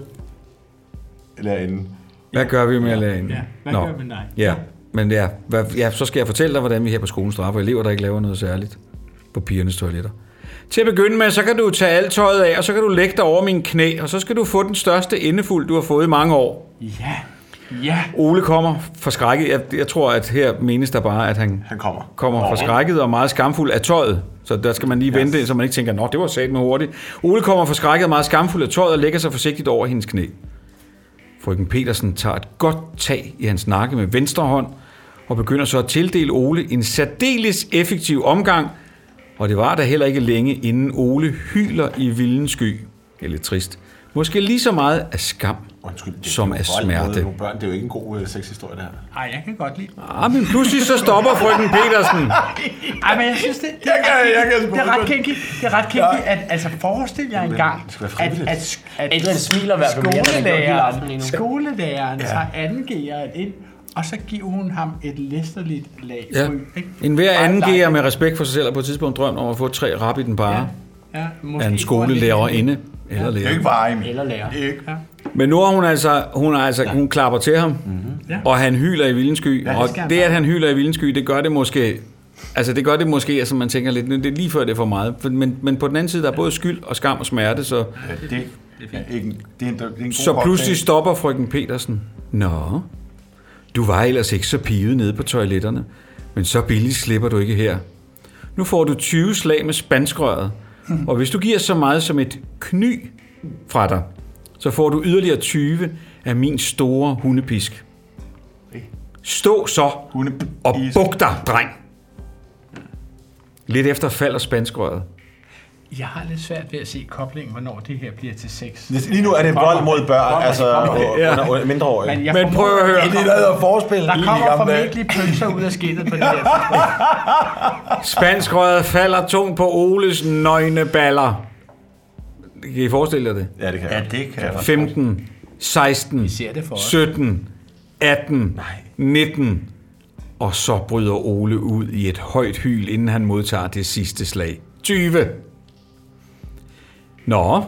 [SPEAKER 8] Eller inden.
[SPEAKER 6] Hvad gør vi med at lade en? Ja,
[SPEAKER 10] hvad gør vi med dig?
[SPEAKER 6] Ja, men ja, hvad, ja, så skal jeg fortælle dig, hvordan vi her på skolen straffer elever, der ikke laver noget særligt på pigernes toiletter. Til at begynde med, så kan du tage alt tøjet af, og så kan du lægge dig over min knæ, og så skal du få den største endefuld, du har fået i mange år.
[SPEAKER 10] Ja, ja.
[SPEAKER 6] Ole kommer forskrækket. Jeg, jeg tror, at her menes der bare, at han,
[SPEAKER 8] han kommer,
[SPEAKER 6] kommer forskrækket og meget skamfuld af tøjet. Så der skal man lige vente, yes. så man ikke tænker, nå, det var sat med hurtigt. Ole kommer forskrækket og meget skamfuld af tøjet og lægger sig forsigtigt over hendes knæ. Frøken Petersen tager et godt tag i hans nakke med venstre hånd og begynder så at tildele Ole en særdeles effektiv omgang, og det var da heller ikke længe, inden Ole hyler i vilden sky. Det er lidt trist. Måske lige så meget af skam, som af smerte.
[SPEAKER 8] Nogle børn, det er jo ikke en god øh, sexhistorie, det her.
[SPEAKER 10] Ej, jeg kan godt lide.
[SPEAKER 6] Ah, men pludselig så stopper frøken Petersen.
[SPEAKER 10] Ej, men jeg synes det. det er
[SPEAKER 8] Jeg kan-
[SPEAKER 10] ret
[SPEAKER 8] jeg kan
[SPEAKER 10] kinky.
[SPEAKER 8] sgu
[SPEAKER 10] Det er ret
[SPEAKER 8] godt.
[SPEAKER 10] kinky. Det er ret kinky, at altså forestil jer
[SPEAKER 8] Men
[SPEAKER 10] engang,
[SPEAKER 8] det skal være
[SPEAKER 10] at,
[SPEAKER 8] frivilligt.
[SPEAKER 10] at, at
[SPEAKER 17] Adrian smiler i hvert fald mere, end han gjorde hele aftenen lige nu.
[SPEAKER 10] skolelæreren, skolelæreren
[SPEAKER 17] Ja.
[SPEAKER 10] tager angeren ind, og så giver hun ham et læsterligt lag.
[SPEAKER 6] Ja.
[SPEAKER 10] ryg, ikke?
[SPEAKER 6] En hver
[SPEAKER 10] Ej,
[SPEAKER 6] anden
[SPEAKER 10] nej.
[SPEAKER 6] gear med respekt for sig selv har på et tidspunkt drømt om at få tre rap i den bare
[SPEAKER 10] Ja,
[SPEAKER 6] ja, af en skolelærerinde eller lærer.
[SPEAKER 17] Eller lærer.
[SPEAKER 16] Ikke.
[SPEAKER 6] Men nu har hun altså, hun, har altså, hun klapper til ham, mm-hmm.
[SPEAKER 10] Mhm. Ja.
[SPEAKER 6] og han hyler i vildensky.
[SPEAKER 10] Ja,
[SPEAKER 6] Ja,
[SPEAKER 10] det
[SPEAKER 6] og
[SPEAKER 10] skal han
[SPEAKER 6] det, at han hyler i vildensky, det gør det måske Altså det gør det måske, altså man tænker lidt, det er lige før det er for meget. For- Men, men på den anden side, der er både skyld og skam og smerte, så...
[SPEAKER 1] Ja, det, det, er ikke, det, er en, det er en god
[SPEAKER 6] Så pludselig
[SPEAKER 1] cocktail.
[SPEAKER 6] stopper frøken Petersen. Nå, du var ellers ikke så pivet nede på toiletterne, men så billigt slipper du ikke her. Nu får du 20 slag med spanskrøret, og hvis du giver så meget som et kny fra dig, så får du yderligere 20 af min store hundepisk. Stå så og buk dig, dreng. Lidt efter falder spanskrøret.
[SPEAKER 10] Jeg har lidt svært ved at se koblingen, hvornår det her bliver til sex.
[SPEAKER 8] Lige nu er det vold mod børn,
[SPEAKER 10] Kommer-
[SPEAKER 8] altså
[SPEAKER 10] kommer-
[SPEAKER 8] ja. under, under, mindreårige.
[SPEAKER 10] Men, jeg formoder- Der kommer
[SPEAKER 8] gamle dage.
[SPEAKER 10] formentlig pølser ud af skinnet på det her. tidspunkt.
[SPEAKER 6] Spanskrøret falder tungt på Oles nøgne baller. Kan I forestille jer det?
[SPEAKER 8] Ja, det kan
[SPEAKER 1] Ja, det kan jeg.
[SPEAKER 6] 15, 16,
[SPEAKER 10] det for os.
[SPEAKER 6] 17, 18, 19. Og så bryder Ole ud i et højt hyl, inden han modtager det sidste slag. 20. Nå,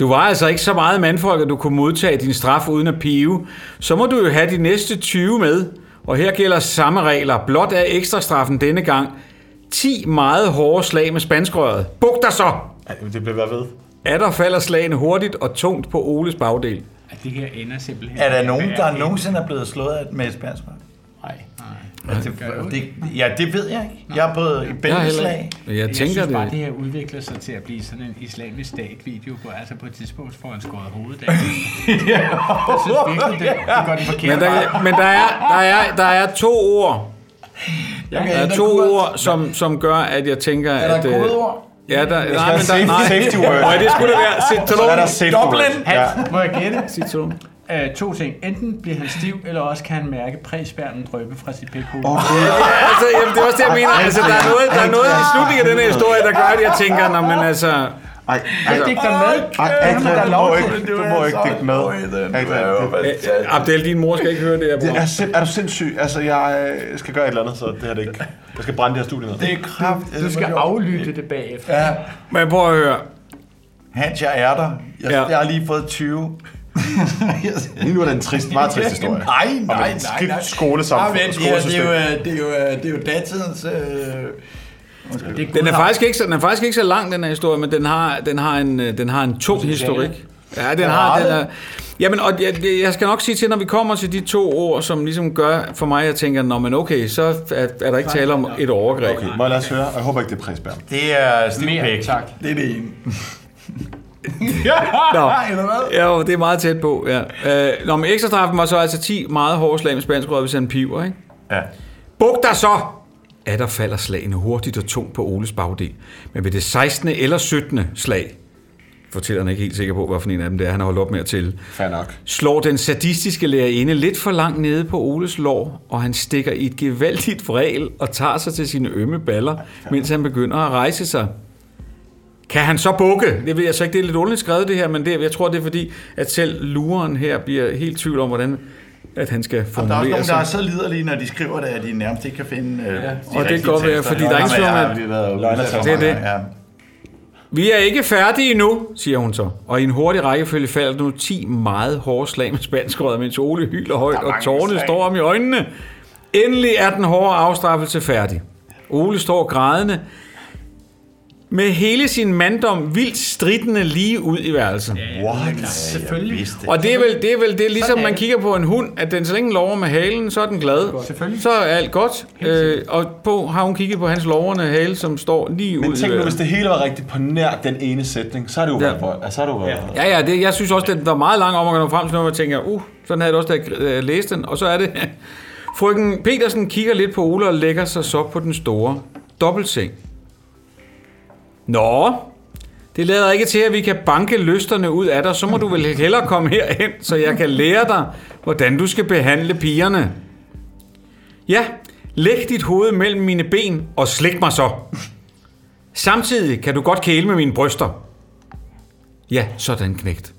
[SPEAKER 6] du var altså ikke så meget mandfolk, at du kunne modtage din straf uden at pive. Så må du jo have de næste 20 med. Og her gælder samme regler. Blot er ekstrastraffen denne gang 10 meget hårde slag med spanskrøret. Buk dig så!
[SPEAKER 8] Ja, det bliver ved.
[SPEAKER 6] Er der falder slagene hurtigt og tungt på Oles bagdel.
[SPEAKER 10] At det her ender simpelthen.
[SPEAKER 1] Er der nogen,
[SPEAKER 10] med at
[SPEAKER 1] der
[SPEAKER 10] ende-
[SPEAKER 1] nogensinde er blevet slået af med et spansk Nej. Nej. Det, det, ja, det ved jeg ikke. Jeg er blevet i bælteslag.
[SPEAKER 10] jeg synes bare, det her udvikler sig til at blive sådan en islamisk stat-video, hvor altså på et tidspunkt får en skåret hovedet af. ja. Jeg synes virkelig, det, det går den forkerte
[SPEAKER 6] Men, der,
[SPEAKER 10] vej.
[SPEAKER 6] men der, er, der, er, der er to ord.
[SPEAKER 10] Ja,
[SPEAKER 6] Der
[SPEAKER 10] ja,
[SPEAKER 6] er
[SPEAKER 10] der
[SPEAKER 6] to ord, som, som gør, at jeg tænker,
[SPEAKER 10] Er der
[SPEAKER 6] at... øh,
[SPEAKER 10] kodeord?
[SPEAKER 6] Ja, der, nej,
[SPEAKER 10] Det
[SPEAKER 6] men
[SPEAKER 10] skal
[SPEAKER 6] der,
[SPEAKER 10] være
[SPEAKER 6] nej,
[SPEAKER 10] safety- safety word.
[SPEAKER 6] Nej, det skulle det være. Citroen.
[SPEAKER 10] Hans, må jeg gætte?
[SPEAKER 6] Citroen.
[SPEAKER 10] Uh, to ting. Enten bliver han stiv, eller også kan han mærke præsbærden drøbe fra sit pikhoved.
[SPEAKER 6] Oh, ja, altså, jamen, det er også det, jeg mener. Altså, der er noget, der er noget i slutningen af den her historie, der gør, at jeg tænker, når man altså...
[SPEAKER 1] Ej,
[SPEAKER 10] altså, digter med.
[SPEAKER 1] Ej,
[SPEAKER 10] Adrian,
[SPEAKER 1] Adrian, du må
[SPEAKER 10] til.
[SPEAKER 1] ikke, du må ikke digte med. Adrian, det-
[SPEAKER 6] Øh, Abdel, din mor skal ikke høre det her.
[SPEAKER 1] Det
[SPEAKER 6] bror.
[SPEAKER 1] er, sind, er du sindssyg? Altså, jeg øh, skal gøre et eller andet, så
[SPEAKER 8] Det her det er ikke. Jeg skal brænde det her studie ned.
[SPEAKER 1] Det er kraft.
[SPEAKER 10] Du skal aflytte det bagefter.
[SPEAKER 1] Ja.
[SPEAKER 6] Men prøv at høre.
[SPEAKER 1] Hans, jeg er der. Jeg,
[SPEAKER 6] Ja.
[SPEAKER 1] ja. jeg har lige fået 20.
[SPEAKER 8] Lige nu er det en trist, meget trist historie.
[SPEAKER 1] Nej, nej,
[SPEAKER 8] Om
[SPEAKER 1] nej,
[SPEAKER 8] et
[SPEAKER 1] nej.
[SPEAKER 8] skidt skolesamfund.
[SPEAKER 1] Nej, men
[SPEAKER 8] Ja,
[SPEAKER 7] Det er jo, øh, det er jo, øh, det er jo datidens... Øh,
[SPEAKER 6] Det den, er faktisk ikke så, den er faktisk ikke så lang, den her historie, men den har, den har, en, øh, den har en tung historik. Ja, den har, den er, jamen, og jeg, jeg skal nok sige til, når vi kommer til de to ord, som ligesom gør for mig, jeg tænker, nå, men okay, så er, er der ikke tale om et overgreb.
[SPEAKER 8] Okay, må jeg lade os høre? Jeg håber ikke, det er præsbær.
[SPEAKER 1] Det er Stig
[SPEAKER 10] Mere,
[SPEAKER 1] Pæk.
[SPEAKER 10] tak.
[SPEAKER 1] Det er det ene.
[SPEAKER 6] Nå.
[SPEAKER 1] Eller hvad?
[SPEAKER 6] Ja, jo, det er meget tæt på, ja. Øh, nå, men ekstrastraffen var så altså 10 meget hårde slag med spansk rød, hvis han piver, ikke?
[SPEAKER 1] Ja.
[SPEAKER 6] Buk dig så! Ja, der falder slagene hurtigt og tungt på Oles bagdel. Men ved det 16. eller 17. slag, fortæller han ikke helt sikker på, hvad for en af dem det er, han har holdt op med at tælle,
[SPEAKER 8] Fair nok.
[SPEAKER 6] slår den sadistiske lærerinde lidt for langt nede på Oles lår, og han stikker i et gevaldigt vrel og tager sig til sine ømme baller, mens han begynder at rejse sig. Kan han så bukke? Det ved jeg så ikke, det er lidt underligt skrevet det her, men det, jeg tror, det er fordi, at selv luren her bliver helt i tvivl om, hvordan at han skal
[SPEAKER 1] Og der er
[SPEAKER 6] formulere
[SPEAKER 1] også nogen, der
[SPEAKER 6] sig.
[SPEAKER 1] er så liderlige, når de skriver det, at de nærmest ikke kan finde øh, ja. de
[SPEAKER 6] Og det
[SPEAKER 1] rigtige
[SPEAKER 6] kan godt være,
[SPEAKER 1] tekster.
[SPEAKER 6] fordi der er ingen
[SPEAKER 1] Nå, men
[SPEAKER 6] tvivl om,
[SPEAKER 1] jeg
[SPEAKER 6] at-
[SPEAKER 1] har lige været
[SPEAKER 6] Løgn er
[SPEAKER 1] udsat for
[SPEAKER 6] det er
[SPEAKER 1] mange
[SPEAKER 6] det.
[SPEAKER 1] gange, ja.
[SPEAKER 6] Vi er ikke færdige endnu, siger hun så. Og i en hurtig rækkefølge falder nu 10 meget hårde slag med spanskrøret, mens Ole hyler højt, og tårne
[SPEAKER 1] slag.
[SPEAKER 6] står om i øjnene. Endelig er den hårde afstraffelse færdig. Ole står grædende, med hele sin manddom vildt stridende lige ud i værelset.
[SPEAKER 1] What?
[SPEAKER 10] Selvfølgelig.
[SPEAKER 6] Og det er vel det, er vel, det er ligesom man kigger på en hund, at den så længe den lover med halen, så er den glad. Selvfølgelig. Så er alt godt. Øh, og på har hun kigget på hans loverne hale, som står lige ud
[SPEAKER 8] Men
[SPEAKER 6] i
[SPEAKER 8] tænk nu,
[SPEAKER 6] vejret.
[SPEAKER 8] hvis det hele var rigtigt på nær den ene sætning, så er det jo
[SPEAKER 6] Ja.
[SPEAKER 8] været vold. Altså, så er det jo været...
[SPEAKER 6] Ja, ja, det, jeg synes også, den var meget lang om at nå frem til noget, hvor jeg tænker, uh, sådan havde jeg det også, da jeg øh, læste den. Og så er det, frøken Petersen kigger lidt på Ole og lægger sig så på den store dobbeltseng. Nå, det lader ikke til, at vi kan banke lysterne ud af dig. Så må du vel hellere komme herhen, så jeg kan lære dig, hvordan du skal behandle pigerne. Ja, læg dit hoved mellem mine ben og slik mig så. Samtidig kan du godt kæle med mine bryster. Ja, sådan knægt.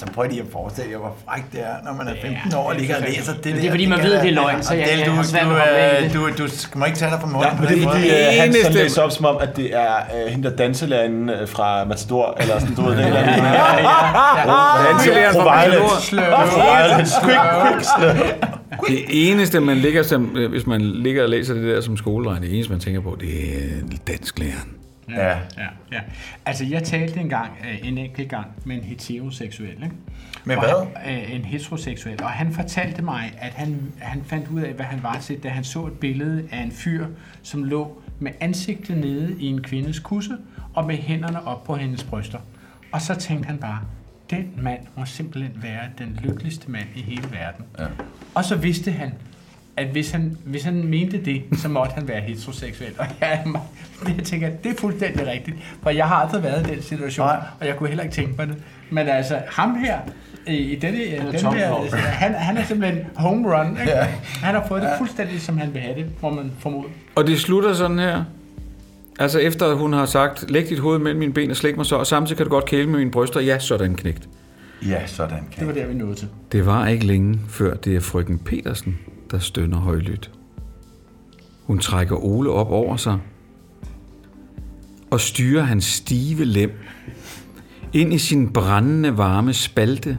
[SPEAKER 16] Altså prøv lige at forestille jer, hvor frækt det er, når man er 15 år og
[SPEAKER 1] det er
[SPEAKER 16] ligger og
[SPEAKER 1] perfekt.
[SPEAKER 16] læser det
[SPEAKER 1] Men
[SPEAKER 16] der.
[SPEAKER 1] det er, fordi man
[SPEAKER 16] kan
[SPEAKER 1] ved,
[SPEAKER 16] da-
[SPEAKER 1] det er løgn, så jeg-
[SPEAKER 16] Adele,
[SPEAKER 1] jeg
[SPEAKER 16] du,
[SPEAKER 1] har svært ved at
[SPEAKER 16] du,
[SPEAKER 1] komme af i
[SPEAKER 16] øh, du, du, du, må ikke tage dig for munden.
[SPEAKER 8] Ja, men det er fordi, øh, han
[SPEAKER 16] Eneste-
[SPEAKER 8] sådan læser op, som om, at det er øh, hende der danselærerinde øh, fra Matador, eller sådan, du ved, det eller andet. Ja, ja,
[SPEAKER 6] Danselæreren fra Matador.
[SPEAKER 8] Fru Violet. Quick, quick, slør.
[SPEAKER 6] Det eneste, man ligger som, øh, hvis man ligger og læser det der som skoleregn, det eneste, man tænker på, det er dansklæreren.
[SPEAKER 10] Ja, ja. ja. Altså, jeg talte engang, øh, en enkelt gang, med en heteroseksuel. Ikke?
[SPEAKER 16] Med
[SPEAKER 10] Og
[SPEAKER 16] hvad?
[SPEAKER 10] Han, øh, en heteroseksuel. Og han fortalte mig, at han, han fandt ud af, hvad han var til, da han så et billede af en fyr, som lå med ansigtet nede i en kvindes kusse, og med hænderne op på hendes bryster. Og så tænkte han bare, den mand må simpelthen være den lykkeligste mand i hele verden. Ja. Og så vidste han, at hvis han, hvis han mente det, så måtte han være heteroseksuel. Og jeg, er meget- jeg tænker, at det er fuldstændig rigtigt, for jeg har aldrig været i den situation, Nej. og jeg kunne heller ikke tænke mig det. Men altså, ham her, i i denne,
[SPEAKER 16] er
[SPEAKER 10] den
[SPEAKER 16] Tom
[SPEAKER 10] her,
[SPEAKER 16] Hall.
[SPEAKER 10] han, han er simpelthen home run. Ikke?
[SPEAKER 6] Ja.
[SPEAKER 10] Ja. Han har fået det fuldstændig, som han vil have det, må man formode.
[SPEAKER 6] Og det slutter sådan her. Altså efter at hun har sagt, læg dit hoved mellem mine ben og slik mig så, og samtidig kan du godt kæle med mine bryster. Ja, sådan knægt.
[SPEAKER 16] Ja, sådan.
[SPEAKER 10] Det var der, vi nåede til.
[SPEAKER 6] Det var ikke længe, før det er frøken Petersen, der stønner højlydt. Hun trækker Ole op over sig og styrer hans stive lem ind i sin brændende varme spalte,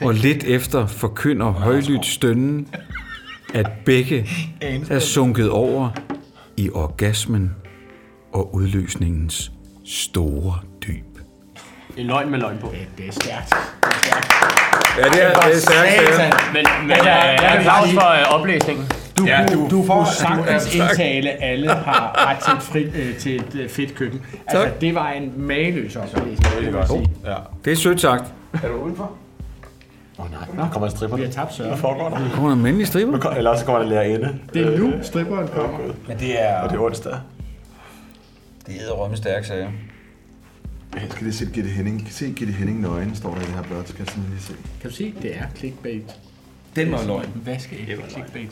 [SPEAKER 6] og lidt efter forkynder højlydt stønnen, at begge er sunket over i orgasmen og udløsningens store dyb.
[SPEAKER 9] En løgn med løgn på. Ja,
[SPEAKER 10] det er stærkt.
[SPEAKER 6] Ja, det er, det er stærkt.
[SPEAKER 9] Men, men ja,
[SPEAKER 10] jeg
[SPEAKER 9] ja,
[SPEAKER 10] vil
[SPEAKER 9] applaus
[SPEAKER 10] sige-
[SPEAKER 9] for øh, oplæsningen.
[SPEAKER 10] Du, ja, du, du får sagtens
[SPEAKER 9] Ja, tak.
[SPEAKER 10] indtale, alle har ret til et, frit, øh, til et øh, fedt køkken. Altså, det var en mageløs oplæsning, det vil jeg sige.
[SPEAKER 8] Ja.
[SPEAKER 6] Det er sødt sagt.
[SPEAKER 8] Er du udenfor? Åh oh, nej,
[SPEAKER 10] Nå.
[SPEAKER 8] der kommer en stripper. Vi har
[SPEAKER 10] tabt Søren.
[SPEAKER 8] Hvad foregår der?
[SPEAKER 6] Kommer der en mandlig stripper?
[SPEAKER 8] Eller også kommer der en lærerinde.
[SPEAKER 10] Det er nu, stripperen kommer.
[SPEAKER 16] Men det er...
[SPEAKER 8] Og det er onsdag.
[SPEAKER 16] Det er rømme stærk sager.
[SPEAKER 11] Jeg skal lige se Gitte Henning. Se Gitte Henning nøgen, står der i det her blad. Det skal jeg simpelthen lige se.
[SPEAKER 10] Kan du se, det er clickbait.
[SPEAKER 6] Den var løgn.
[SPEAKER 10] Hvad skal ikke clickbait?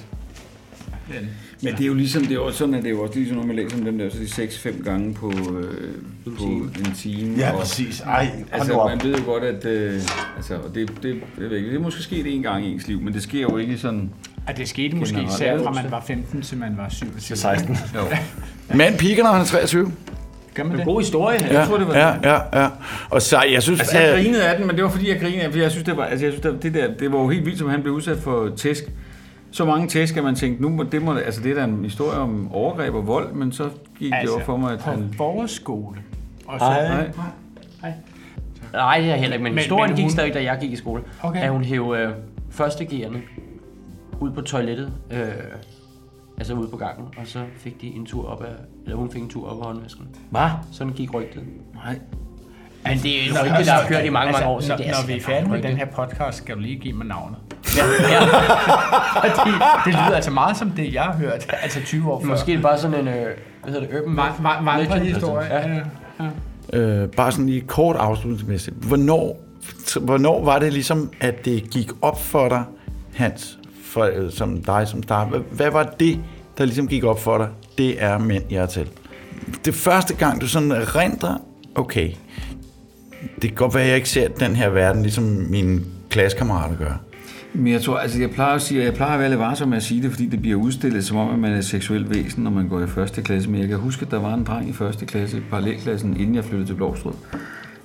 [SPEAKER 10] Det er den.
[SPEAKER 6] Men det er jo ligesom, det er jo, sådan er det jo også ligesom, når man læser om dem der, så de 6-5 gange på, øh, på en time.
[SPEAKER 16] Ja,
[SPEAKER 6] og-
[SPEAKER 16] præcis. Ej, hold nu
[SPEAKER 6] altså,
[SPEAKER 16] op.
[SPEAKER 6] man ved jo godt, at øh, altså, og det, det, jeg ved ikke, det er måske sket en gang i ens liv, men det sker jo ikke sådan...
[SPEAKER 10] At det skete måske
[SPEAKER 6] Generelt.
[SPEAKER 10] især fra man var 15 til man var 27.
[SPEAKER 6] 16. Jo.
[SPEAKER 2] Mand piger, når han er 23.
[SPEAKER 10] Gør man det?
[SPEAKER 2] En god
[SPEAKER 10] historie.
[SPEAKER 2] Ja, ja, ja, ja. Og så, jeg synes...
[SPEAKER 6] Altså, jeg
[SPEAKER 2] at-
[SPEAKER 6] grinede af den, men det var fordi, jeg grinede af fordi jeg synes, det var, altså, jeg synes, det, var- det der, det var jo helt vildt, som han blev udsat for tæsk. Så mange tæsk, at man tænkte, nu må, det må, altså det er da en historie om overgreb og vold, men så gik altså,
[SPEAKER 10] Altså,
[SPEAKER 6] det over for mig, at
[SPEAKER 10] på
[SPEAKER 6] han...
[SPEAKER 10] vores skole. Og
[SPEAKER 6] så,
[SPEAKER 10] så-
[SPEAKER 6] nej.
[SPEAKER 9] Nej, det er heller ikke, men,
[SPEAKER 10] Men-
[SPEAKER 9] men historien
[SPEAKER 10] men
[SPEAKER 9] gik
[SPEAKER 10] hun-
[SPEAKER 9] stadig, da jeg gik i skole.
[SPEAKER 10] Okay.
[SPEAKER 9] At hun hæv øh, første gearne ud på toilettet, øh, altså ude på gangen, og så fik de en tur op af, eller hun fik en tur op af håndvasken. Hvad? Sådan gik rygtet.
[SPEAKER 6] Nej.
[SPEAKER 9] Men det er et rygte, der har kørt i mange, mange år, så
[SPEAKER 10] Altså, når,
[SPEAKER 9] det er altså
[SPEAKER 10] når vi er
[SPEAKER 9] sikkert
[SPEAKER 10] færdige med
[SPEAKER 9] rygte.
[SPEAKER 10] den her podcast, skal du lige give mig navnet. Fordi det lyder altså meget som det, jeg har hørt, altså 20 år før.
[SPEAKER 9] Måske er det bare sådan en, øh, hvad hedder det, urban
[SPEAKER 10] Vand- vand- vandrehistorie.
[SPEAKER 9] Ja.
[SPEAKER 10] Ja. Ja.
[SPEAKER 2] Øh, bare sådan lige kort afslutningsmæssigt. Hvornår, hvornår var det ligesom, at det gik op for dig, Hans, for, øh, som dig som star? Hvad, hvad var det, der ligesom gik op for dig? Det er mænd, jeg er til. Det første gang, du sådan erindrer, okay, det kan godt være, at jeg ikke ser den her verden, ligesom mine klassekammerater gør.
[SPEAKER 6] Men jeg tror, altså jeg plejer at sige, jeg plejer at være lidt varsom med at sige det, fordi det bliver udstillet som om, at man er et seksuelt væsen, når man går i første klasse. Men jeg kan huske, at der var en dreng i første klasse, parallelklassen, inden jeg flyttede til Blåstrød.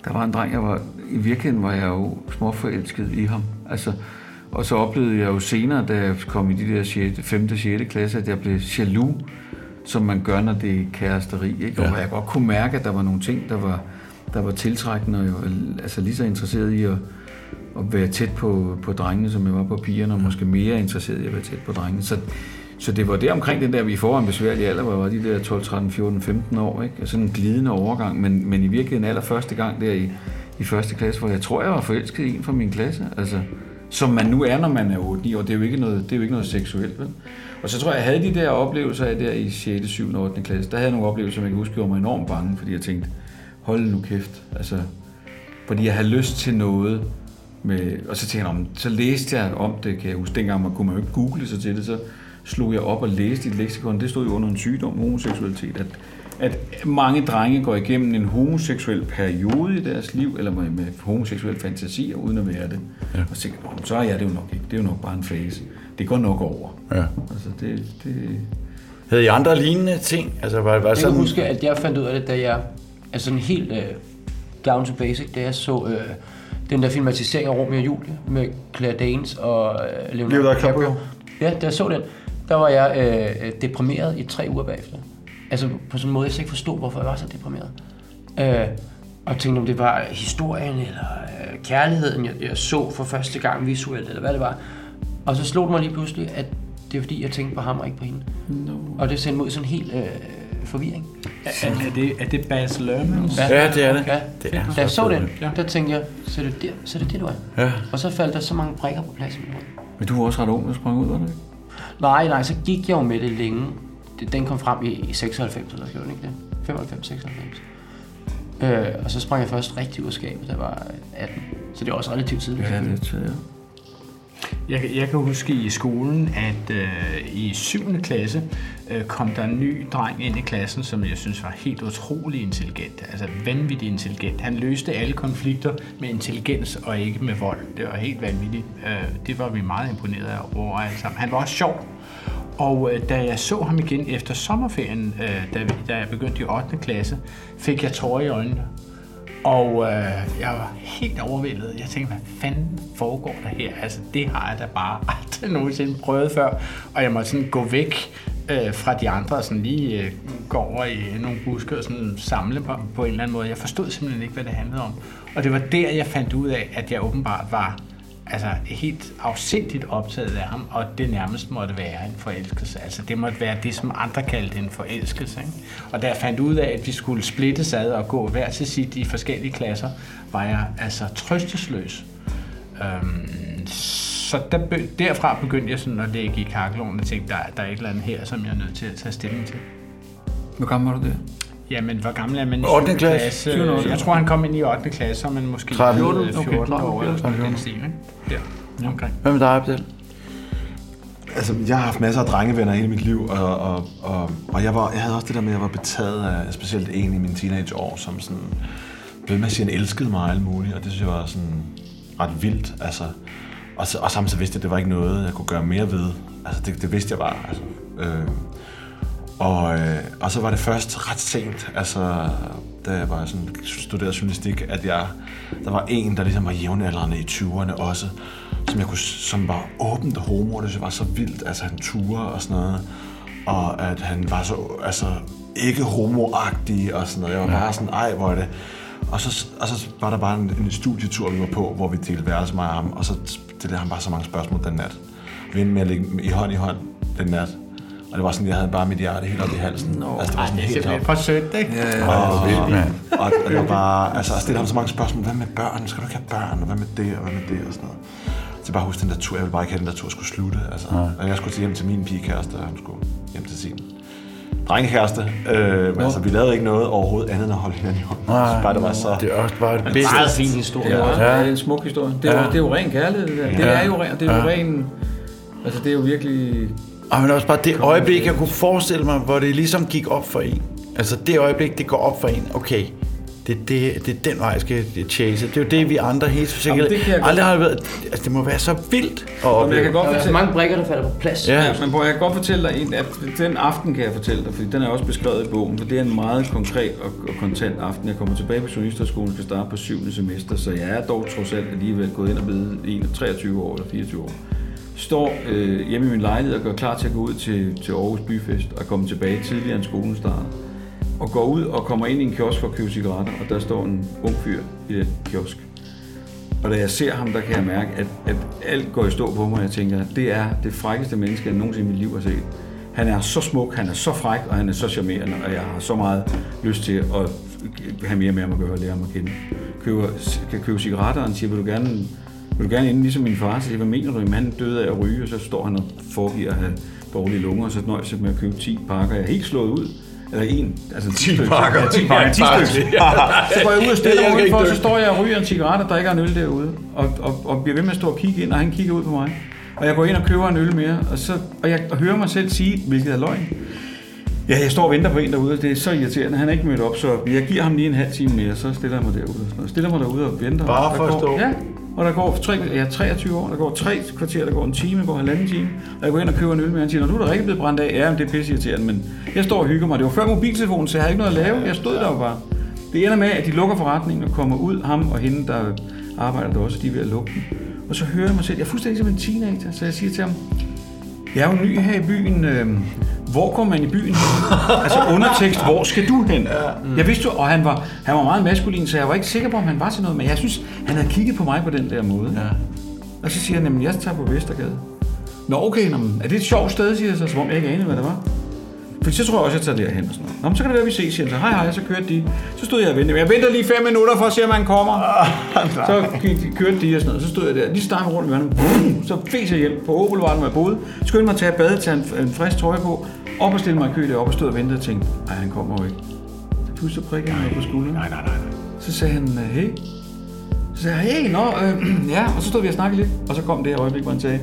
[SPEAKER 6] Der var en dreng, jeg var, i virkeligheden var jeg jo småforelsket i ham. Altså, og så oplevede jeg jo senere, da jeg kom i de der 6, 5. og 6. klasse, at jeg blev jaloux, som man gør, når det er kæresteri. Ikke? Og
[SPEAKER 2] Ja.
[SPEAKER 6] hvor jeg godt kunne mærke, at der var nogle ting, der var, der var tiltrækkende, og jeg var altså lige så interesseret i at, at være tæt på, på drengene, som jeg var på pigerne, og måske mere interesseret i at være tæt på drengene. Så, så det var der omkring den der, vi får en besværlig alder, hvor jeg var de der 12, 13, 14, 15 år, ikke? Og sådan en glidende overgang, men, men i virkeligheden aller første gang der i, i første klasse, hvor jeg tror, jeg var forelsket i en fra min klasse, altså, som man nu er, når man er 8-9 år. Det er jo ikke noget, det er jo ikke noget seksuelt, vel? Og så tror jeg, jeg havde de der oplevelser af der i 6., 7. og 8. klasse. Der havde jeg nogle oplevelser, som jeg kan huske, gjorde mig enormt bange, fordi jeg tænkte, hold nu kæft, altså, fordi jeg havde lyst til noget, med, og så tænkte jeg, "Nå, men så læste jeg om det, kan jeg huske, dengang man kunne man jo ikke google sig til det, så slog jeg op og læste i et leksikon, det stod jo under en sygdom, homoseksualitet, at, at mange drenge går igennem en homoseksuel periode i deres liv, eller med, med homoseksuelle fantasier, uden at være det. Ja. Og så tænkte jeg, "Nå, men så er jeg det jo nok ikke, det er jo nok bare en fase. Det går nok over.
[SPEAKER 2] Ja.
[SPEAKER 6] Altså, det, det...
[SPEAKER 2] Havde I andre lignende ting? Altså, var, var
[SPEAKER 9] Jeg kan
[SPEAKER 2] sådan...
[SPEAKER 9] huske, at jeg fandt ud af det, da jeg... Altså sådan helt øh, down to basic, da jeg så øh, Den der filmatisering af Romeo og Julie med Claire Danes og øh, Leonardo
[SPEAKER 8] Leonardo DiCaprio.
[SPEAKER 9] Ja, da jeg så den, der var jeg øh, øh, deprimeret i tre uger bagefter. Altså på sådan en måde, jeg slet ikke forstod, hvorfor jeg var så deprimeret. Øh, og tænkte, om det var historien eller øh, kærligheden, jeg, jeg så for første gang visuelt, eller hvad det var. Og så slog det mig lige pludselig, at det er fordi, jeg tænkte på ham og ikke på hende.
[SPEAKER 10] No.
[SPEAKER 9] Og det sendte mig ud i sådan en helt øh, forvirring.
[SPEAKER 10] Er, er- er, det, er det Baz Luhrmann?
[SPEAKER 9] Ja, det er det. Ja.
[SPEAKER 10] Det er
[SPEAKER 9] Da jeg så
[SPEAKER 10] så
[SPEAKER 9] den,
[SPEAKER 10] fedt.
[SPEAKER 9] ja. der tænkte jeg, så er det der, så er det, det du er.
[SPEAKER 6] Ja.
[SPEAKER 9] Og så faldt der så mange brikker på plads i mit hoved.
[SPEAKER 6] Men du var også ret ung, der sprang ud, var det ikke?
[SPEAKER 9] Nej, nej, så gik jeg jo med det længe. Det- Den kom frem i, i 96, eller gjorde den ikke det? 95, 96. Øh, og så sprang jeg først rigtig ud af skabet, da jeg var 18. Så det er også relativt tidligt.
[SPEAKER 10] Ja, det er
[SPEAKER 9] tidligt.
[SPEAKER 10] Jeg, kan- jeg kan huske i skolen, at øh, i 7. klasse øh, kom der en ny dreng ind i klassen, som jeg synes var helt utrolig intelligent. Altså vanvittigt intelligent. Han løste alle konflikter med intelligens og ikke med vold. Det var helt vanvittigt. Øh, det var vi meget imponeret over alle sammen. Han var også sjov. Og øh, da jeg så ham igen efter sommerferien, øh, da, vi- da jeg begyndte i 8. klasse, fik jeg tårer i øjnene. Og øh, jeg var helt overvældet. Jeg tænkte, hvad fanden foregår der her? Altså, det har jeg da bare aldrig nogensinde prøvet før. Og jeg måtte sådan gå væk øh, fra de andre og sådan lige øh, gå over i nogle buske og sådan samle mig på en eller anden måde. Jeg forstod simpelthen ikke, hvad det handlede om. Og det var der, jeg fandt ud af, at jeg åbenbart var altså, helt afsindigt optaget af ham, og det nærmest måtte være en forelskelse. Altså, det måtte være det, som andre kaldte en forelskelse. Ikke? Og da jeg fandt ud af, at vi skulle splittes ad og gå hver til sit i forskellige klasser, var jeg altså trøstesløs. Øhm, så der, be- derfra begyndte jeg sådan at lægge i kakkeloven og tænke, der, der er et eller andet her, som jeg er nødt til at tage stilling til.
[SPEAKER 6] Hvor gammel var du der?
[SPEAKER 10] Jamen, hvor gammel er man i
[SPEAKER 6] 8.
[SPEAKER 10] syvende
[SPEAKER 6] klasse. Syvende,
[SPEAKER 10] Øh,
[SPEAKER 6] ottende.
[SPEAKER 10] Jeg tror, han kom ind i 8. klasse, så er man måske
[SPEAKER 6] 13.
[SPEAKER 10] 14,
[SPEAKER 6] Okay,
[SPEAKER 10] 14 Øh, år.
[SPEAKER 6] 14.
[SPEAKER 10] Eller sådan noget. Ja, omkring.
[SPEAKER 8] Hvad med dig, Abdel? Altså, jeg har haft masser af drengevenner hele mit liv, og, og, og, og jeg, var, jeg havde også det der med, at jeg var betaget af specielt en i mine teenageår, som sådan, ved med at sige, han elskede mig og alt muligt, og det synes jeg var sådan ret vildt, altså. Og, så- og samtidig vidste jeg, at det var ikke noget, jeg kunne gøre mere ved. Altså, det, det vidste jeg bare, altså. Øh, og, øh, og så var det først ret sent, altså, da jeg var sådan, studerede journalistik, at jeg, der var en, der ligesom var jævnaldrende i 20'erne også, som, jeg kunne, som var åbent homo, og det synes jeg var så vildt, altså han ture og sådan noget, og at han var så altså, ikke homoagtig og sådan noget. Jeg var bare sådan, ej, hvor er det. Og så, og så var der bare en, en studietur, vi var på, hvor vi delte værelse med ham, og så stillede han bare så mange spørgsmål den nat. Vi endte med at ligge i hånd i hånd den nat. Og det var sådan, jeg havde bare mit hjerte helt op i halsen. No. Altså, det var sådan
[SPEAKER 10] Ej, det er
[SPEAKER 8] helt
[SPEAKER 10] simpelthen
[SPEAKER 8] op.
[SPEAKER 10] for sødt, ikke? Ja, ja,
[SPEAKER 8] og,
[SPEAKER 10] ja, det er vildt, mand.
[SPEAKER 8] og, og, det var bare, altså, jeg stillede ham så mange spørgsmål. Hvad med børn? Skal du ikke have børn? Og hvad med det? Og hvad med det? Og sådan noget. Så jeg bare huske den der tur. Jeg ville bare ikke have, at den der tur skulle slutte. Altså. Og jeg skulle til hjem til min pigekæreste, og han skulle hjem til sin drengekæreste. Øh, men altså, vi lavede ikke noget overhovedet andet end at holde hinanden i hånden. Jeg synes bare, det var så... Det er også bare
[SPEAKER 6] det bedste. Meget fin historie. Ja, det er en smuk historie. Det er, jo,
[SPEAKER 8] Ja.
[SPEAKER 6] det er jo ren kærlighed, det der. Det
[SPEAKER 8] Ja.
[SPEAKER 6] er jo ren, det er jo
[SPEAKER 8] Ja.
[SPEAKER 6] ren, altså det er jo virkelig...
[SPEAKER 7] Og men også bare det øjeblik, jeg kunne forestille mig, hvor det ligesom gik op for en. Altså det øjeblik, det går op for en. Okay, det, er det, det er den vej, jeg skal chase. Det er jo det, vi andre helt sikkert
[SPEAKER 6] Jamen, det kan jeg godt-
[SPEAKER 7] aldrig har været. Altså, det må være så vildt at
[SPEAKER 6] Jamen, jeg kan godt
[SPEAKER 9] Der er
[SPEAKER 6] fortælle...
[SPEAKER 9] mange brikker, der falder på plads.
[SPEAKER 6] Ja. ja. Men prøv, jeg kan godt fortælle dig, en, at den aften kan jeg fortælle dig, fordi den er også beskrevet i bogen, for det er en meget konkret og, og kontant aften. Jeg kommer tilbage på journalisterskolen, skal starte på 7. semester, så jeg er dog trods alt alligevel gået ind og blevet 21, 23 år eller 24 år. Står øh, hjemme i min lejlighed og gør klar til at gå ud til, til Aarhus Byfest og komme tilbage tidligere end skolen starter. Og går ud og kommer ind i en kiosk for at købe cigaretter, og der står en ung fyr i den kiosk. Og da jeg ser ham, der kan jeg mærke, at, at alt går i stå på mig, og jeg tænker, det er det frækkeste menneske, jeg nogensinde i mit liv har set. Han er så smuk, han er så fræk, og han er så charmerende, og jeg har så meget lyst til at have mere med ham at gøre, og lære ham at kende. Køber, kan købe cigaretter, og han siger, vil du gerne, vil du gerne inden ligesom min far, så siger, jeg, hvad mener du? Jamen, han døde af at ryge, og så står han og foregiver at have dårlige lunger, og så nøjes jeg med at købe 10 pakker. Jeg er helt slået ud. Eller en, altså 10 stykker.
[SPEAKER 8] pakker.
[SPEAKER 6] Ja, 10 pakker, 10
[SPEAKER 8] Pakker.
[SPEAKER 6] stykker. Så går jeg ud og
[SPEAKER 8] Det
[SPEAKER 6] stiller
[SPEAKER 8] er jeg
[SPEAKER 6] mig
[SPEAKER 8] ikke
[SPEAKER 6] udenfor, så
[SPEAKER 8] dygtig.
[SPEAKER 6] står jeg og ryger en cigaret og drikker en øl derude, og, og, og bliver ved med at stå og kigge ind, og han kigger ud på mig. Og jeg går ind og køber en øl mere, og, så, og jeg og hører mig selv sige, hvilket er løgn. Ja, jeg står og venter på en derude, og det er så irriterende, han er ikke mødt op, så jeg giver ham lige en halv time mere, så stiller jeg mig derude. Og sådan noget. Stiller mig derude og venter.
[SPEAKER 8] Bare
[SPEAKER 6] Og der
[SPEAKER 8] for at
[SPEAKER 6] går-
[SPEAKER 8] stå.
[SPEAKER 6] Ja, og der går tre, jeg er 23 år, der går tre kvarter, der går en time, der går halvanden time, og jeg går ind og køber en øl med, han siger, når du er da rigtig blevet brændt af, ja, men det er pisseirriterende, men jeg står og hygger mig. Det var før mobiltelefonen, så jeg havde ikke noget at lave, jeg stod der jo bare. Det ender med, at de lukker forretningen og kommer ud, ham og hende, der arbejder der også, de er ved at lukke den. Og så hører jeg mig selv, jeg er fuldstændig som en teenager, så jeg siger til ham, jeg er jo ny her i byen, øh, hvor går man i byen? altså undertekst, hvor skal du hen? Mm. Jeg vidste jo, og han var, han var meget maskulin, så jeg var ikke sikker på, om han var til noget, men jeg synes, han havde kigget på mig på den der måde. Ja. Og så siger han, at jeg tager på Vestergade. Nå okay, nå, men er det et sjovt sted, siger jeg så, som om jeg ikke anede, hvad det var. For så tror jeg også, jeg tager derhen og sådan noget. Nå, men så kan det være, vi ses, siger han så. Hej, hej, så kørte de. Så stod jeg og ventede. Men jeg venter lige 5 minutter for at se, om han kommer. så gik- kørte de og sådan noget. Så stod jeg der. Lige startede rundt med ham. Så fes jeg hjem på Opelvarden, hvor jeg boede. Skyndte mig at tage badet, tage en, en frisk trøje på. Op og stille mig i kø deroppe og stod og ventede og tænkte, nej, han kommer jo ikke. Så pludselig prikkede han mig på skulderen. Nej, nej, nej. Så sagde han, øh, hey. Så sagde jeg, hey, nå, øh, ja. Og så stod vi og snakkede lidt. Og så kom det her øjeblik, hvor han sagde,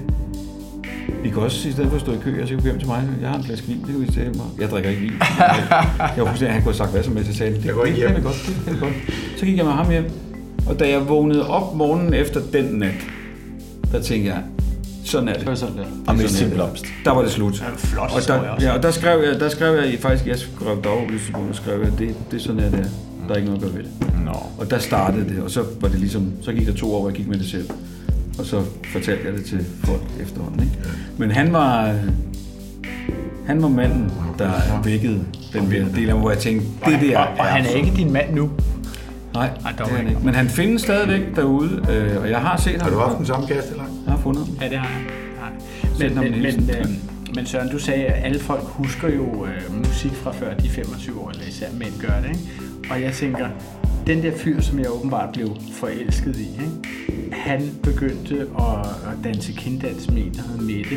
[SPEAKER 6] vi kan også i stedet for at stå i kø, og så kan vi hjem til mig. Jeg har en flaske vin, det kan vi tage hjem. og- Jeg drikker ikke vin. Jeg var fuldstændig, han kunne have sagt hvad som helst. Jeg sagde, det, det, det, det, er godt, det, det er godt. Så gik jeg med ham hjem. Og da jeg vågnede op morgenen efter den nat, der tænkte jeg, sådan er det. Det var sådan der.
[SPEAKER 8] Og miste sin blomst.
[SPEAKER 6] Der var det slut.
[SPEAKER 8] flot
[SPEAKER 6] og
[SPEAKER 8] historie
[SPEAKER 6] der,
[SPEAKER 8] også.
[SPEAKER 6] ja, og der skrev jeg, der skrev jeg i- faktisk, jeg skrev dagoplysning på, og skrev jeg, det, det er sådan her, det er. Der er ikke noget at gøre ved det. No. Og der startede det, og så var det ligesom, så gik der to år, hvor jeg gik med det selv. Og så fortalte jeg det til folk efterhånden. Ikke? Men han var, øh, han var manden, der vækkede den der del af mig, hvor jeg tænkte, det der
[SPEAKER 10] Og han er ikke din mand nu.
[SPEAKER 6] Nej, Nej det er han ikke. Men han findes stadigvæk derude, øh, og jeg har set ham. Har du haft den samme kæreste eller Jeg har fundet ham.
[SPEAKER 10] Ja, det har jeg.
[SPEAKER 6] Send
[SPEAKER 10] Men,
[SPEAKER 6] ham
[SPEAKER 10] men,
[SPEAKER 6] en
[SPEAKER 10] men,
[SPEAKER 6] hilsen.
[SPEAKER 10] øh, men Søren, du sagde, at alle folk husker jo øh, musik fra før de er 25 år, eller især mænd gør det, ikke? Og jeg tænker, den der fyr, som jeg åbenbart blev forelsket i, ikke? han begyndte at, at danse kinddans med en, der hed Mette,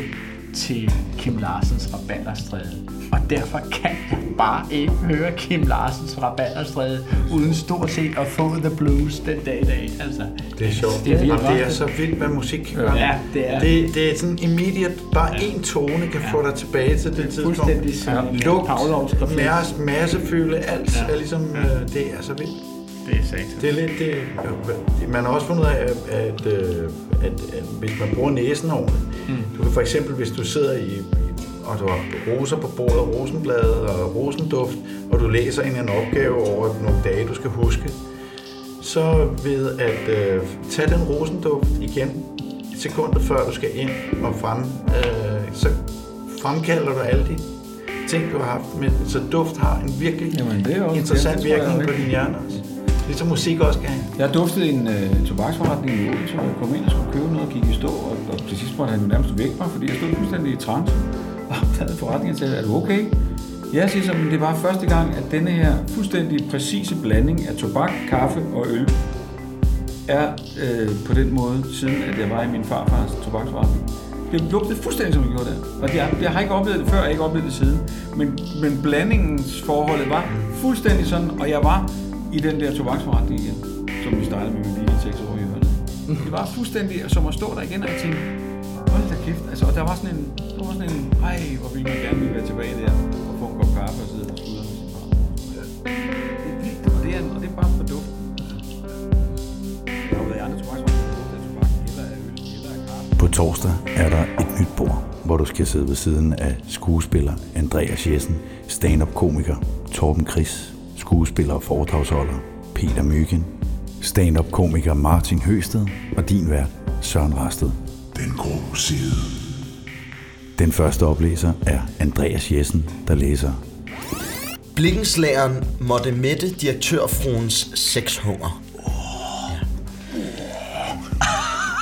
[SPEAKER 10] til Kim Larsens Rabalderstræde. Og derfor kan jeg bare ikke høre Kim Larsens Rabalderstræde, uden stort set at få the blues den dag i dag. Altså,
[SPEAKER 7] Det er sjovt.
[SPEAKER 10] Det er,
[SPEAKER 7] Jamen,
[SPEAKER 10] virkelig-
[SPEAKER 7] det er så vildt, hvad musik kan
[SPEAKER 10] Ja.
[SPEAKER 7] gøre.
[SPEAKER 10] Ja, det er.
[SPEAKER 7] Det, det er sådan immediate, bare én tone kan få dig tilbage til det tidspunkt.
[SPEAKER 10] Fuldstændig sådan en
[SPEAKER 7] Lugt,
[SPEAKER 10] Pavlovsk refleks.
[SPEAKER 7] masse, massefylde, alt
[SPEAKER 10] Ja.
[SPEAKER 7] er ligesom, øh, det er så vildt.
[SPEAKER 10] Det er sagt.
[SPEAKER 7] Det er lidt, det, øh, man har også fundet ud af, at, at, øh, at, at hvis man bruger næsen ordentligt, mm. du kan for eksempel, hvis du sidder i, og du har roser på bordet, rosenblade og rosenduft, og du læser en eller anden opgave over nogle dage, du skal huske, så ved at øh, tage den rosenduft igen, sekundet før du skal ind og frem, øh, så fremkalder du alle de ting, du har haft. Med, så duft har en virkelig Jamen,
[SPEAKER 6] det er også-
[SPEAKER 7] interessant
[SPEAKER 6] det tror jeg
[SPEAKER 7] virkning på
[SPEAKER 6] virkelig.
[SPEAKER 7] din hjerne også. Ligesom musik også kan have.
[SPEAKER 6] Jeg duftede en øh, tobaksforretning i Odense, og jeg kom ind og skulle købe noget, og gik i stå, og, og til sidst måtte han jo nærmest væk mig, fordi jeg stod fuldstændig i trance. Og opdagede forretningen og sagde, er du okay? Jeg siger som det var første gang, at denne her fuldstændig præcise blanding af tobak, kaffe og øl er øh, på den måde, siden at jeg var i min farfars tobaksforretning. Det lugtede fuldstændig, som det gjorde der. Og jeg, jeg har ikke oplevet det før, og jeg har ikke oplevet det siden. Men, men blandingens forholdet var fuldstændig sådan, og jeg var i den der tobaksforretning igen, som vi startede med min lille seks år i hjørnet. Det var fuldstændig som at stå der igen, og jeg tænkte, hold da kæft. Altså, og der var sådan en, der var sådan en, ej, hvor ville man gerne lige være tilbage der, og få en kop kaffe og sidde og sludre med sin far. Det er vildt, og det er, og det er bare en produkt. Jeg har jo været i andre tobaksforretninger, hvor det er tobak, eller er øl, eller er kaffe.
[SPEAKER 2] På torsdag er der et nyt bord, hvor du skal sidde ved siden af skuespiller Andreas Jessen, stand-up-komiker Torben Chris, skuespiller og foredragsholder Peter Myggen, stand-up-komiker Martin Høsted og din vært Søren Rasted. Den grå side. Den første oplæser er Andreas Jessen, der læser
[SPEAKER 18] Blikkenslageren måtte mætte direktørfruens sexhunger.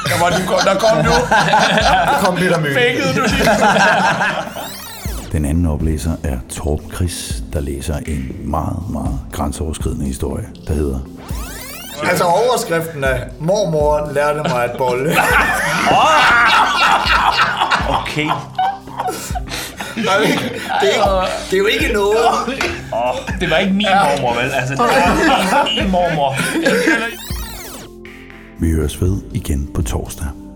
[SPEAKER 16] Der, var, du kom, der kom nu.
[SPEAKER 18] Der kom Peter Møn.
[SPEAKER 16] Fækkede du lige.
[SPEAKER 2] Den anden oplæser er Torben Chris, der læser en meget, meget grænseoverskridende historie, der hedder
[SPEAKER 18] Altså overskriften er, mormor lærte mig at bolle.
[SPEAKER 16] Okay.
[SPEAKER 18] Nej, det er ikke- det, er ikke, det er jo ikke noget.
[SPEAKER 17] Oh, det var ikke min mormor, vel? Altså, det var en mormor.
[SPEAKER 2] Vi høres ved igen på torsdag.